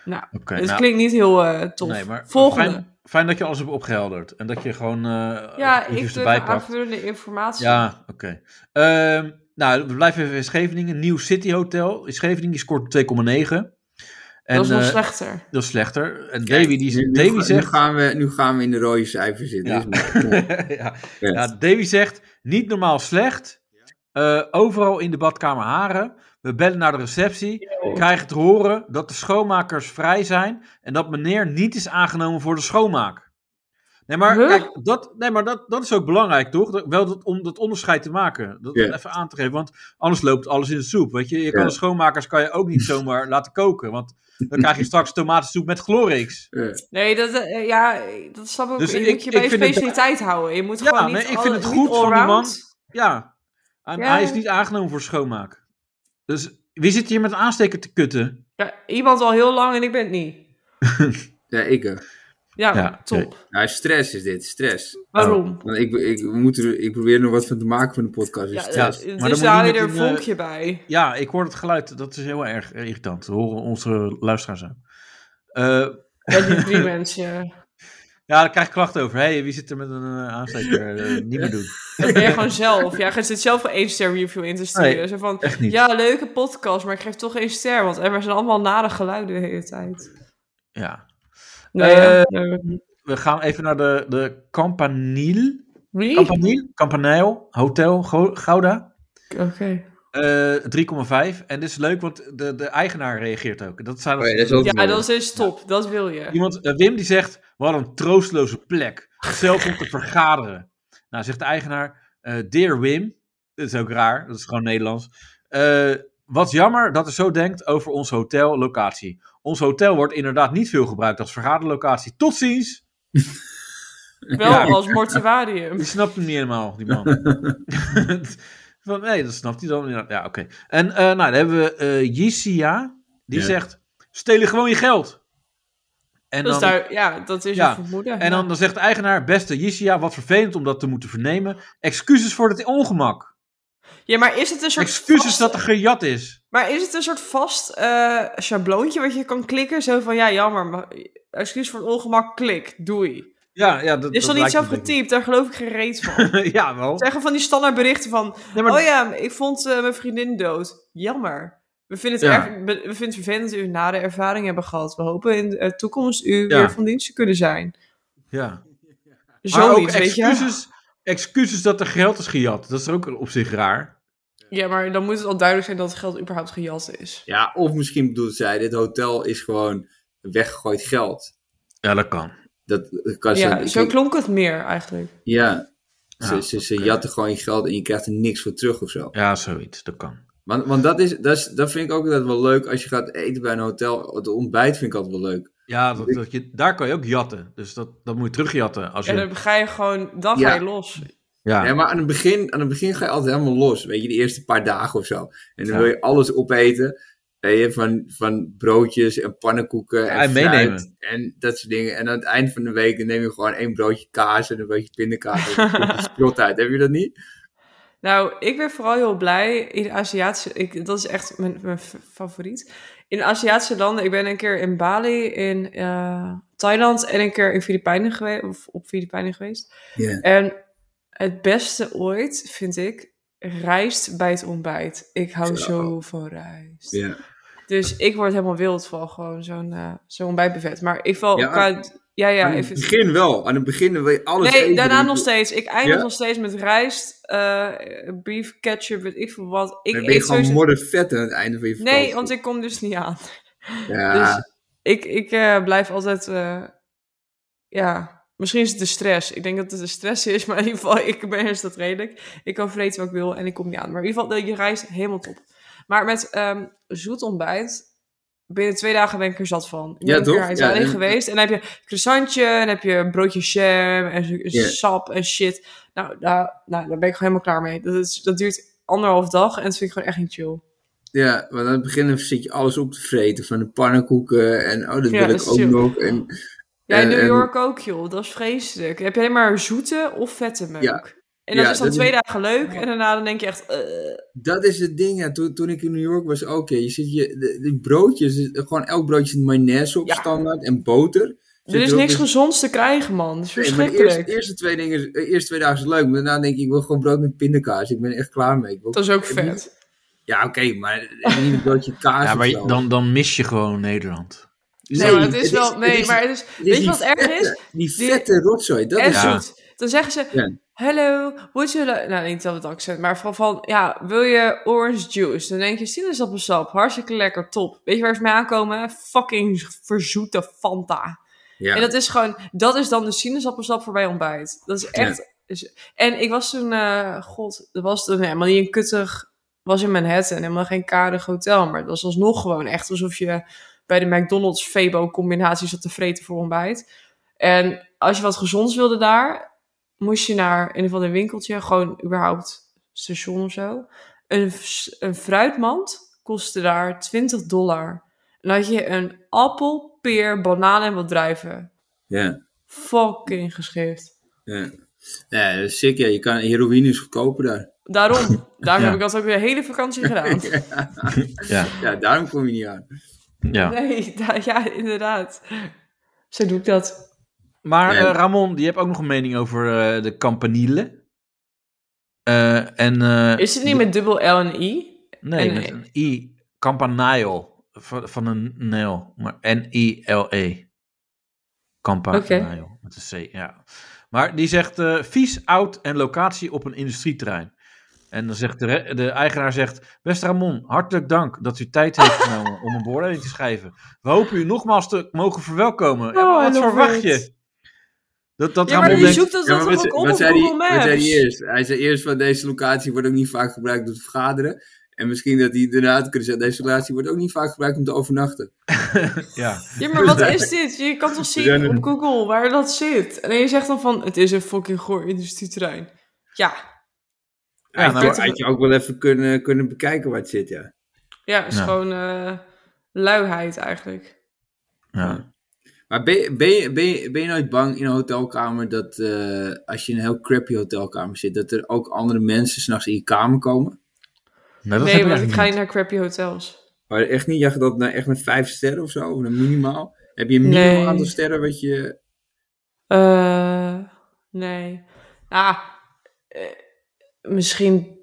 [SPEAKER 4] Nou,
[SPEAKER 2] Oké.
[SPEAKER 4] het
[SPEAKER 2] nou,
[SPEAKER 4] klinkt niet heel eh, tof.
[SPEAKER 2] Nee, maar
[SPEAKER 4] Volgende.
[SPEAKER 2] Fijn, fijn dat je alles hebt opgehelderd. En dat je gewoon eh
[SPEAKER 4] ja, ik
[SPEAKER 2] reviews
[SPEAKER 4] wil
[SPEAKER 2] erbij
[SPEAKER 4] even
[SPEAKER 2] pakt.
[SPEAKER 4] aanvullende informatie.
[SPEAKER 2] Ja, oké. Ehm, nou, we blijven even in Scheveningen. Nieuw City Hotel. In Scheveningen die scoort 2,9. En,
[SPEAKER 4] dat is nog
[SPEAKER 2] eh,
[SPEAKER 4] slechter.
[SPEAKER 2] dat is slechter. En
[SPEAKER 3] Kijk,
[SPEAKER 2] Davy,
[SPEAKER 3] nu-
[SPEAKER 2] die,
[SPEAKER 3] nu
[SPEAKER 2] Davy
[SPEAKER 3] ga- nu
[SPEAKER 2] zegt...
[SPEAKER 3] gaan we, nu gaan we in de rode cijfers zitten.
[SPEAKER 2] Ja.
[SPEAKER 3] dus maar-
[SPEAKER 2] ja,
[SPEAKER 3] Ja.
[SPEAKER 2] ja, Davy zegt, niet normaal slecht. Eh, overal in de badkamer haren. We bellen naar de receptie. Krijgen te horen dat de schoonmakers vrij zijn. En dat meneer niet is aangenomen voor de schoonmaak. Nee, maar,
[SPEAKER 4] Huh?
[SPEAKER 2] kijk, dat, nee, maar dat, dat is ook belangrijk, toch? Dat, wel dat, om dat onderscheid te maken. Dat
[SPEAKER 3] Ja.
[SPEAKER 2] even aan te geven. Want anders loopt alles in de soep. Weet je? je kan
[SPEAKER 3] Ja.
[SPEAKER 2] de schoonmakers kan je ook niet zomaar laten koken. Want dan krijg je straks tomatensoep met Glorix.
[SPEAKER 3] eh,
[SPEAKER 4] Nee, dat, eh, ja, dat snap ik.
[SPEAKER 2] Dus
[SPEAKER 4] je
[SPEAKER 2] ik-
[SPEAKER 4] moet je
[SPEAKER 2] ik
[SPEAKER 4] bij je
[SPEAKER 2] vind het-
[SPEAKER 4] specialiteit houden. Je moet
[SPEAKER 2] Ja,
[SPEAKER 4] gewoon niet
[SPEAKER 2] nee, ik vind
[SPEAKER 4] alle-
[SPEAKER 2] het
[SPEAKER 4] niet
[SPEAKER 2] goed van die man.
[SPEAKER 4] allround.
[SPEAKER 2] Ja. En
[SPEAKER 4] Ja.
[SPEAKER 2] hij is niet aangenomen voor schoonmaak. Dus wie zit hier met een aansteker te kutten?
[SPEAKER 4] Ja, iemand al heel lang en ik ben het niet.
[SPEAKER 3] ja, ik ook.
[SPEAKER 4] Ja,
[SPEAKER 2] Ja,
[SPEAKER 4] top.
[SPEAKER 2] oké.
[SPEAKER 3] Nou, stress is dit, stress.
[SPEAKER 4] Waarom?
[SPEAKER 3] Want ik, Nou, ik, we moeten er- ik probeer er nog wat van te maken van de podcast. Dus
[SPEAKER 4] Ja,
[SPEAKER 3] stress.
[SPEAKER 2] Ja,
[SPEAKER 4] dus-
[SPEAKER 2] maar dan
[SPEAKER 4] dus
[SPEAKER 2] moet
[SPEAKER 4] daar haal je
[SPEAKER 2] iemand
[SPEAKER 4] er een
[SPEAKER 2] een, eh,
[SPEAKER 4] vonkje bij.
[SPEAKER 2] Ja, ik hoor het geluid. Dat is heel erg irritant. We horen onze luisteraars aan. Eh,
[SPEAKER 4] Ja, die drie mensen.
[SPEAKER 2] ja, daar krijg ik klachten over. hey, wie zit er met een eh, aansteker? Eh, niet meer doen.
[SPEAKER 4] Dat ben je gewoon zelf. Ja, je zit zelf een 1 ster review in te sturen.
[SPEAKER 2] Nee,
[SPEAKER 4] Zo van,
[SPEAKER 2] Echt niet.
[SPEAKER 4] ja, leuke podcast, maar ik geef toch één ster. Want eh, er zijn allemaal nare geluiden de hele tijd.
[SPEAKER 2] Ja.
[SPEAKER 4] Nou ja, eh,
[SPEAKER 2] We gaan even naar de, de Campanile.
[SPEAKER 4] wie? Oké.
[SPEAKER 2] Campanile? Campanile Hotel Go- Gouda. Eh, 3,5. En dit is leuk, want de, de eigenaar reageert ook. Dat zijn
[SPEAKER 3] Oh ja, dat is ook
[SPEAKER 4] Ja,
[SPEAKER 3] mooi.
[SPEAKER 4] dat is dus top. Dat wil je.
[SPEAKER 2] Iemand, eh, Wim die zegt, wat een troosteloze plek. Zelf om te vergaderen. Nou, zegt de eigenaar, eh, Dear Wim, dat is ook raar, dat is gewoon Nederlands. Eh, wat jammer dat er zo denkt over ons hotellocatie. Ons hotel wordt inderdaad niet veel gebruikt als vergaderlocatie. Tot ziens!
[SPEAKER 4] Wel
[SPEAKER 2] Ja.
[SPEAKER 4] als mortuarium.
[SPEAKER 2] Die snapt hem niet helemaal, die man. Van, nee, dat snapt hij dan. inderdaad. Ja, oké. En eh, nou, dan hebben we eh Yisia, die
[SPEAKER 3] Ja.
[SPEAKER 2] zegt, stelen gewoon je geld. En
[SPEAKER 4] Dus daar, ja, dat is
[SPEAKER 2] Ja,
[SPEAKER 4] een vermoeden.
[SPEAKER 2] En dan, dan zegt de eigenaar, beste Jisia, wat vervelend om dat te moeten vernemen. Excuses voor het ongemak.
[SPEAKER 4] Ja, maar is het een soort
[SPEAKER 2] Excuses
[SPEAKER 4] vast,
[SPEAKER 2] dat er gejat is.
[SPEAKER 4] maar is het een soort vast eh schabloontje wat je kan klikken? Zo van, ja, jammer, maar excuus voor het ongemak, klik, doei.
[SPEAKER 2] Ja, ja, dat dat
[SPEAKER 4] Is dat
[SPEAKER 2] lijkt
[SPEAKER 4] niet zelf
[SPEAKER 2] me een
[SPEAKER 4] getypt? Daar geloof ik geen reet van.
[SPEAKER 2] beetje. ja, wel.
[SPEAKER 4] Zeggen van die standaard berichten van,
[SPEAKER 2] Nee, maar,
[SPEAKER 4] oh ja, ik vond eh, mijn vriendin dood. Jammer. We vinden, het
[SPEAKER 3] Ja.
[SPEAKER 4] erg- we we vinden het vervelend dat u een nare ervaring hebben gehad. We hopen in de eh, toekomst u
[SPEAKER 2] Ja.
[SPEAKER 4] weer van dienst te kunnen zijn.
[SPEAKER 2] ja. maar ook
[SPEAKER 4] Zoiets, weet je?
[SPEAKER 2] excuses, excuses dat er geld is gejat. Dat is ook op zich raar.
[SPEAKER 4] Ja, maar dan moet het al duidelijk zijn dat het geld überhaupt gejat is.
[SPEAKER 3] Ja, of misschien bedoelt zij, dit hotel is gewoon weggegooid geld.
[SPEAKER 2] Ja, dat kan.
[SPEAKER 3] Dat dat kan ze-
[SPEAKER 4] Ja,
[SPEAKER 3] ik-
[SPEAKER 4] zo klonk het meer eigenlijk.
[SPEAKER 3] Ja.
[SPEAKER 2] Ja,
[SPEAKER 3] ze, ze, ze
[SPEAKER 2] oké.
[SPEAKER 3] jatten gewoon je geld en je krijgt er niks voor terug of zo.
[SPEAKER 2] Ja, zoiets. Dat kan.
[SPEAKER 3] Want, want dat, is, dat, is, dat vind ik ook altijd wel leuk als je gaat eten bij een hotel. Het ontbijt vind ik altijd wel leuk.
[SPEAKER 2] Ja, dat, dat je, daar kan je ook jatten. Dus dat, dat moet je terugjatten. Als je,
[SPEAKER 4] En dan ga je gewoon, dan
[SPEAKER 3] Ja.
[SPEAKER 4] ga je los.
[SPEAKER 2] ja.
[SPEAKER 3] Ja, maar aan het, begin, aan het begin ga je altijd helemaal los. Weet je, de eerste paar dagen of zo. En dan
[SPEAKER 2] Ja.
[SPEAKER 3] wil je alles opeten. Weet je, van, van broodjes en pannenkoeken en,
[SPEAKER 2] en
[SPEAKER 3] fruit
[SPEAKER 2] meenemen.
[SPEAKER 3] En dat soort dingen. En aan het eind van de week dan neem je gewoon één broodje kaas en een broodje pindakaas. En een sprot uit. Heb je dat niet?
[SPEAKER 4] Nou, ik ben vooral heel blij in Aziatische... Ik, dat is echt mijn, mijn f- favoriet. In Aziatische landen. Ik ben een keer in Bali, in eh, Thailand en een keer in Filipijnen geweest. Of op Filipijnen geweest.
[SPEAKER 3] Ja.
[SPEAKER 4] En het beste ooit, vind ik, rijst bij het ontbijt. Ik hou zo van rijst.
[SPEAKER 3] Ja.
[SPEAKER 4] Dus ik word helemaal wild van gewoon zo'n eh, zo'n ontbijtbuffet. Maar ik val...
[SPEAKER 3] Ja, ah.
[SPEAKER 4] Ja, qua, ja, ja
[SPEAKER 3] aan het
[SPEAKER 4] even...
[SPEAKER 3] begin wel. Aan het begin wil je alles
[SPEAKER 4] Nee,
[SPEAKER 3] eten.
[SPEAKER 4] daarna nog steeds. Ik eindig
[SPEAKER 3] Ja?
[SPEAKER 4] nog steeds met rijst, eh, beef, ketchup, weet ik veel wat. Ik
[SPEAKER 3] Dan ben je
[SPEAKER 4] eet
[SPEAKER 3] gewoon
[SPEAKER 4] sowieso...
[SPEAKER 3] moddervet aan het einde van je vakantie.
[SPEAKER 4] Nee, want ik kom dus niet aan.
[SPEAKER 3] Ja,
[SPEAKER 4] Dus ik, ik eh, blijf altijd... eh, ja, misschien is het de stress. Ik denk dat het de stress is, maar in ieder geval, ik ben eerst dat redelijk. Ik kan vreten wat ik wil en ik kom niet aan. Maar in ieder geval, je rijst helemaal top. Maar met ehm, zoet ontbijt... Binnen twee dagen ben ik er zat van. Ik
[SPEAKER 3] Ja,
[SPEAKER 4] ben
[SPEAKER 3] toch?
[SPEAKER 4] Hij is
[SPEAKER 3] Ja,
[SPEAKER 4] alleen
[SPEAKER 3] en-
[SPEAKER 4] geweest. En dan heb je croissantje, en heb je een broodje jam, en zo-
[SPEAKER 3] Ja.
[SPEAKER 4] sap en shit. Nou, daar, nou, daar ben ik gewoon helemaal klaar mee. Dat, is, dat duurt anderhalf dag en dat vind ik gewoon echt niet chill.
[SPEAKER 3] Ja, want aan het begin zit je alles op te vreten. Van de pannenkoeken en oh, dat
[SPEAKER 4] Ja,
[SPEAKER 3] wil
[SPEAKER 4] dat
[SPEAKER 3] ik
[SPEAKER 4] is
[SPEAKER 3] ook
[SPEAKER 4] chill.
[SPEAKER 3] nog. En,
[SPEAKER 4] Ja, in
[SPEAKER 3] en-
[SPEAKER 4] New
[SPEAKER 3] en-
[SPEAKER 4] York ook, joh. Dat is vreselijk. Heb je alleen maar zoete of vette meuk.
[SPEAKER 3] Ja.
[SPEAKER 4] En dat
[SPEAKER 3] Ja,
[SPEAKER 4] is dan
[SPEAKER 3] dat
[SPEAKER 4] twee
[SPEAKER 3] is-
[SPEAKER 4] dagen leuk en daarna dan denk je echt... eh.
[SPEAKER 3] Dat is het ding, ja. Toen, toen ik in New York was, oké, je zit je, de, die broodjes, is- gewoon elk broodje zit mayonaise op
[SPEAKER 4] Ja.
[SPEAKER 3] standaard en boter. Zit
[SPEAKER 4] er is
[SPEAKER 3] ook
[SPEAKER 4] niks
[SPEAKER 3] dus-
[SPEAKER 4] gezonds te krijgen, man. Dat is
[SPEAKER 3] Nee, maar de
[SPEAKER 4] verschrikkelijk.
[SPEAKER 3] eerste, eerste, twee dingen, de eerste twee dagen is leuk, maar daarna denk ik, ik wil gewoon brood met pindakaas. Ik ben er echt klaar mee. Ik wil-
[SPEAKER 4] Dat is ook vet.
[SPEAKER 3] Ja, oké, maar niet een broodje kaas
[SPEAKER 2] Ja,
[SPEAKER 3] of
[SPEAKER 2] maar
[SPEAKER 3] zo.
[SPEAKER 2] je- dan, dan mis je gewoon Nederland.
[SPEAKER 4] Nee, maar het is wel... Nee, maar het is...
[SPEAKER 3] is
[SPEAKER 4] Weet je
[SPEAKER 3] die
[SPEAKER 4] wat erg is?
[SPEAKER 3] vette- Die
[SPEAKER 4] Die-
[SPEAKER 3] vette rotzooi, dat
[SPEAKER 4] en
[SPEAKER 3] is...
[SPEAKER 2] Ja.
[SPEAKER 4] zoet. Dan zeggen ze,
[SPEAKER 3] Ja.
[SPEAKER 4] hello, would you like... Nou, niet dat het accent, maar van, van, ja, wil je orange juice? Dan denk je, sinaasappelsap, hartstikke lekker, top. Weet je waar ze mee aankomen? Fucking verzoete Fanta.
[SPEAKER 3] Ja.
[SPEAKER 4] En dat is gewoon, dat is dan de sinaasappelsap voor bij ontbijt. Dat is echt... is- En ik was toen, eh, god, dat was toen helemaal niet een kuttig... was in Manhattan, helemaal geen karig hotel. Maar het was alsnog gewoon echt alsof je bij de McDonald's Febo-combinatie zat te vreten voor ontbijt. En als je wat gezonds wilde daar, moest je naar een van de winkeltje, gewoon überhaupt station of zo. Een, s- een fruitmand kostte daar 20 dollar. En dan had je een appel, peer, banaan en wat druiven.
[SPEAKER 3] Ja,
[SPEAKER 4] Fucking geschikt.
[SPEAKER 3] ja. Ja, dat is sick, ja. Je kan, heroïne is goedkoper daar.
[SPEAKER 4] Daarom, daarom
[SPEAKER 2] Ja.
[SPEAKER 4] heb ik dat ook de hele vakantie gedaan.
[SPEAKER 2] Ja,
[SPEAKER 3] Ja, daarom kom je niet aan.
[SPEAKER 2] ja.
[SPEAKER 4] Nee, da- ja, inderdaad. Zo doe ik dat.
[SPEAKER 2] Maar
[SPEAKER 3] Ja.
[SPEAKER 2] eh, Ramon, die hebt ook nog een mening over eh, de campanile. Eh, en, eh,
[SPEAKER 4] Is het niet met dubbel L en I?
[SPEAKER 2] Nee,
[SPEAKER 4] en- eh,
[SPEAKER 2] met een I. Campanile. Van, van een nel. Maar N-I-L-E. Campanile. Met een C, ja. Maar die zegt eh, vies, oud en locatie op een industrieterrein. En dan zegt de, re- de eigenaar zegt... Beste Ramon, hartelijk dank dat u tijd heeft genomen om een beoordeling te schrijven. We hopen u nogmaals te mogen verwelkomen. En
[SPEAKER 4] Oh, I
[SPEAKER 2] wat
[SPEAKER 4] love
[SPEAKER 2] verwacht
[SPEAKER 4] it.
[SPEAKER 2] je? Dat, dat
[SPEAKER 4] Ja,
[SPEAKER 2] Ramon
[SPEAKER 4] maar die
[SPEAKER 2] denkt-
[SPEAKER 4] zoekt dat
[SPEAKER 3] Ja,
[SPEAKER 4] dat
[SPEAKER 3] maar
[SPEAKER 4] toch ook op op
[SPEAKER 3] zei
[SPEAKER 4] Google
[SPEAKER 3] hij- wat
[SPEAKER 4] Maps?
[SPEAKER 3] zei hij eerst? Hij zei eerst van deze locatie wordt ook niet vaak gebruikt om te vergaderen. En misschien dat hij inderdaad kunnen zeggen, deze locatie wordt ook niet vaak gebruikt om te overnachten.
[SPEAKER 2] Ja.
[SPEAKER 4] Ja, maar wat is dit? Je kan toch zien op Google waar dat zit? En je zegt dan van, het is een fucking goor industrieterrein. Ja,
[SPEAKER 2] Ja,
[SPEAKER 3] Ja,
[SPEAKER 2] nou,
[SPEAKER 3] nou,
[SPEAKER 2] maar-
[SPEAKER 3] had je ook wel even kunnen, kunnen bekijken waar het zit, ja.
[SPEAKER 4] ja, is
[SPEAKER 2] Ja.
[SPEAKER 4] gewoon eh, luiheid eigenlijk.
[SPEAKER 2] ja.
[SPEAKER 3] Maar ben, je- ben, je- ben, je- ben je nooit bang in een hotelkamer dat eh, als je in een heel crappy hotelkamer zit, dat er ook andere mensen s'nachts in je kamer komen?
[SPEAKER 2] Nou, dat heb
[SPEAKER 4] nee, want ik
[SPEAKER 2] eigenlijk
[SPEAKER 4] ga
[SPEAKER 2] niet.
[SPEAKER 4] niet naar crappy hotels.
[SPEAKER 3] Maar echt niet, je gaat dat naar, echt naar vijf sterren of zo, of naar minimaal? Heb je een minimaal
[SPEAKER 4] Nee.
[SPEAKER 3] aantal sterren wat je...
[SPEAKER 4] Eh, nee. Ah, eh, misschien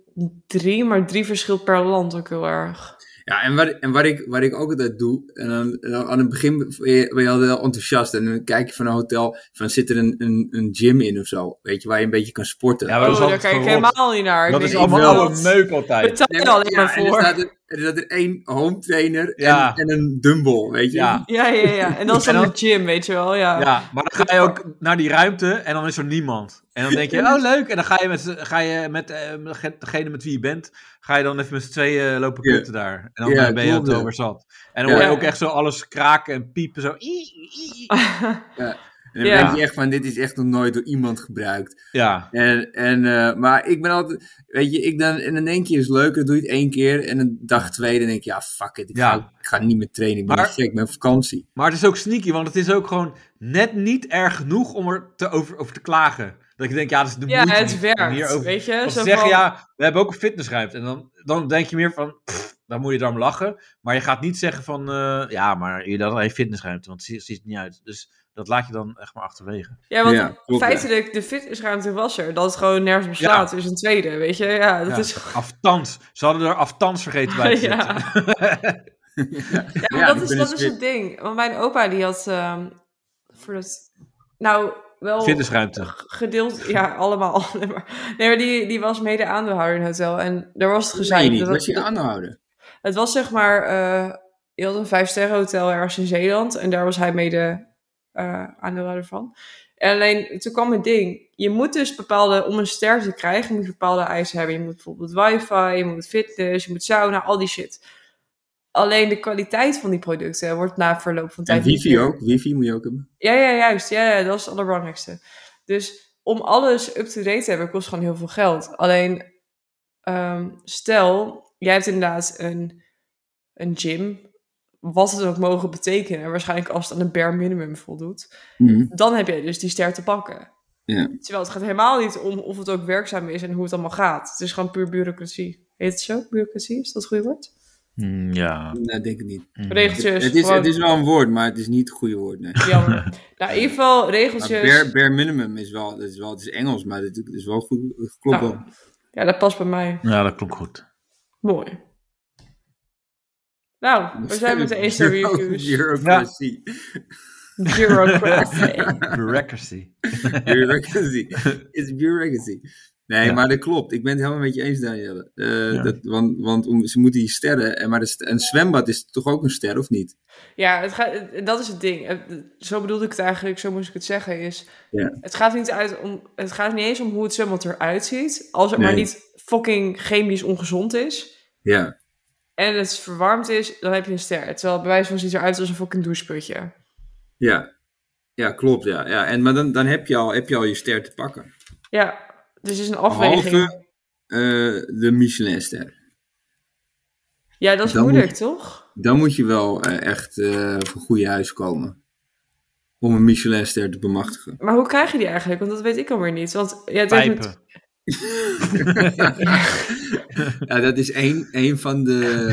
[SPEAKER 4] drie, maar drie verschilt per land ook heel erg.
[SPEAKER 3] Ja, en wat, en wat, ik, wat ik ook altijd doe, en dan, en dan aan het begin ben je, ben je altijd heel enthousiast en dan kijk je van een hotel, van zit er een, een, een gym in of zo, weet je, waar je een beetje kan sporten.
[SPEAKER 2] Ja, maar dat
[SPEAKER 4] Oh,
[SPEAKER 2] is
[SPEAKER 4] daar
[SPEAKER 2] altijd
[SPEAKER 4] kijk ik
[SPEAKER 2] verrot.
[SPEAKER 4] helemaal niet naar. Ik
[SPEAKER 2] Dat
[SPEAKER 4] weet
[SPEAKER 2] is
[SPEAKER 4] niet
[SPEAKER 2] allemaal
[SPEAKER 4] wat-
[SPEAKER 2] oude meuk altijd.
[SPEAKER 4] Betaal
[SPEAKER 3] Nee,
[SPEAKER 4] je alleen maar
[SPEAKER 3] ja, en er
[SPEAKER 4] voor.
[SPEAKER 3] staat, er, En er zat er één home trainer en,
[SPEAKER 2] Ja.
[SPEAKER 3] en een dumbbell, weet je.
[SPEAKER 2] Ja.
[SPEAKER 4] Ja, ja, ja. En dat is
[SPEAKER 2] En
[SPEAKER 4] dan
[SPEAKER 2] dan-
[SPEAKER 4] de gym, weet je wel. Ja.
[SPEAKER 2] Ja, maar dan ga je ook naar die ruimte en dan is er niemand. En dan denk je, oh leuk. En dan ga je met, z'n- ga je met eh, met degene met wie je bent, ga je dan even met z'n tweeën eh, lopen
[SPEAKER 3] Ja.
[SPEAKER 2] kutten daar. En dan
[SPEAKER 3] Ja,
[SPEAKER 2] eh, ben je
[SPEAKER 3] klopt,
[SPEAKER 2] het
[SPEAKER 3] ja.
[SPEAKER 2] over zat. En dan
[SPEAKER 3] Ja.
[SPEAKER 2] hoor je ook echt zo alles kraken en piepen. Zo.
[SPEAKER 3] En dan
[SPEAKER 4] Ja.
[SPEAKER 3] denk je echt van, dit is echt nog nooit door iemand gebruikt.
[SPEAKER 2] Ja,
[SPEAKER 3] En, en, eh, maar ik ben altijd, weet je, ik dan, en dan denk je, is leuk, dan doe je het één keer. En een dag twee, dan denk je, ja, fuck it, ik,
[SPEAKER 2] Ja.
[SPEAKER 3] ga, ik ga niet meer trainen. Ik ben
[SPEAKER 2] Maar-
[SPEAKER 3] gek, ik ben op vakantie.
[SPEAKER 2] maar het is ook sneaky, want het is ook gewoon net niet erg genoeg om er te over, over te klagen. Dat je denkt, ja, dat is de
[SPEAKER 4] Ja,
[SPEAKER 2] moeite
[SPEAKER 4] het
[SPEAKER 2] niet om
[SPEAKER 4] werkt,
[SPEAKER 2] hierover-
[SPEAKER 4] weet je.
[SPEAKER 2] Want ze
[SPEAKER 4] Zo
[SPEAKER 2] zeggen,
[SPEAKER 4] van-
[SPEAKER 2] ja, we hebben ook een fitnessruimte. En dan, dan denk je meer van, pff, dan moet je daarom lachen. Maar je gaat niet zeggen van, eh, ja, maar jullie hadden geen fitnessruimte, want het ziet, ziet er niet uit. Dus dat laat je dan echt maar achterwege.
[SPEAKER 4] Ja, want
[SPEAKER 3] Ja, klopt,
[SPEAKER 4] feitelijk, de fitnessruimte was er. Dat het gewoon nergens op
[SPEAKER 2] Ja.
[SPEAKER 4] staat, is een tweede, weet je. Ja, dat
[SPEAKER 2] Ja,
[SPEAKER 4] is...
[SPEAKER 2] Aftans. Ze hadden er aftans vergeten bij te
[SPEAKER 4] Ja.
[SPEAKER 2] zetten.
[SPEAKER 4] Ja, maar
[SPEAKER 3] Ja,
[SPEAKER 4] dat,
[SPEAKER 3] ik
[SPEAKER 4] is,
[SPEAKER 3] ben
[SPEAKER 4] dat
[SPEAKER 3] eens
[SPEAKER 4] is het ding. Want mijn opa, die had... ehm, voor dat... Nou, wel...
[SPEAKER 2] Fitnessruimte.
[SPEAKER 4] Gedeeld, ja, allemaal. Nee, maar, nee, maar die, die was mede aandeelhouder in het hotel. En daar was het
[SPEAKER 3] Nee,
[SPEAKER 4] gezeik.
[SPEAKER 3] niet,
[SPEAKER 4] dat-
[SPEAKER 3] was je aanhouden.
[SPEAKER 4] Het was zeg maar, eh je had een vijfsterren hotel ergens in Zeeland en daar was hij mede eh aandeelhouder van. En alleen, toen kwam het ding, je moet dus bepaalde, om een ster te krijgen, moet je bepaalde eisen hebben. Je moet bijvoorbeeld wifi, je moet fitness, je moet sauna, al die shit. Alleen de kwaliteit van die producten wordt na verloop van tijd...
[SPEAKER 3] En wifi
[SPEAKER 4] niet meer-
[SPEAKER 3] ook, wifi moet je ook hebben.
[SPEAKER 4] Ja, ja, juist. Ja, ja, dat is het allerbelangrijkste. Dus om alles up-to-date te hebben, kost gewoon heel veel geld. Alleen, ehm, stel, jij hebt inderdaad een, een gym, wat het ook mogen betekenen, waarschijnlijk als het aan een bare minimum voldoet,
[SPEAKER 3] Mhm.
[SPEAKER 4] dan heb jij dus die ster te pakken.
[SPEAKER 3] Ja.
[SPEAKER 4] Terwijl het gaat helemaal niet om of het ook werkzaam is en hoe het allemaal gaat. Het is gewoon puur bureaucratie. Heet het zo? Bureaucratie? Is dat het goede woord?
[SPEAKER 2] Mm, Ja.
[SPEAKER 3] Nee, denk ik niet.
[SPEAKER 2] Mm.
[SPEAKER 4] Regeltjes.
[SPEAKER 3] Het is,
[SPEAKER 4] gewoon-
[SPEAKER 3] het is wel een woord, maar het is niet het goede woord, nee.
[SPEAKER 4] Jammer. nou, in ieder geval
[SPEAKER 3] Maar
[SPEAKER 4] regeltjes.
[SPEAKER 3] bare, bare minimum is wel, dat is wel, het is Engels, maar dat is wel goed, dat klopt
[SPEAKER 4] Nou,
[SPEAKER 3] wel.
[SPEAKER 4] ja, dat past bij mij.
[SPEAKER 2] Ja, dat klonk goed.
[SPEAKER 4] Mooi. Nou, we zijn met de eerste
[SPEAKER 3] Bureau-
[SPEAKER 4] reviews.
[SPEAKER 3] Bureaucratie.
[SPEAKER 4] Bureaucracy.
[SPEAKER 2] Bureaucracy.
[SPEAKER 3] Bureaucracy. It's bureaucracy. Nee,
[SPEAKER 2] Ja.
[SPEAKER 3] maar dat klopt. Ik ben het helemaal met je eens, Danielle. Eh,
[SPEAKER 2] Ja.
[SPEAKER 3] dat, want want om, ze moeten die sterren. en Maar de st- een zwembad is toch ook een ster, of niet?
[SPEAKER 4] Ja, het gaat, het- dat is het ding. Het- Zo bedoelde ik het eigenlijk, zo moest ik het zeggen. Is,
[SPEAKER 3] Ja.
[SPEAKER 4] het, gaat niet uit om, het gaat niet eens om hoe het zwembad eruit ziet. Als het maar
[SPEAKER 3] Nee.
[SPEAKER 4] niet fucking chemisch ongezond is.
[SPEAKER 3] Ja.
[SPEAKER 4] En het verwarmd is, dan heb je een ster. Terwijl bij wijze van ziet het eruit als een fucking doucheputje.
[SPEAKER 3] Ja, ja klopt. Ja. Ja, en, maar dan, dan heb, je al, heb je al je ster te pakken.
[SPEAKER 4] Ja, dus het is een afweging.
[SPEAKER 3] Behalve eh, de Michelinster.
[SPEAKER 4] ja, dat is
[SPEAKER 3] dan
[SPEAKER 4] moeilijk,
[SPEAKER 3] moet
[SPEAKER 4] toch?
[SPEAKER 3] Dan moet je wel eh, echt eh op een goede huis komen. Om een Michelinster te bemachtigen.
[SPEAKER 4] Maar hoe krijg je die eigenlijk? Want dat weet ik alweer niet. Want ja, het heeft met-
[SPEAKER 2] Pijpen.
[SPEAKER 3] Ja, dat is één, één van de...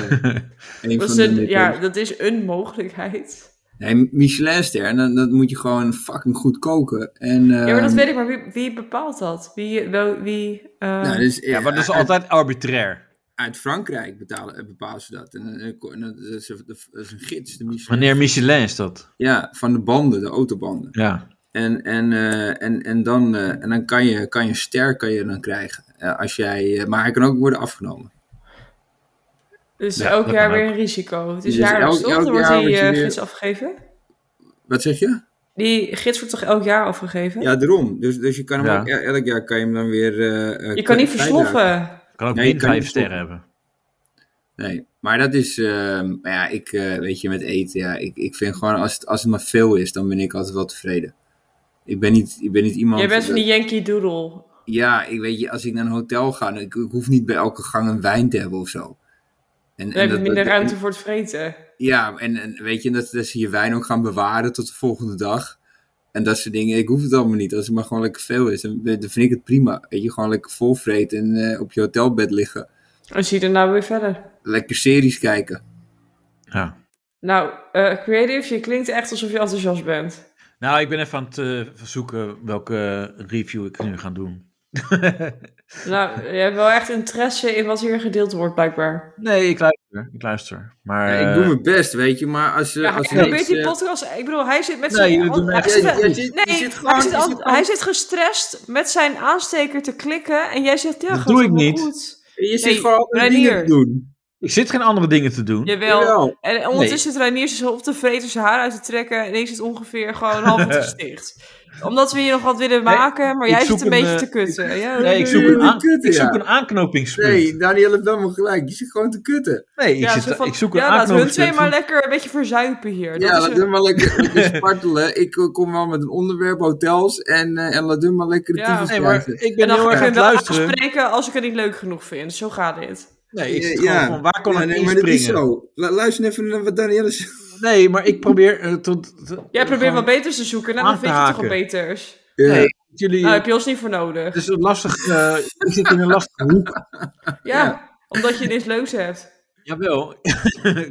[SPEAKER 3] Één van
[SPEAKER 4] Dat is,
[SPEAKER 3] de
[SPEAKER 4] een,
[SPEAKER 3] methodes.
[SPEAKER 4] ja, dat is een mogelijkheid.
[SPEAKER 3] Nee, Michelinster, en dan, dan moet je gewoon fucking goed koken. En,
[SPEAKER 4] ja, maar dat
[SPEAKER 3] ehm,
[SPEAKER 4] weet ik, maar wie, wie bepaalt dat? Wie, wel, wie eh,
[SPEAKER 3] nou, dus,
[SPEAKER 2] Ja, maar dat is altijd arbitrair.
[SPEAKER 3] Uit Frankrijk betalen, eh, bepalen ze dat. En, eh, ko- en dat, is, dat is een gids, de Michelin.
[SPEAKER 2] Meneer Michelin is dat.
[SPEAKER 3] Ja, van de banden, de autobanden.
[SPEAKER 2] Ja.
[SPEAKER 3] En, en, eh, en, en dan, eh, en dan kan, je, kan je een ster kan je dan krijgen. Eh, als jij, eh, maar hij kan ook worden afgenomen.
[SPEAKER 4] dus
[SPEAKER 2] Ja,
[SPEAKER 4] elk
[SPEAKER 2] dat
[SPEAKER 4] jaar
[SPEAKER 2] kan
[SPEAKER 4] weer een risico. Het is
[SPEAKER 3] Dus
[SPEAKER 4] jaarlijks,
[SPEAKER 3] elk-
[SPEAKER 4] toch?
[SPEAKER 3] elk
[SPEAKER 4] Dan wordt
[SPEAKER 3] jaar
[SPEAKER 4] die
[SPEAKER 3] wordt je
[SPEAKER 4] eh,
[SPEAKER 3] weer-
[SPEAKER 4] gids afgegeven?
[SPEAKER 3] Wat zeg je?
[SPEAKER 4] Die gids wordt toch elk jaar afgegeven?
[SPEAKER 3] Ja, daarom. Dus, dus je kan hem
[SPEAKER 2] Ja.
[SPEAKER 3] ook, el- elk jaar kan je hem dan weer... eh, eh,
[SPEAKER 4] je kan niet
[SPEAKER 3] kwijtraken.
[SPEAKER 4] versloffen.
[SPEAKER 2] Kan ook
[SPEAKER 3] Nee,
[SPEAKER 2] min
[SPEAKER 3] kan
[SPEAKER 2] vijf
[SPEAKER 3] je niet
[SPEAKER 2] sterren hebben.
[SPEAKER 3] Nee, maar dat is, ehm, maar ja, ik, eh, weet je, met eten, ja, ik, ik vind gewoon, als het, als het maar veel is, dan ben ik altijd wel tevreden. Ik ben niet, ik ben niet iemand...
[SPEAKER 4] Jij bent van die
[SPEAKER 3] eh,
[SPEAKER 4] Yankee Doodle.
[SPEAKER 3] Ja, ik weet je, als ik naar een hotel ga, dan- ik, ik hoef niet bij elke gang een wijn te hebben of zo. En,
[SPEAKER 4] Dan heb je
[SPEAKER 3] dat-
[SPEAKER 4] minder
[SPEAKER 3] dat-
[SPEAKER 4] ruimte voor het vreten.
[SPEAKER 3] ja, en, en weet je, dat, dat ze je wijn ook gaan bewaren tot de volgende dag. En dat soort dingen, ik hoef het allemaal niet. Als het maar gewoon lekker veel is, dan, dan vind ik het prima. Weet je, gewoon lekker vol vreten en eh, op je hotelbed liggen.
[SPEAKER 4] En zie je daarna weer verder.
[SPEAKER 3] Lekker series kijken.
[SPEAKER 2] Ja.
[SPEAKER 4] Nou, eh, Creative, je klinkt echt alsof je enthousiast bent.
[SPEAKER 2] Nou, ik ben even aan het eh, zoeken welke eh, review ik nu ga doen.
[SPEAKER 4] Nou, je hebt wel echt interesse in wat hier gedeeld wordt, blijkbaar.
[SPEAKER 2] nee, ik luister. Ik luister. Maar, eh,
[SPEAKER 3] Ja, ik doe mijn best, weet je, maar als... eh,
[SPEAKER 4] Ja,
[SPEAKER 3] als
[SPEAKER 4] hij
[SPEAKER 3] er
[SPEAKER 4] probeert
[SPEAKER 3] niks,
[SPEAKER 4] die
[SPEAKER 3] eh,
[SPEAKER 4] podcast. Ik bedoel, hij zit met
[SPEAKER 2] Nee,
[SPEAKER 4] zijn.
[SPEAKER 2] jullie doen
[SPEAKER 4] hij
[SPEAKER 2] echt
[SPEAKER 4] zit-
[SPEAKER 3] niet. Je zit-
[SPEAKER 4] nee,
[SPEAKER 3] je zit
[SPEAKER 4] hij,
[SPEAKER 3] gewoon-
[SPEAKER 4] zit
[SPEAKER 3] je
[SPEAKER 4] al-
[SPEAKER 3] zit gewoon-
[SPEAKER 4] hij zit gestrest met zijn aansteker te klikken. En jij zegt, ja,
[SPEAKER 2] Dat
[SPEAKER 4] gaat
[SPEAKER 2] doe ik
[SPEAKER 4] allemaal
[SPEAKER 2] niet.
[SPEAKER 4] goed.
[SPEAKER 3] Je zit
[SPEAKER 4] Nee,
[SPEAKER 3] gewoon andere
[SPEAKER 4] Reinier.
[SPEAKER 3] dingen te doen.
[SPEAKER 2] Ik zit geen andere dingen te doen.
[SPEAKER 4] Jawel.
[SPEAKER 3] Jawel.
[SPEAKER 4] En ondertussen zit Reinier zich op te vreten zijn haar uit te trekken. En ik zit ongeveer gewoon half op het gesticht. Omdat we hier nog wat willen maken, maar
[SPEAKER 2] ik
[SPEAKER 4] jij
[SPEAKER 2] zoek
[SPEAKER 4] zit een,
[SPEAKER 2] een,
[SPEAKER 4] beetje
[SPEAKER 2] eh,
[SPEAKER 4] te kutten. Ja,
[SPEAKER 2] Nee, ik zoek
[SPEAKER 3] Jullie
[SPEAKER 2] een, aan-
[SPEAKER 3] kutten,
[SPEAKER 2] ik zoek
[SPEAKER 3] ja.
[SPEAKER 2] een aanknopingspunt. Nee,
[SPEAKER 3] Nee, Daniel heeft wel gelijk. Je zit gewoon te kutten.
[SPEAKER 2] ik,
[SPEAKER 4] ja, zo
[SPEAKER 2] zit,
[SPEAKER 4] van,
[SPEAKER 2] ik zoek een
[SPEAKER 4] ja, laten we hun
[SPEAKER 2] aanknopingspunt.
[SPEAKER 4] twee maar lekker een beetje verzuipen hier. Dat
[SPEAKER 3] Ja,
[SPEAKER 4] is
[SPEAKER 3] laat
[SPEAKER 4] een-
[SPEAKER 3] hem maar lekker, lekker spartelen. Ik eh, kom wel met een onderwerp, hotels. En, eh, en laat hem maar lekker de
[SPEAKER 4] Ja.
[SPEAKER 3] tyfus
[SPEAKER 2] Nee, maar
[SPEAKER 3] krijgen.
[SPEAKER 2] ik
[SPEAKER 4] en
[SPEAKER 2] ben
[SPEAKER 4] dan
[SPEAKER 2] heel
[SPEAKER 4] ga
[SPEAKER 2] erg aan
[SPEAKER 4] ik
[SPEAKER 2] het
[SPEAKER 4] hem wel
[SPEAKER 2] luisteren.
[SPEAKER 4] afspreken als ik het niet leuk genoeg vind. Zo gaat dit.
[SPEAKER 2] Nee, ik
[SPEAKER 3] Ja,
[SPEAKER 2] zit gewoon
[SPEAKER 3] ja.
[SPEAKER 2] van waar kan
[SPEAKER 3] Nee,
[SPEAKER 2] ik
[SPEAKER 3] nee, maar dat is
[SPEAKER 2] inspringen?
[SPEAKER 3] zo. Lu- Luister even naar wat Danielle zegt.
[SPEAKER 2] Nee, maar ik probeer... eh, tot, tot-
[SPEAKER 4] Jij probeert
[SPEAKER 2] gewoon-
[SPEAKER 4] wat beters te zoeken. Nou,
[SPEAKER 2] aan
[SPEAKER 4] dan
[SPEAKER 2] te
[SPEAKER 4] vind je toch
[SPEAKER 2] haken.
[SPEAKER 4] wat beters.
[SPEAKER 3] Ja.
[SPEAKER 2] Nee, jullie...
[SPEAKER 4] Nou, heb je ons niet voor nodig.
[SPEAKER 2] het is een lastig... eh, ik zit in een lastige hoek.
[SPEAKER 4] Ja, omdat je niks leuks hebt.
[SPEAKER 2] Jawel.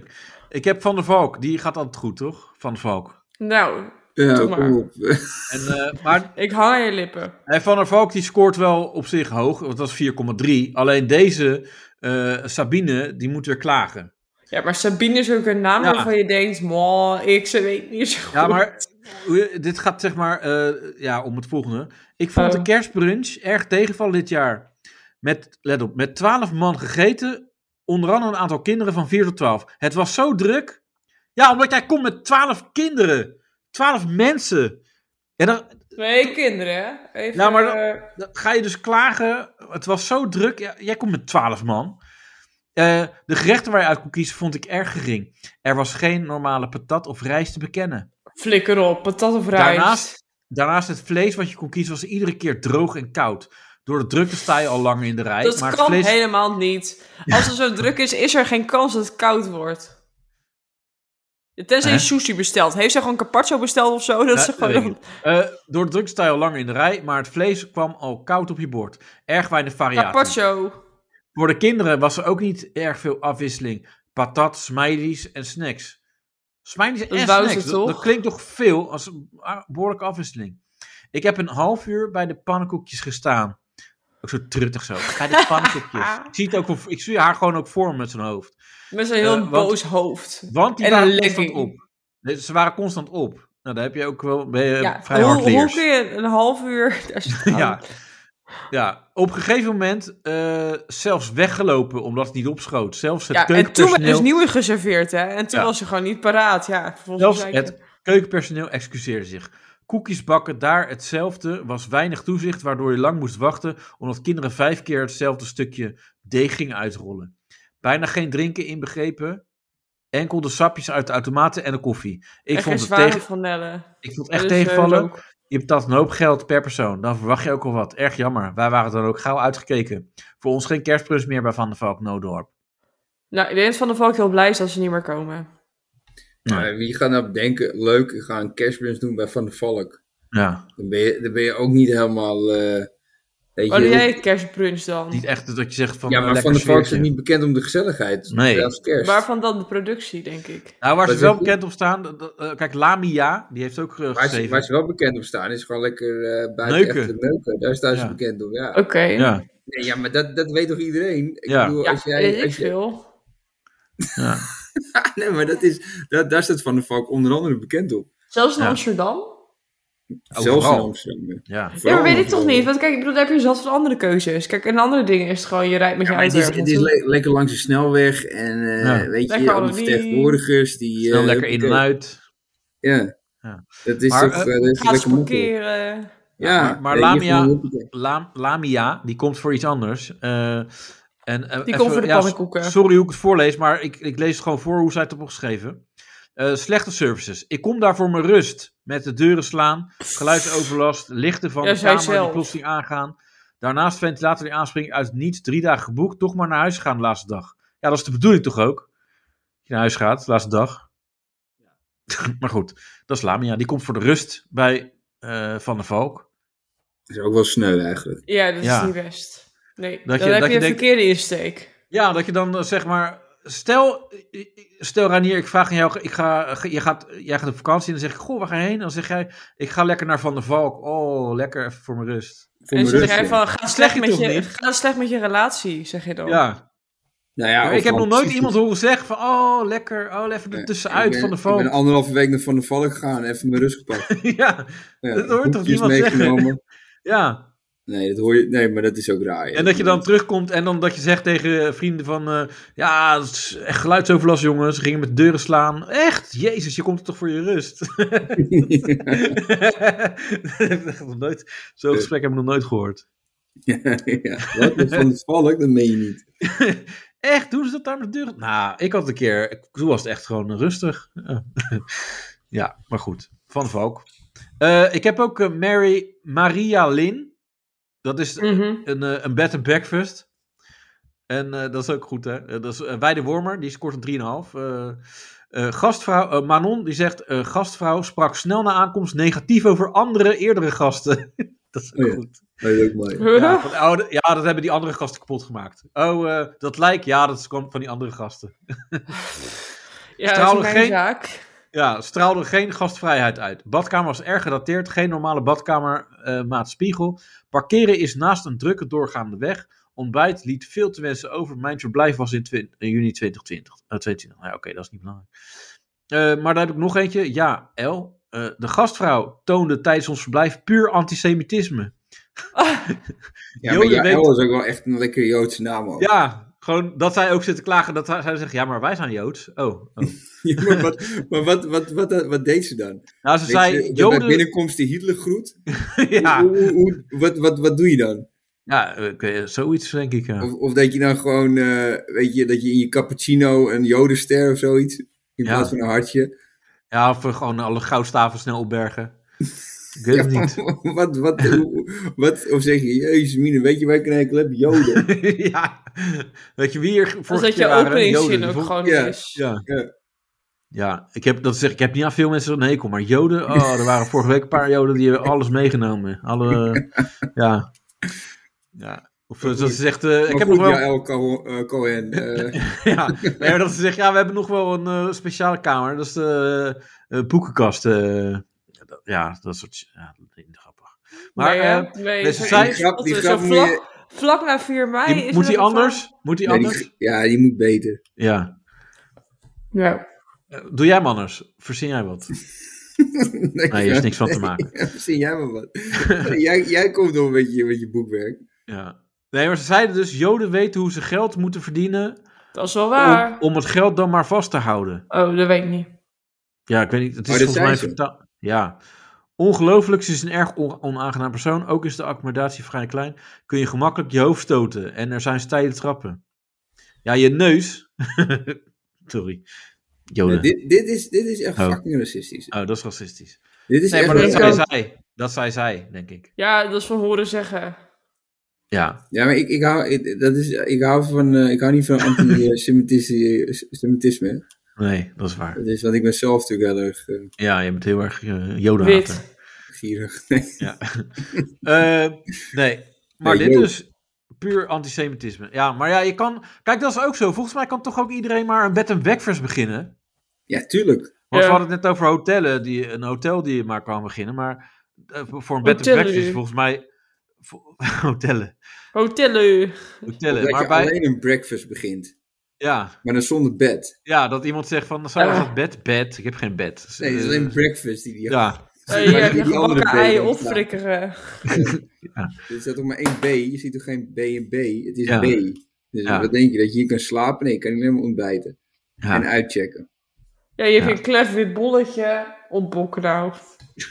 [SPEAKER 2] ik heb Van der Valk. Die gaat altijd goed, toch? Van der Valk.
[SPEAKER 4] Nou,
[SPEAKER 3] Ja,
[SPEAKER 4] Doe maar.
[SPEAKER 3] kom op.
[SPEAKER 2] En, eh, maar
[SPEAKER 4] ik hang aan je lippen.
[SPEAKER 2] En Van der Valk die scoort wel op zich hoog, want dat is 4,3. Alleen deze eh, Sabine, die moet weer klagen.
[SPEAKER 4] Ja, maar Sabine is ook een naam
[SPEAKER 2] Ja.
[SPEAKER 4] waarvan je denkt... "Mwah, ik ze weet niet zo goed.
[SPEAKER 2] Ja, maar hoe- dit gaat zeg maar eh, ja, om het volgende. Ik vond de
[SPEAKER 4] Oh.
[SPEAKER 2] kerstbrunch erg tegenvallen dit jaar. Met, let op, met 12 man gegeten, onder andere een aantal kinderen van 4 tot 12. Het was zo druk. Ja, omdat jij komt met 12 kinderen. 12 mensen. En dan,
[SPEAKER 4] Twee kinderen, hè?
[SPEAKER 2] Ja,
[SPEAKER 4] Even,
[SPEAKER 2] Nou, maar dat-
[SPEAKER 4] eh,
[SPEAKER 2] Dan ga je dus klagen. Het was zo druk. Ja, jij komt met 12 man. Eh, de gerechten waar je uit kon kiezen vond ik erg gering. Er was geen normale patat of rijst te bekennen.
[SPEAKER 4] flikker op, patat of rijst.
[SPEAKER 2] Daarnaast- Daarnaast het vlees wat je kon kiezen was iedere keer droog en koud. Door de drukte sta je al langer in de rij.
[SPEAKER 4] dat
[SPEAKER 2] maar het
[SPEAKER 4] kan
[SPEAKER 2] vlees...
[SPEAKER 4] helemaal niet. Als het zo druk is, is er geen kans dat het koud wordt. Tenzij je
[SPEAKER 2] Hè?
[SPEAKER 4] sushi bestelt. Heeft zij gewoon carpaccio besteld of zo? Dat
[SPEAKER 2] Ja,
[SPEAKER 4] ze
[SPEAKER 2] dat weet ik
[SPEAKER 4] gewoon...
[SPEAKER 2] niet. Eh, door de drukte sta je al langer in de rij, maar het vlees kwam al koud op je bord. Erg weinig variatie.
[SPEAKER 4] Carpaccio.
[SPEAKER 2] Voor de kinderen was er ook niet erg veel afwisseling. Patat, smileys en snacks. Smileys en
[SPEAKER 4] Dat wou ze
[SPEAKER 2] snacks, dat,
[SPEAKER 4] toch?
[SPEAKER 2] dat klinkt toch veel als een a- behoorlijke afwisseling. Ik heb een half uur bij de pannenkoekjes gestaan. Ook zo truttig zo. Bij de pannenkoekjes. ik, zie het ook, wel- ik zie haar gewoon ook voor me met zijn hoofd.
[SPEAKER 4] Met zo'n heel
[SPEAKER 2] Eh, want-
[SPEAKER 4] boos hoofd.
[SPEAKER 2] Want die
[SPEAKER 4] En
[SPEAKER 2] waren
[SPEAKER 4] een
[SPEAKER 2] constant
[SPEAKER 4] legging.
[SPEAKER 2] op. Nee, Ze waren constant op. Nou, daar heb je ook wel ben je
[SPEAKER 4] Ja,
[SPEAKER 2] vrij hard
[SPEAKER 4] hoe, hoe kun je een half uur daar staan?
[SPEAKER 2] Eh, ja. ja, op een gegeven moment eh, zelfs weggelopen omdat het niet opschoot. Zelfs het
[SPEAKER 4] Ja, en toen werd
[SPEAKER 2] keukenpersoneel...
[SPEAKER 4] dus nieuwe geserveerd, hè? En toen
[SPEAKER 2] Ja.
[SPEAKER 4] was ze gewoon niet paraat, ja. Volgens
[SPEAKER 2] Zelfs het keukenpersoneel excuseerde zich. Koekjes bakken daar hetzelfde was weinig toezicht, waardoor je lang moest wachten omdat kinderen vijf keer hetzelfde stukje deeg gingen uitrollen. Bijna geen drinken inbegrepen, enkel de sapjes uit de automaten en de koffie. Ik, vond, het tegen,
[SPEAKER 4] van Nellen.
[SPEAKER 2] ik vond het echt
[SPEAKER 4] Dus, eh,
[SPEAKER 2] tegenvallen.
[SPEAKER 4] ook.
[SPEAKER 2] Je betaalt een hoop geld per persoon, dan verwacht je ook al wat. Erg jammer, wij waren dan ook gauw uitgekeken. Voor ons geen kerstprins meer bij Van der Valk Noodorp.
[SPEAKER 4] Nou, ik denk dat Van der Valk heel blij is dat ze niet meer komen.
[SPEAKER 3] Maar wie gaat nou bedenken, leuk, ik ga een cashbrunch doen bij Van der Valk.
[SPEAKER 2] Ja,
[SPEAKER 3] Dan ben je, dan ben je ook niet helemaal... eh weet
[SPEAKER 4] Waar
[SPEAKER 3] je,
[SPEAKER 4] doe jij kerstbrunch dan?
[SPEAKER 2] niet echt dat je zegt van
[SPEAKER 3] ja,
[SPEAKER 2] eh,
[SPEAKER 3] maar
[SPEAKER 2] lekker
[SPEAKER 3] Van der Valk is
[SPEAKER 2] sfeertje.
[SPEAKER 3] niet bekend om de gezelligheid.
[SPEAKER 2] Nee.
[SPEAKER 3] Ja, Als kerst.
[SPEAKER 4] Waarvan dan de productie, denk ik.
[SPEAKER 2] Nou, waar
[SPEAKER 3] Wat
[SPEAKER 2] ze wel
[SPEAKER 3] is-
[SPEAKER 2] bekend op staan, dat- dat, eh, kijk, Lamia, die heeft ook eh,
[SPEAKER 3] Waar ze,
[SPEAKER 2] geschreven.
[SPEAKER 3] waar ze wel bekend om staan, is gewoon lekker eh buiten
[SPEAKER 2] Neuken.
[SPEAKER 3] echt neuken. Daar staan ze
[SPEAKER 2] Ja.
[SPEAKER 3] bekend om, ja.
[SPEAKER 4] Oké. Ja,
[SPEAKER 2] ja,
[SPEAKER 3] Nee, ja, maar dat, dat weet toch iedereen? Ik
[SPEAKER 2] Ja.
[SPEAKER 3] bedoel, als jij,
[SPEAKER 4] weet ik
[SPEAKER 3] als je-
[SPEAKER 4] veel.
[SPEAKER 2] ja.
[SPEAKER 3] nee, maar dat is, dat, daar staat Van der Valk onder andere bekend op.
[SPEAKER 4] Zelfs in
[SPEAKER 2] Ja.
[SPEAKER 4] Amsterdam?
[SPEAKER 3] Zelfs in
[SPEAKER 2] Overal.
[SPEAKER 3] Amsterdam. ja.
[SPEAKER 2] ja.
[SPEAKER 4] Ja, maar
[SPEAKER 3] Vooral
[SPEAKER 4] weet ik
[SPEAKER 3] in
[SPEAKER 4] toch
[SPEAKER 3] Amsterdam.
[SPEAKER 4] niet. Want kijk, ik bedoel, daar heb je zat van andere keuzes. Kijk, in andere dingen is het gewoon, je rijdt met je
[SPEAKER 3] Ja, maar het
[SPEAKER 4] auto
[SPEAKER 3] is,
[SPEAKER 4] ergens
[SPEAKER 3] het is
[SPEAKER 4] naartoe.
[SPEAKER 3] le- lekker langs de snelweg en eh,
[SPEAKER 2] Ja.
[SPEAKER 3] weet
[SPEAKER 4] Lekker
[SPEAKER 3] je, allemaal
[SPEAKER 4] anoniem.
[SPEAKER 3] vertegenwoordigers die...
[SPEAKER 2] Snel
[SPEAKER 3] eh,
[SPEAKER 2] lekker in en
[SPEAKER 3] hoppakee.
[SPEAKER 2] uit.
[SPEAKER 3] Ja.
[SPEAKER 2] Ja.
[SPEAKER 3] Dat is
[SPEAKER 2] Maar,
[SPEAKER 3] toch
[SPEAKER 2] eh,
[SPEAKER 3] eh, dat is
[SPEAKER 4] Gaat ze
[SPEAKER 3] lekker makkelijk.
[SPEAKER 4] parkeren.
[SPEAKER 3] Ja,
[SPEAKER 2] Maar- maar
[SPEAKER 3] weet je,
[SPEAKER 2] Lamia-
[SPEAKER 3] gewoon hoppakee.
[SPEAKER 2] Lam, Lamia, die komt voor iets anders. Eh, en, eh,
[SPEAKER 4] Die
[SPEAKER 2] even-
[SPEAKER 4] komt voor de
[SPEAKER 2] ja,
[SPEAKER 4] pannenkoeken.
[SPEAKER 2] Sorry hoe ik het voorlees, maar ik, ik lees het gewoon voor hoe zij het hebben geschreven. Eh, slechte services. Ik kom daar voor mijn rust. Met de deuren slaan, geluidsoverlast, lichten van
[SPEAKER 4] Ja,
[SPEAKER 2] de
[SPEAKER 4] zij
[SPEAKER 2] kamer die
[SPEAKER 4] zelf.
[SPEAKER 2] plotseling aangaan. Daarnaast ventilator die aanspringt uit het niets. Drie dagen geboekt, toch maar naar huis gaan de laatste dag. Ja, dat is de bedoeling toch ook? Dat je naar huis gaat, de laatste dag. maar goed, dat is Lamia. Die komt voor de rust bij eh, Van der Valk.
[SPEAKER 3] Dat is ook wel sneu eigenlijk.
[SPEAKER 4] Ja, dat
[SPEAKER 2] Ja.
[SPEAKER 4] is niet best. Nee,
[SPEAKER 2] Dat je-
[SPEAKER 4] dan heb
[SPEAKER 2] dat
[SPEAKER 4] je
[SPEAKER 2] je
[SPEAKER 4] een
[SPEAKER 2] denkt-
[SPEAKER 4] verkeerde insteek.
[SPEAKER 2] Ja, dat je dan eh, zeg maar. Stel, eh, eh, stel Ranier, ik vraag aan jou. Ik ga, ge- je gaat, jij gaat op vakantie en dan zeg ik: Goh, waar ga je heen? Dan zeg jij: Ik ga lekker naar Van der Valk. Oh, lekker even voor mijn rust.
[SPEAKER 3] Voor
[SPEAKER 4] En
[SPEAKER 3] mijn
[SPEAKER 4] zeg
[SPEAKER 3] rust,
[SPEAKER 4] jij
[SPEAKER 3] ja.
[SPEAKER 4] van, ga
[SPEAKER 2] zeg
[SPEAKER 4] slecht,
[SPEAKER 2] je
[SPEAKER 4] met
[SPEAKER 2] toch
[SPEAKER 4] je,
[SPEAKER 2] niet?
[SPEAKER 4] ga slecht met je relatie, zeg je dan.
[SPEAKER 2] Ja.
[SPEAKER 3] Nou ja,
[SPEAKER 2] Maar ik
[SPEAKER 3] of
[SPEAKER 2] heb nog
[SPEAKER 3] wel-
[SPEAKER 2] nooit iemand horen zeggen: van, Oh, lekker. Oh, even er
[SPEAKER 3] Ik
[SPEAKER 2] tussenuit
[SPEAKER 3] ben-
[SPEAKER 2] Van der
[SPEAKER 3] Ik ben
[SPEAKER 2] Valk.
[SPEAKER 3] anderhalve week naar Van der Valk gegaan en even mijn rust gepakt.
[SPEAKER 2] ja,
[SPEAKER 3] Ja,
[SPEAKER 2] Dat hoort toch
[SPEAKER 3] koekjes
[SPEAKER 2] niemand zeggen?
[SPEAKER 3] meegenomen.
[SPEAKER 2] ja.
[SPEAKER 3] Nee, dat hoor je, nee, maar dat is ook raar. ja.
[SPEAKER 2] En dat je dan terugkomt en dan dat je zegt tegen eh, vrienden van... eh, ja, het is echt geluidsoverlast, jongens. Ze gingen met deuren slaan. Echt? Jezus, je komt er toch voor je rust? Dat heb ik echt nog nooit- Zo'n gesprek heb ik nog nooit gehoord.
[SPEAKER 3] ja, ja. Wat? Dat Van de valk? Dat meen je niet.
[SPEAKER 2] Echt? Doen ze dat daar met deuren? Nou, ik had een keer... ik- Toen was het echt gewoon rustig. ja, maar goed. Van de Valk. Eh, ik heb ook eh, Mary Maria Lin. Dat
[SPEAKER 3] Mm.
[SPEAKER 2] is
[SPEAKER 4] Mhm.
[SPEAKER 2] een, eh, een bed and breakfast. En eh, dat is ook goed, hè? Eh, dat is eh, Weide Wormer, die scoort een 3,5. Eh, eh, gastvrouw eh, Manon, die zegt... eh, gastvrouw sprak snel na aankomst negatief over andere eerdere gasten. dat is ook
[SPEAKER 3] Oh ja.
[SPEAKER 2] goed.
[SPEAKER 3] Dat is ook mooi.
[SPEAKER 2] Ja, van, oh, d- ja, dat hebben die andere gasten kapot gemaakt. Oh, eh, dat lijk, ja, dat kwam van die andere gasten.
[SPEAKER 4] Ja, dat is
[SPEAKER 2] Trouwens,
[SPEAKER 4] mijn
[SPEAKER 2] geen-
[SPEAKER 4] zaak.
[SPEAKER 2] Ja, straalde geen gastvrijheid uit. Badkamer was erg gedateerd, geen normale badkamer, eh, maat spiegel. Parkeren is naast een drukke doorgaande weg. Ontbijt liet veel te wensen over. Mijn verblijf was in, twin- in juni 2020. Eh, 22. Nou ja, Oké, dat is niet belangrijk. Eh, maar daar heb ik nog eentje. Ja, L. Eh, de gastvrouw toonde tijdens ons verblijf puur antisemitisme.
[SPEAKER 3] Ja,
[SPEAKER 2] Joden
[SPEAKER 3] maar Jaël
[SPEAKER 2] weet-
[SPEAKER 3] is ook wel echt een lekkere Joodse naam ook.
[SPEAKER 2] Ja, gewoon dat zij ook zitten klagen. Dat zij zij zegt, ja, maar wij zijn Joods. Oh, oh.
[SPEAKER 3] Ja, maar wat, maar wat, wat, wat, wat deed ze dan?
[SPEAKER 2] Nou, ze
[SPEAKER 3] Weet
[SPEAKER 2] zei,
[SPEAKER 3] je, dat bij
[SPEAKER 2] Joden...
[SPEAKER 3] binnenkomst de Hitler groet?
[SPEAKER 2] ja,
[SPEAKER 3] Hoe, hoe- hoe- wat, wat, wat doe je dan?
[SPEAKER 2] ja, eh, zoiets denk ik, ja.
[SPEAKER 3] Of, of dat je dan gewoon, eh, weet je, dat je in je cappuccino een jodenster of zoiets, in
[SPEAKER 2] Ja.
[SPEAKER 3] plaats van een hartje.
[SPEAKER 2] Ja, of we gewoon alle goudstaven snel opbergen. Ik weet het niet.
[SPEAKER 3] wat, wat, hoe- wat, of zeg je, jezus mine, weet je waar ik een hekel heb? Joden.
[SPEAKER 2] ja. Weet je wie hier
[SPEAKER 4] Dus
[SPEAKER 2] vorige
[SPEAKER 4] dat
[SPEAKER 2] keer
[SPEAKER 4] je
[SPEAKER 2] waren? Joden.
[SPEAKER 4] openingszin
[SPEAKER 2] De
[SPEAKER 4] ook
[SPEAKER 2] vol-
[SPEAKER 4] gewoon
[SPEAKER 3] Ja.
[SPEAKER 4] is.
[SPEAKER 2] Ja.
[SPEAKER 3] Ja.
[SPEAKER 2] ja. ik heb dat zeg ik heb niet aan veel mensen een hekel, maar Joden, oh, er waren vorige week een paar Joden die hebben alles meegenomen. Alle, ja. ja. Of eh, dat ze zegt, eh, ik
[SPEAKER 3] maar
[SPEAKER 2] heb
[SPEAKER 3] goed,
[SPEAKER 2] nog wel,
[SPEAKER 3] Jaël Co- eh, Cohen. eh,
[SPEAKER 2] ja, nee, maar dat ze zegt, ja, we hebben nog wel een eh, speciale kamer, dat is de eh, eh, boekenkast. eh. ja, dat soort, ja, dat is niet grappig. Maar,
[SPEAKER 4] Nee, hè?
[SPEAKER 2] eh,
[SPEAKER 4] nee,
[SPEAKER 2] dus
[SPEAKER 4] zo-
[SPEAKER 2] zij-
[SPEAKER 3] die grap, die
[SPEAKER 4] zo
[SPEAKER 3] grap moet je-
[SPEAKER 4] vlak, vlak na 4 mei
[SPEAKER 2] Die-
[SPEAKER 4] is
[SPEAKER 2] moet
[SPEAKER 4] er
[SPEAKER 2] hij
[SPEAKER 4] nog een
[SPEAKER 2] anders? Moet hij
[SPEAKER 3] nee, die
[SPEAKER 2] anders?
[SPEAKER 3] g- ja, die moet beter.
[SPEAKER 2] Ja.
[SPEAKER 4] vraag. Ja.
[SPEAKER 2] Eh, Doe jij hem anders? Verzin jij wat?
[SPEAKER 3] nee,
[SPEAKER 2] Nee, hier is niks van te maken.
[SPEAKER 3] Zie jij maar wat. jij, jij komt door met je, met je boekwerk.
[SPEAKER 2] Ja. Nee, maar ze zeiden dus, Joden weten hoe ze geld moeten verdienen
[SPEAKER 4] Dat is wel
[SPEAKER 2] om,
[SPEAKER 4] waar.
[SPEAKER 2] om het geld dan maar vast te houden.
[SPEAKER 4] Oh, dat weet ik niet.
[SPEAKER 2] Ja, ik weet niet, het is
[SPEAKER 3] Oh, dat
[SPEAKER 2] volgens mij
[SPEAKER 3] zei ze.
[SPEAKER 2] vertaald. Ja. Ongelooflijk, ze is een erg on- onaangenaam persoon. Ook is de accommodatie vrij klein. Kun je gemakkelijk je hoofd stoten en er zijn steile trappen. Ja, je neus. Sorry.
[SPEAKER 3] Ja,
[SPEAKER 2] Joden.
[SPEAKER 3] dit, dit, is, dit is echt
[SPEAKER 2] Oh.
[SPEAKER 3] fucking racistisch.
[SPEAKER 2] Oh, dat is racistisch.
[SPEAKER 3] Dit is
[SPEAKER 2] Nee,
[SPEAKER 3] echt
[SPEAKER 2] maar dat
[SPEAKER 4] ik
[SPEAKER 2] zei
[SPEAKER 3] racistisch.
[SPEAKER 4] ook.
[SPEAKER 2] zij. Dat zei zij, denk ik.
[SPEAKER 4] Ja, dat is van horen zeggen.
[SPEAKER 2] Ja.
[SPEAKER 3] Ja, maar ik, ik, hou, ik- dat is, ik, hou van, eh, ik hou niet van antisemitisme.
[SPEAKER 2] Nee, dat is waar.
[SPEAKER 3] Dat is, want ik ben zelf natuurlijk heel erg eh,
[SPEAKER 2] Ja, je bent heel erg eh, Yoda. hater.
[SPEAKER 4] Wit.
[SPEAKER 3] gierig. Nee.
[SPEAKER 2] Ja. Eh, nee, maar
[SPEAKER 3] Nee,
[SPEAKER 2] dit
[SPEAKER 3] yo.
[SPEAKER 2] is puur antisemitisme. Ja, maar ja, je kan... Kijk, dat is ook zo. Volgens mij kan toch ook iedereen maar een bed and breakfast beginnen.
[SPEAKER 3] Ja, tuurlijk.
[SPEAKER 2] Want
[SPEAKER 4] Ja.
[SPEAKER 2] we hadden het net over hotellen, die, een hotel die je maar kan beginnen. Maar eh, voor een bed and
[SPEAKER 4] Hotellen.
[SPEAKER 2] breakfast is volgens mij... vo- hotellen.
[SPEAKER 4] Hotelu.
[SPEAKER 2] Hotellen.
[SPEAKER 3] Dat je
[SPEAKER 2] Maar bij,
[SPEAKER 3] alleen een breakfast begint,
[SPEAKER 2] ja,
[SPEAKER 3] maar dan zonder bed.
[SPEAKER 2] ja, dat iemand zegt van, zou je
[SPEAKER 4] Ah.
[SPEAKER 2] dat bed? Bed. Ik heb geen bed. Dus,
[SPEAKER 3] Nee, het is
[SPEAKER 2] eh,
[SPEAKER 3] alleen breakfast die die
[SPEAKER 2] Ja,
[SPEAKER 4] Eh,
[SPEAKER 3] Maar
[SPEAKER 4] ja,
[SPEAKER 3] die-
[SPEAKER 4] die
[SPEAKER 3] die andere
[SPEAKER 4] gebakken
[SPEAKER 3] beelden
[SPEAKER 4] eieren
[SPEAKER 3] ontstaan.
[SPEAKER 4] opfrikkeren.
[SPEAKER 3] Er staat toch maar één B? Je ziet toch geen B en B? Het is
[SPEAKER 2] Ja.
[SPEAKER 3] B. Dus
[SPEAKER 2] Ja.
[SPEAKER 3] wat denk je? Dat je hier kan slapen? Nee, je kan alleen maar ontbijten. En
[SPEAKER 2] ja.
[SPEAKER 3] uitchecken.
[SPEAKER 4] Ja, je hebt
[SPEAKER 2] Ja.
[SPEAKER 4] een klef wit bolletje. Ontbokken nou.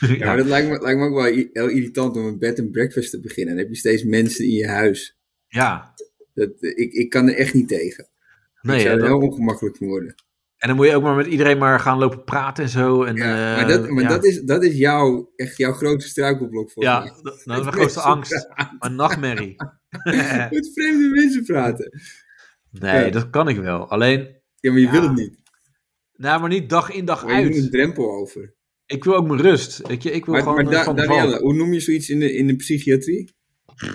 [SPEAKER 3] Ja, maar dat lijkt me, lijkt me ook wel i- heel irritant om een bed en breakfast te beginnen. Dan heb je steeds mensen in je huis.
[SPEAKER 2] ja.
[SPEAKER 3] Dat, eh, ik, ik kan er echt niet tegen.
[SPEAKER 2] Nee,
[SPEAKER 3] ik zou
[SPEAKER 2] hè,
[SPEAKER 3] er
[SPEAKER 2] dat-
[SPEAKER 3] heel ongemakkelijk van worden.
[SPEAKER 2] En dan moet je ook maar met iedereen maar gaan lopen praten en zo. En,
[SPEAKER 3] Ja,
[SPEAKER 2] eh,
[SPEAKER 3] maar dat, maar
[SPEAKER 2] ja.
[SPEAKER 3] dat is, dat is jouw, echt jouw grootste struikelblok voor
[SPEAKER 2] Ja,
[SPEAKER 3] mij.
[SPEAKER 2] dat, dat is mijn grootste angst. Een nachtmerrie. eh.
[SPEAKER 3] Met vreemde mensen praten.
[SPEAKER 2] nee,
[SPEAKER 3] Ja.
[SPEAKER 2] dat kan ik wel. Alleen,
[SPEAKER 3] Ja, maar je
[SPEAKER 2] Ja,
[SPEAKER 3] wil het niet.
[SPEAKER 2] nou, maar niet dag in dag
[SPEAKER 3] Maar je doet een
[SPEAKER 2] uit.
[SPEAKER 3] drempel over.
[SPEAKER 2] Ik wil ook mijn rust. Ik, ik wil
[SPEAKER 3] Maar,
[SPEAKER 2] gewoon
[SPEAKER 3] maar
[SPEAKER 2] eh,
[SPEAKER 3] Da-
[SPEAKER 2] van de
[SPEAKER 3] Danielle,
[SPEAKER 2] valk.
[SPEAKER 3] hoe noem je zoiets in de, in de psychiatrie?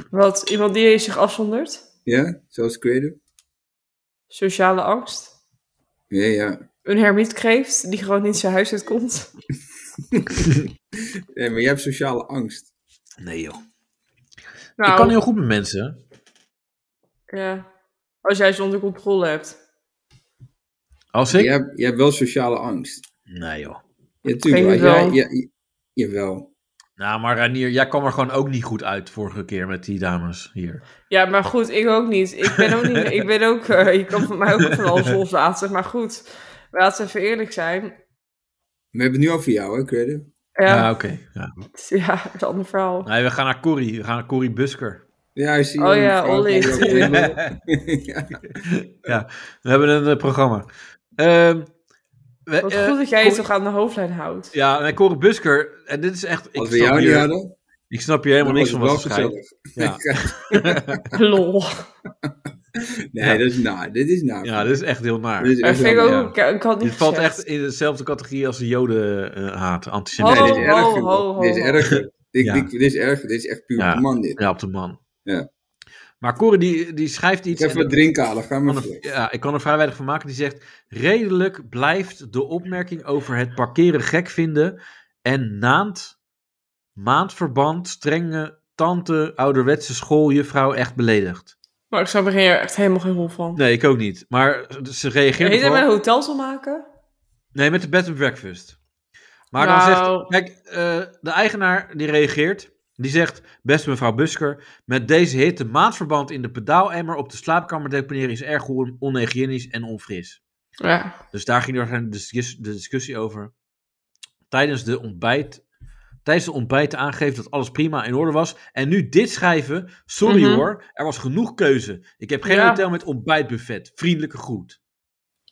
[SPEAKER 4] Wat, iemand die zich afzondert?
[SPEAKER 3] Ja, zoals Creator?
[SPEAKER 4] Sociale angst?
[SPEAKER 3] Ja, ja.
[SPEAKER 4] Een hermietkreeft die gewoon niet zijn huis uitkomt?
[SPEAKER 3] Nee, maar jij hebt sociale angst.
[SPEAKER 2] Nee joh.
[SPEAKER 4] Nou,
[SPEAKER 2] Ik kan heel goed met mensen.
[SPEAKER 4] ja. Als jij ze onder controle hebt.
[SPEAKER 2] Als ik?
[SPEAKER 3] Jij, hebt, jij hebt wel sociale angst.
[SPEAKER 2] Nee joh.
[SPEAKER 3] Ja, tuurlijk.
[SPEAKER 4] Denk
[SPEAKER 3] wel.
[SPEAKER 4] het
[SPEAKER 3] Jij-
[SPEAKER 4] wel.
[SPEAKER 3] jij- j- jawel.
[SPEAKER 2] Nou, maar Ranier, jij kwam er gewoon ook niet goed uit vorige keer met die dames hier.
[SPEAKER 4] Ja, maar goed, ik ook niet. Ik ben ook niet. ik ben ook. eh, je kan van mij ook van alles loslaten. Maar goed, laten we even eerlijk zijn.
[SPEAKER 3] We hebben het nu over jou, hè, Credit?
[SPEAKER 2] Ja,
[SPEAKER 4] Ja,
[SPEAKER 2] oké. Ja.
[SPEAKER 4] ja, het is een ander verhaal.
[SPEAKER 2] Nee, we gaan naar Corrie. We gaan naar Corrie Busker.
[SPEAKER 3] Ja, ik zie
[SPEAKER 4] Oh
[SPEAKER 2] Nou,
[SPEAKER 3] wel een
[SPEAKER 4] ja,
[SPEAKER 3] vrouw
[SPEAKER 4] Olly.
[SPEAKER 3] die ook dribbelen. ja.
[SPEAKER 2] Ja, we hebben een eh, programma. Ehm, we,
[SPEAKER 4] Wat
[SPEAKER 2] eh,
[SPEAKER 4] goed dat jij je
[SPEAKER 2] Corrie-
[SPEAKER 4] toch aan de hoofdlijn houdt.
[SPEAKER 2] Ja, nee, Corrie Busker. En dit is echt... Ik
[SPEAKER 3] Als we jou
[SPEAKER 2] snap,
[SPEAKER 3] niet
[SPEAKER 2] hier,
[SPEAKER 3] hadden,
[SPEAKER 2] ik snap hier helemaal
[SPEAKER 3] dan was
[SPEAKER 2] niks
[SPEAKER 3] het
[SPEAKER 2] van
[SPEAKER 3] wel
[SPEAKER 2] wat ze schrijft.
[SPEAKER 3] gezellig.
[SPEAKER 2] Ja.
[SPEAKER 4] Lol.
[SPEAKER 3] Nee, dat is naar. Dit is naar.
[SPEAKER 2] ja, dit is echt heel naar.
[SPEAKER 3] Dit is
[SPEAKER 4] Dat
[SPEAKER 3] echt
[SPEAKER 4] vind ik
[SPEAKER 3] wel-
[SPEAKER 4] ook.
[SPEAKER 2] Ja.
[SPEAKER 4] Ik kan- ik kan niet
[SPEAKER 2] Dit valt
[SPEAKER 4] gezegd.
[SPEAKER 2] echt in dezelfde categorie als de joden eh, haat,
[SPEAKER 3] Nee,
[SPEAKER 2] antisemitisme.
[SPEAKER 3] dit is
[SPEAKER 4] Ho,
[SPEAKER 3] erger.
[SPEAKER 4] ho, ho,
[SPEAKER 3] dit is
[SPEAKER 4] ho.
[SPEAKER 3] erger. Dit,
[SPEAKER 2] Ja.
[SPEAKER 3] dit, dit is erger. Dit is echt puur
[SPEAKER 2] Ja.
[SPEAKER 3] man dit.
[SPEAKER 2] Ja, op de man.
[SPEAKER 3] Ja.
[SPEAKER 2] Maar Corrie die, die schrijft iets...
[SPEAKER 3] Ik even
[SPEAKER 2] en-
[SPEAKER 3] wat drinken halen. Ga maar
[SPEAKER 2] kan
[SPEAKER 3] voor.
[SPEAKER 2] er, ja, ik kan er vrij weinig van maken. Die zegt: Redelijk blijft de opmerking over het parkeren gek vinden. En naand maandverband, strenge tante, ouderwetse schooljuffrouw echt beledigd.
[SPEAKER 4] Maar ik zou beginnen echt helemaal geen rol van.
[SPEAKER 2] Nee, ik ook niet. Maar ze
[SPEAKER 4] Heeft
[SPEAKER 2] reageert.
[SPEAKER 4] het met
[SPEAKER 2] wel-
[SPEAKER 4] een hotel te maken?
[SPEAKER 2] Nee, met de bed and breakfast. Maar
[SPEAKER 4] Nou.
[SPEAKER 2] dan zegt, kijk, eh, de eigenaar die reageert, die zegt, beste mevrouw Busker, met deze hitte maandverband in de pedaalemmer op de slaapkamer deponeren is erg on- onhygiënisch en onfris.
[SPEAKER 4] Ja.
[SPEAKER 2] Dus daar ging er een discus- de discussie over. Tijdens de ontbijt. Tijdens de ontbijt aangeven dat alles prima in orde was. En nu dit schrijven. Sorry
[SPEAKER 4] Mhm.
[SPEAKER 2] hoor, er was genoeg keuze. Ik heb geen
[SPEAKER 4] Ja.
[SPEAKER 2] hotel met ontbijtbuffet. Vriendelijke groet.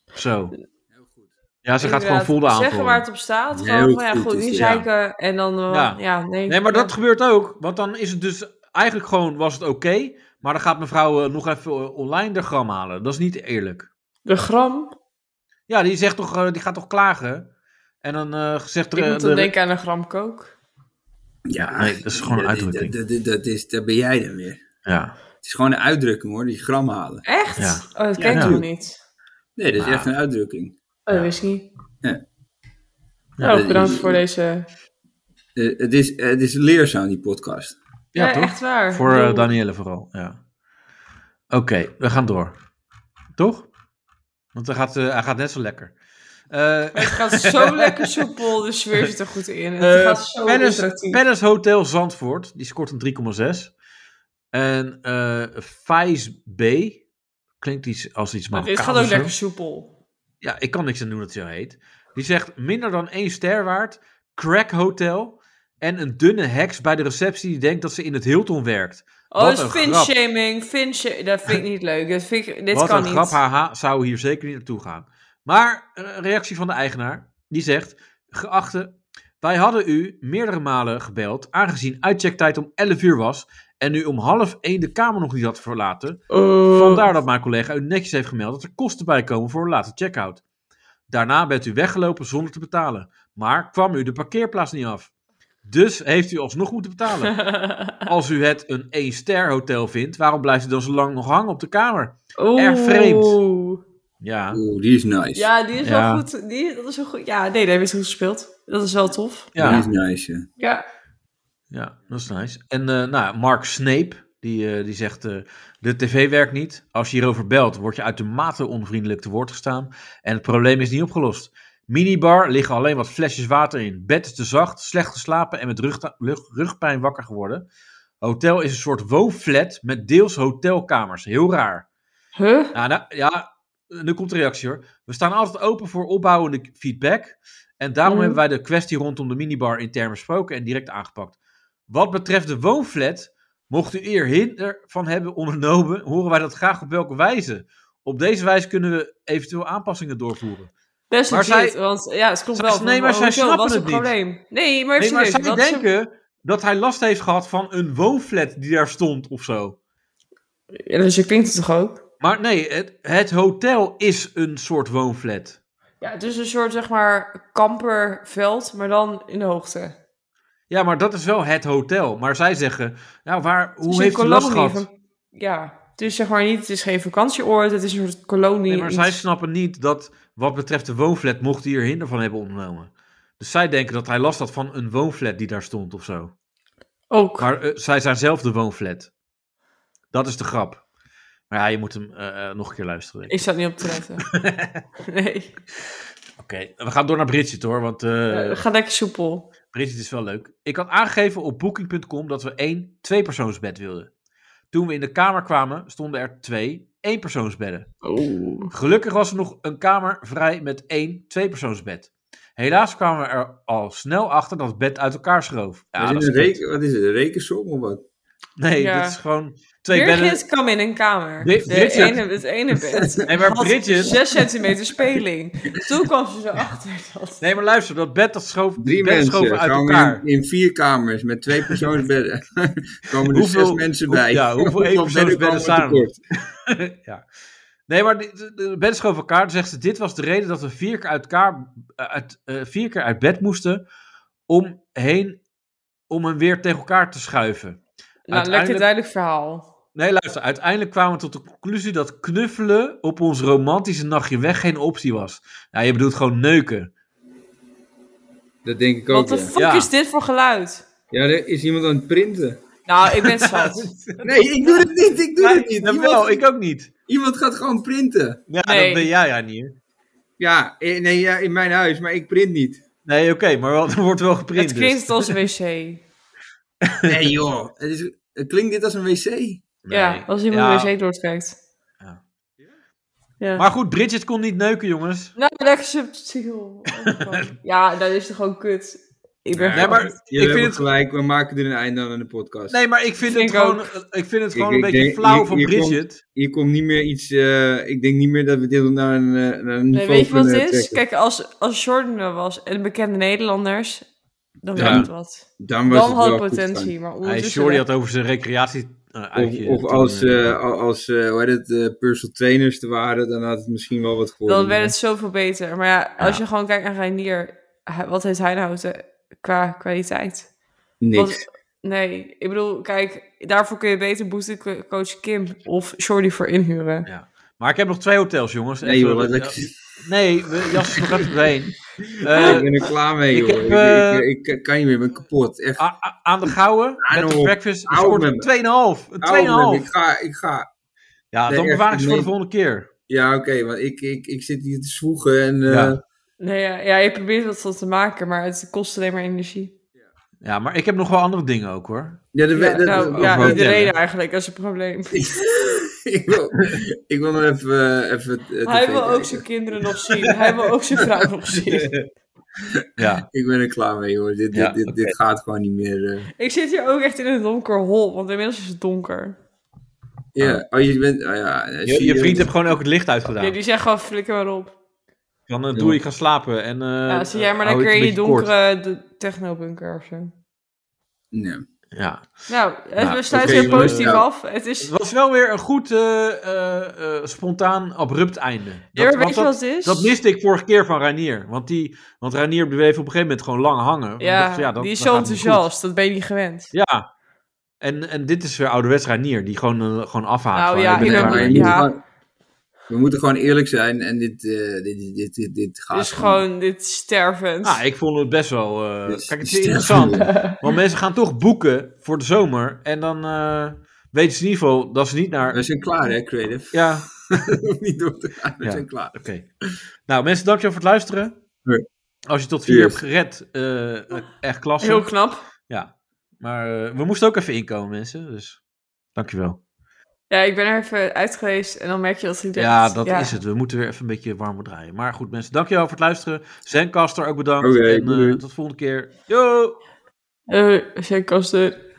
[SPEAKER 2] Zo.
[SPEAKER 3] Heel goed.
[SPEAKER 2] Ja, ze gaat gewoon
[SPEAKER 4] Inderdaad,
[SPEAKER 2] voelde
[SPEAKER 4] Zeggen waar
[SPEAKER 2] aanvallen.
[SPEAKER 4] het op staat.
[SPEAKER 3] Heel
[SPEAKER 4] Gewoon, maar ja,
[SPEAKER 3] goed dus
[SPEAKER 4] goed,
[SPEAKER 3] is
[SPEAKER 4] nu
[SPEAKER 3] dit,
[SPEAKER 4] zei
[SPEAKER 2] ja.
[SPEAKER 4] ik eh, en dan... eh,
[SPEAKER 2] Ja.
[SPEAKER 4] ja. nee.
[SPEAKER 2] Nee, maar
[SPEAKER 4] ja.
[SPEAKER 2] dat gebeurt ook. Want dan is het dus eigenlijk gewoon, was het oké. maar dan gaat mevrouw eh, nog even eh, online de gram halen. Dat is niet eerlijk.
[SPEAKER 4] De gram.
[SPEAKER 2] Ja, die, zegt toch, eh, die gaat toch klagen. En dan eh zegt er...
[SPEAKER 4] Ik
[SPEAKER 2] eh,
[SPEAKER 4] moet dan
[SPEAKER 2] de-
[SPEAKER 4] denken aan een gram kook.
[SPEAKER 3] Ja,
[SPEAKER 2] Nee, dat is gewoon een
[SPEAKER 3] dat-
[SPEAKER 2] uitdrukking.
[SPEAKER 3] Dat, dat, dat is, dat ben jij dan weer.
[SPEAKER 2] Ja.
[SPEAKER 3] Het is gewoon een uitdrukking hoor, die gram halen.
[SPEAKER 4] Echt?
[SPEAKER 2] Ja.
[SPEAKER 4] Oh, dat ken ik
[SPEAKER 3] Ja.
[SPEAKER 4] nog niet.
[SPEAKER 3] Nee, dat is
[SPEAKER 2] Maar-
[SPEAKER 3] echt een uitdrukking.
[SPEAKER 4] Oh,
[SPEAKER 2] Ja.
[SPEAKER 4] dat wist ik niet.
[SPEAKER 3] Ja.
[SPEAKER 4] Nou,
[SPEAKER 3] Ja,
[SPEAKER 4] bedankt
[SPEAKER 3] dat is-
[SPEAKER 4] voor deze...
[SPEAKER 3] Eh, het, is, eh, het is leerzaam, die podcast.
[SPEAKER 4] Ja,
[SPEAKER 2] Ja, toch?
[SPEAKER 4] echt waar.
[SPEAKER 2] Voor
[SPEAKER 4] Ik
[SPEAKER 2] eh,
[SPEAKER 4] bedoel-
[SPEAKER 2] Danielle vooral, ja. Oké, we gaan door. Toch? Want hij gaat, eh, hij gaat net zo lekker. Eh
[SPEAKER 4] Het gaat zo lekker soepel, de sfeer zit er goed in. Het
[SPEAKER 2] eh,
[SPEAKER 4] gaat zo
[SPEAKER 2] Palace-
[SPEAKER 4] interactief.
[SPEAKER 2] Palace Hotel Zandvoort, die scoort een 3,6. En eh Faiz B, klinkt iets als iets
[SPEAKER 4] Maar
[SPEAKER 2] Marokkaans.
[SPEAKER 4] dit gaat ook
[SPEAKER 2] of zo.
[SPEAKER 4] lekker soepel.
[SPEAKER 2] Ja, ik kan niks aan doen dat het zo heet. Die zegt minder dan één ster waard, crack hotel en een dunne heks bij de receptie die denkt dat ze in het Hilton werkt.
[SPEAKER 4] Oh,
[SPEAKER 2] Wat
[SPEAKER 4] dat is
[SPEAKER 2] een grap.
[SPEAKER 4] finshaming. Finsha- dat vind ik niet leuk. Dat vind ik, dit
[SPEAKER 2] Wat
[SPEAKER 4] kan
[SPEAKER 2] een
[SPEAKER 4] niet.
[SPEAKER 2] grap, haha, zou hier zeker niet naartoe gaan. Maar eh, reactie van de eigenaar, die zegt... Geachte, wij hadden u meerdere malen gebeld... aangezien uitchecktijd om 11 uur was... en u om half 1 de kamer nog niet had verlaten.
[SPEAKER 4] Oh.
[SPEAKER 2] Vandaar dat mijn collega u netjes heeft gemeld... dat er kosten bij komen voor een late checkout. Daarna bent u weggelopen zonder te betalen. Maar kwam u de parkeerplaats niet af. Dus heeft u alsnog moeten betalen. Als u het een 1-ster hotel vindt... waarom blijft u dan zo lang nog hangen op de kamer?
[SPEAKER 4] Oeh.
[SPEAKER 2] Erg vreemd. Ja.
[SPEAKER 3] Oeh, die is nice.
[SPEAKER 4] Ja, die is
[SPEAKER 2] Ja.
[SPEAKER 4] wel goed. Die, dat is wel goed. Ja, nee, daar heeft goed gespeeld. Dat is wel tof.
[SPEAKER 3] Die
[SPEAKER 2] Ja,
[SPEAKER 3] is nice, ja.
[SPEAKER 4] Ja.
[SPEAKER 2] ja, dat is nice. En eh, nou, Mark Snape, die, eh, die zegt: eh, De tv werkt niet. Als je hierover belt, word je uitermate onvriendelijk te woord gestaan. En het probleem is niet opgelost. Minibar liggen alleen wat flesjes water in. Bed is te zacht, slecht geslapen en met rugta- lug- rugpijn wakker geworden. Hotel is een soort woonflat met deels hotelkamers. Heel raar.
[SPEAKER 4] Huh?
[SPEAKER 2] Ja, nou, ja, nu komt de reactie hoor. We staan altijd open voor opbouwende feedback. En daarom
[SPEAKER 4] Mhm.
[SPEAKER 2] hebben wij de kwestie rondom de minibar intern besproken en direct aangepakt. Wat betreft de woonflat, mocht u eer hinder van hebben ondernomen, horen wij dat graag op welke wijze. Op deze wijze kunnen we eventueel aanpassingen doorvoeren.
[SPEAKER 4] Best
[SPEAKER 2] Maar
[SPEAKER 4] maar
[SPEAKER 2] zij-
[SPEAKER 4] want ja, het klopt
[SPEAKER 2] zij-
[SPEAKER 4] wel.
[SPEAKER 2] nee,
[SPEAKER 4] van,
[SPEAKER 2] maar
[SPEAKER 4] oh,
[SPEAKER 2] zij
[SPEAKER 4] hoezo?
[SPEAKER 2] snappen
[SPEAKER 4] Wat is
[SPEAKER 2] het niet.
[SPEAKER 4] probleem? Nee, maar,
[SPEAKER 2] Nee, maar
[SPEAKER 4] serieus,
[SPEAKER 2] zij
[SPEAKER 4] wat is er-
[SPEAKER 2] denken dat hij last heeft gehad van een woonflat die daar stond of zo.
[SPEAKER 4] Ja, dus je klinkt het toch ook?
[SPEAKER 2] Maar nee, het, het hotel is een soort woonflat.
[SPEAKER 4] Ja, het is een soort, zeg maar, kamperveld, maar dan in de hoogte.
[SPEAKER 2] Ja, maar dat is wel het hotel. Maar zij zeggen, nou, waar,
[SPEAKER 4] Het is
[SPEAKER 2] hoe
[SPEAKER 4] een
[SPEAKER 2] heeft u last
[SPEAKER 4] kolonie
[SPEAKER 2] gehad?
[SPEAKER 4] van- Ja, het is zeg maar niet, het is geen vakantieoord, het is een soort kolonie.
[SPEAKER 2] Nee, maar zij
[SPEAKER 4] iets.
[SPEAKER 2] snappen niet dat wat betreft de woonflat mocht hij er hinder van hebben ondernomen. Dus zij denken dat hij last had van een woonflat die daar stond of zo.
[SPEAKER 4] Ook.
[SPEAKER 2] Maar eh, zij zijn zelf de woonflat. Dat is de grap. Maar ja, je moet hem eh, eh, nog een keer luisteren. denk ik.
[SPEAKER 4] Ik zat niet op te letten. nee,
[SPEAKER 2] Oké, we gaan door naar Bridget hoor, want eh,
[SPEAKER 4] Eh, ga lekker soepel.
[SPEAKER 2] Bridget is wel leuk. Ik had aangegeven op booking.com dat we één tweepersoonsbed wilden. Toen we in de kamer kwamen, stonden er twee eenpersoonsbedden.
[SPEAKER 4] Oh.
[SPEAKER 2] Gelukkig was er nog een kamer vrij met één tweepersoonsbed. Helaas kwamen we er al snel achter dat het bed uit elkaar schoof. Ja,
[SPEAKER 3] is
[SPEAKER 2] dat
[SPEAKER 3] dit een
[SPEAKER 2] is kut.
[SPEAKER 3] reken- wat is het, een rekensom of wat?
[SPEAKER 2] Nee,
[SPEAKER 4] Ja.
[SPEAKER 2] dit is gewoon twee bedden.
[SPEAKER 4] Birgit kwam in een kamer.
[SPEAKER 2] Bi-
[SPEAKER 4] de
[SPEAKER 2] Bridget.
[SPEAKER 4] ene, het ene bed.
[SPEAKER 2] Nee, maar
[SPEAKER 4] Had
[SPEAKER 2] Bridget-
[SPEAKER 4] 6 centimeter speling. Toen kwam ze erachter dat...
[SPEAKER 2] Nee, maar luister, dat bed dat schoof,
[SPEAKER 3] Drie
[SPEAKER 2] bed
[SPEAKER 3] mensen
[SPEAKER 2] schoof uit
[SPEAKER 3] gewoon
[SPEAKER 2] elkaar.
[SPEAKER 3] in, in vier kamers met twee persoonsbedden. komen er zes mensen
[SPEAKER 2] hoe-
[SPEAKER 3] bij.
[SPEAKER 2] ja, hoeveel
[SPEAKER 3] bedden
[SPEAKER 2] eenpersoonsbedden
[SPEAKER 3] komen er
[SPEAKER 2] staan er?
[SPEAKER 3] tekort?
[SPEAKER 2] ja. Nee, maar de, de, de bed schoof elkaar. Toen zegt ze, dit was de reden dat we vier keer uit, elkaar, uit, eh, vier keer uit bed moesten om, heen, om hem weer tegen elkaar te schuiven.
[SPEAKER 4] Nou, lekker
[SPEAKER 2] Uiteindelijk-
[SPEAKER 4] duidelijk verhaal.
[SPEAKER 2] Nee, luister, uiteindelijk kwamen we tot de conclusie dat knuffelen op ons romantische nachtje weg geen optie was. Ja, je bedoelt gewoon neuken.
[SPEAKER 3] Dat denk ik ook.
[SPEAKER 4] Wat de
[SPEAKER 3] Ja.
[SPEAKER 4] fuck
[SPEAKER 2] Ja.
[SPEAKER 4] is dit voor geluid?
[SPEAKER 3] ja, er is iemand aan het printen.
[SPEAKER 4] Nou, ik ben zat.
[SPEAKER 3] Nee, ik doe het niet. Ik doe het niet.
[SPEAKER 2] Nee,
[SPEAKER 3] Iemand,
[SPEAKER 2] wel, ik ook niet.
[SPEAKER 3] iemand gaat gewoon printen.
[SPEAKER 2] Ja,
[SPEAKER 4] Nee.
[SPEAKER 2] dat ben jij, Ranier.
[SPEAKER 3] Ja, eh, nee, ja, in mijn huis, maar ik print niet.
[SPEAKER 2] Nee, oké, maar wel, er wordt wel geprint.
[SPEAKER 4] Het
[SPEAKER 2] dus.
[SPEAKER 4] klinkt als een wc.
[SPEAKER 3] Nee joh, het is, het klinkt dit als een wc?
[SPEAKER 2] Nee.
[SPEAKER 4] Ja, als iemand wc doortrekt.
[SPEAKER 2] Ja.
[SPEAKER 4] Ja.
[SPEAKER 2] Maar goed, Bridget kon niet neuken, jongens.
[SPEAKER 4] Nou, lekker subtiel. ja, dat is toch gewoon kut. Ik ben
[SPEAKER 2] Nee, maar
[SPEAKER 4] gewoon-
[SPEAKER 3] Jullie
[SPEAKER 2] ik vind
[SPEAKER 3] hebben
[SPEAKER 2] het
[SPEAKER 3] gelijk, we maken er een einde aan aan de podcast.
[SPEAKER 2] Nee, maar ik vind,
[SPEAKER 4] Vind
[SPEAKER 2] het,
[SPEAKER 4] ik
[SPEAKER 2] gewoon, ik vind het gewoon
[SPEAKER 3] Ik-
[SPEAKER 2] een
[SPEAKER 3] ik
[SPEAKER 2] beetje
[SPEAKER 3] denk-
[SPEAKER 2] flauw
[SPEAKER 3] hier-
[SPEAKER 2] van
[SPEAKER 3] hier komt-
[SPEAKER 2] Bridget.
[SPEAKER 3] Hier komt niet meer iets, eh, ik denk niet meer dat we dit naar een, eh, naar een
[SPEAKER 4] Nee,
[SPEAKER 3] niveau
[SPEAKER 4] weet je wat
[SPEAKER 3] kunnen
[SPEAKER 4] het is?
[SPEAKER 3] trekken.
[SPEAKER 4] Kijk, als, als Jordan er was en bekende Nederlanders, dan
[SPEAKER 3] Ja.
[SPEAKER 4] werd het wat.
[SPEAKER 3] Dan, was
[SPEAKER 4] Dan
[SPEAKER 3] het
[SPEAKER 4] had
[SPEAKER 3] wel goed
[SPEAKER 4] het potentie, maar
[SPEAKER 2] Hij
[SPEAKER 4] ondertussen...
[SPEAKER 2] Shorty had over zijn recreatie eh,
[SPEAKER 3] gaan.
[SPEAKER 2] uitje.
[SPEAKER 3] Of, of
[SPEAKER 2] toen,
[SPEAKER 3] als,
[SPEAKER 2] eh,
[SPEAKER 3] eh, al- als eh, hoe heet het, eh, personal trainers te waren, dan had het misschien wel wat geworden.
[SPEAKER 4] Dan werd het zoveel beter. Maar ja, als je gewoon kijkt naar Reinier, hij- wat heeft hij nou te, qua kwaliteit?
[SPEAKER 3] Niks.
[SPEAKER 4] Want- nee, ik bedoel, kijk, daarvoor kun je beter boetecoach Kim of Shorty voor inhuren.
[SPEAKER 2] Maar ik heb nog twee hotels, jongens.
[SPEAKER 3] Nee joh,
[SPEAKER 2] Even-
[SPEAKER 3] wat lekker.
[SPEAKER 2] Nee, we jassen nog even doorheen.
[SPEAKER 3] ik
[SPEAKER 2] Eh,
[SPEAKER 3] ben er klaar mee,
[SPEAKER 2] ik
[SPEAKER 3] joh.
[SPEAKER 2] heb, eh,
[SPEAKER 3] ik, ik, ik kan niet meer, ik ben kapot. Echt.
[SPEAKER 4] Ah,
[SPEAKER 2] a- a- aan de Gouwen,
[SPEAKER 3] Aan
[SPEAKER 2] met de
[SPEAKER 3] op.
[SPEAKER 2] breakfast,
[SPEAKER 3] Hou
[SPEAKER 2] scoort
[SPEAKER 3] hem.
[SPEAKER 2] een 2,5.
[SPEAKER 3] Oude,
[SPEAKER 2] Een
[SPEAKER 3] ik
[SPEAKER 2] 2,5.
[SPEAKER 3] ga, ik ga.
[SPEAKER 2] Ja,
[SPEAKER 3] Nee,
[SPEAKER 2] dan
[SPEAKER 3] echt,
[SPEAKER 2] bewaar ik ze voor
[SPEAKER 3] nee.
[SPEAKER 2] de volgende keer.
[SPEAKER 3] Ja, oké, want ik, ik, ik zit hier te zwoegen en... eh,
[SPEAKER 2] Ja.
[SPEAKER 4] Nee, ja, ja, je probeert wat van te maken, maar het kost alleen maar energie.
[SPEAKER 2] Ja, maar ik heb nog wel andere dingen ook, hoor.
[SPEAKER 3] Ja, de,
[SPEAKER 4] Ja,
[SPEAKER 3] dat-
[SPEAKER 4] nou,
[SPEAKER 3] dat-
[SPEAKER 4] ja,
[SPEAKER 2] wel
[SPEAKER 4] iedereen
[SPEAKER 2] tellen.
[SPEAKER 4] eigenlijk, dat is het probleem.
[SPEAKER 3] ik, wil, ik wil nog even... eh, even eh,
[SPEAKER 4] Hij
[SPEAKER 3] tv
[SPEAKER 4] wil ook
[SPEAKER 3] kijken.
[SPEAKER 4] zijn kinderen nog zien. Hij wil ook zijn vrouw nog zien.
[SPEAKER 2] Ja,
[SPEAKER 3] Ik ben er klaar mee, hoor. Dit,
[SPEAKER 2] Ja,
[SPEAKER 3] dit, dit, dit gaat gewoon niet meer. eh.
[SPEAKER 4] Ik zit hier ook echt in een donker hol, want inmiddels is het donker.
[SPEAKER 3] Ja, oh, je bent... Oh, ja, eh,
[SPEAKER 2] Ah. je,
[SPEAKER 3] zie
[SPEAKER 2] je vriend
[SPEAKER 3] hem.
[SPEAKER 2] heeft gewoon ook het licht uitgedaan.
[SPEAKER 4] Ja, die zegt gewoon flikker maar op.
[SPEAKER 2] Dan eh, doe ik gaan slapen en... eh,
[SPEAKER 4] Ja, zie jij maar
[SPEAKER 2] hou
[SPEAKER 4] lekker
[SPEAKER 2] het
[SPEAKER 4] in
[SPEAKER 2] een
[SPEAKER 4] je
[SPEAKER 2] beetje kort.
[SPEAKER 4] donkere de- technobunker of zo.
[SPEAKER 3] Nee.
[SPEAKER 2] Ja,
[SPEAKER 4] Nou, eh,
[SPEAKER 2] Nou,
[SPEAKER 4] we sluiten
[SPEAKER 2] oké,
[SPEAKER 4] weer positief
[SPEAKER 3] eh,
[SPEAKER 4] af. Het is...
[SPEAKER 2] Het was wel weer een goed, eh, eh, eh, spontaan, abrupt einde.
[SPEAKER 4] Ja, maar
[SPEAKER 2] want
[SPEAKER 4] weet je wat het is?
[SPEAKER 2] dat miste ik vorige keer van Rainier. Want, die, want Rainier bleef op een gegeven moment gewoon lang hangen. Ik
[SPEAKER 4] Ja,
[SPEAKER 2] dacht, ja, dat-
[SPEAKER 4] die is
[SPEAKER 2] dat
[SPEAKER 4] zo
[SPEAKER 2] gaat niet
[SPEAKER 4] enthousiast. Dat ben je niet gewend.
[SPEAKER 2] goed. Ja. En, en dit is weer ouderwets Rainier, die gewoon, eh, gewoon afhaakt.
[SPEAKER 4] Nou
[SPEAKER 2] Gewoon,
[SPEAKER 4] ja,
[SPEAKER 2] ik ben
[SPEAKER 4] ik
[SPEAKER 2] er
[SPEAKER 4] ben-
[SPEAKER 2] klaar
[SPEAKER 3] maar
[SPEAKER 2] mee.
[SPEAKER 3] je moet
[SPEAKER 4] ja.
[SPEAKER 3] gewoon- we moeten gewoon eerlijk zijn en dit, eh, dit, dit, dit, dit, dit gaat
[SPEAKER 4] Dus gewoon dit stervend.
[SPEAKER 2] Ah, ik vond het best wel... eh,
[SPEAKER 3] Dit is-
[SPEAKER 2] kijk, het
[SPEAKER 3] dit
[SPEAKER 2] is
[SPEAKER 3] is
[SPEAKER 2] interessant. Want mensen gaan toch boeken voor de zomer. En dan eh, weten ze in ieder geval dat ze niet naar...
[SPEAKER 3] We zijn klaar, hè, Creative?
[SPEAKER 2] Ja,
[SPEAKER 3] Hoef niet door te gaan, we
[SPEAKER 2] Ja.
[SPEAKER 3] zijn klaar.
[SPEAKER 2] Oké. Nou, mensen, dankjewel voor het luisteren.
[SPEAKER 3] Ja.
[SPEAKER 2] Als je tot vier
[SPEAKER 3] Yes.
[SPEAKER 2] hebt gered, eh, eh, echt klasse.
[SPEAKER 4] Heel knap.
[SPEAKER 2] Ja. Maar eh, we moesten ook even inkomen, mensen. Dus dankjewel.
[SPEAKER 4] Ja, ik ben er even uit geweest en dan merk je dat hij denkt,
[SPEAKER 2] Ja, dat is het. We moeten weer even een beetje warm draaien. Maar goed, mensen, dankjewel voor het luisteren. Zencaster ook bedankt.
[SPEAKER 3] Oké,
[SPEAKER 2] en eh,
[SPEAKER 3] doei.
[SPEAKER 2] tot de volgende keer. Yo!
[SPEAKER 4] Eh, zijn kasten.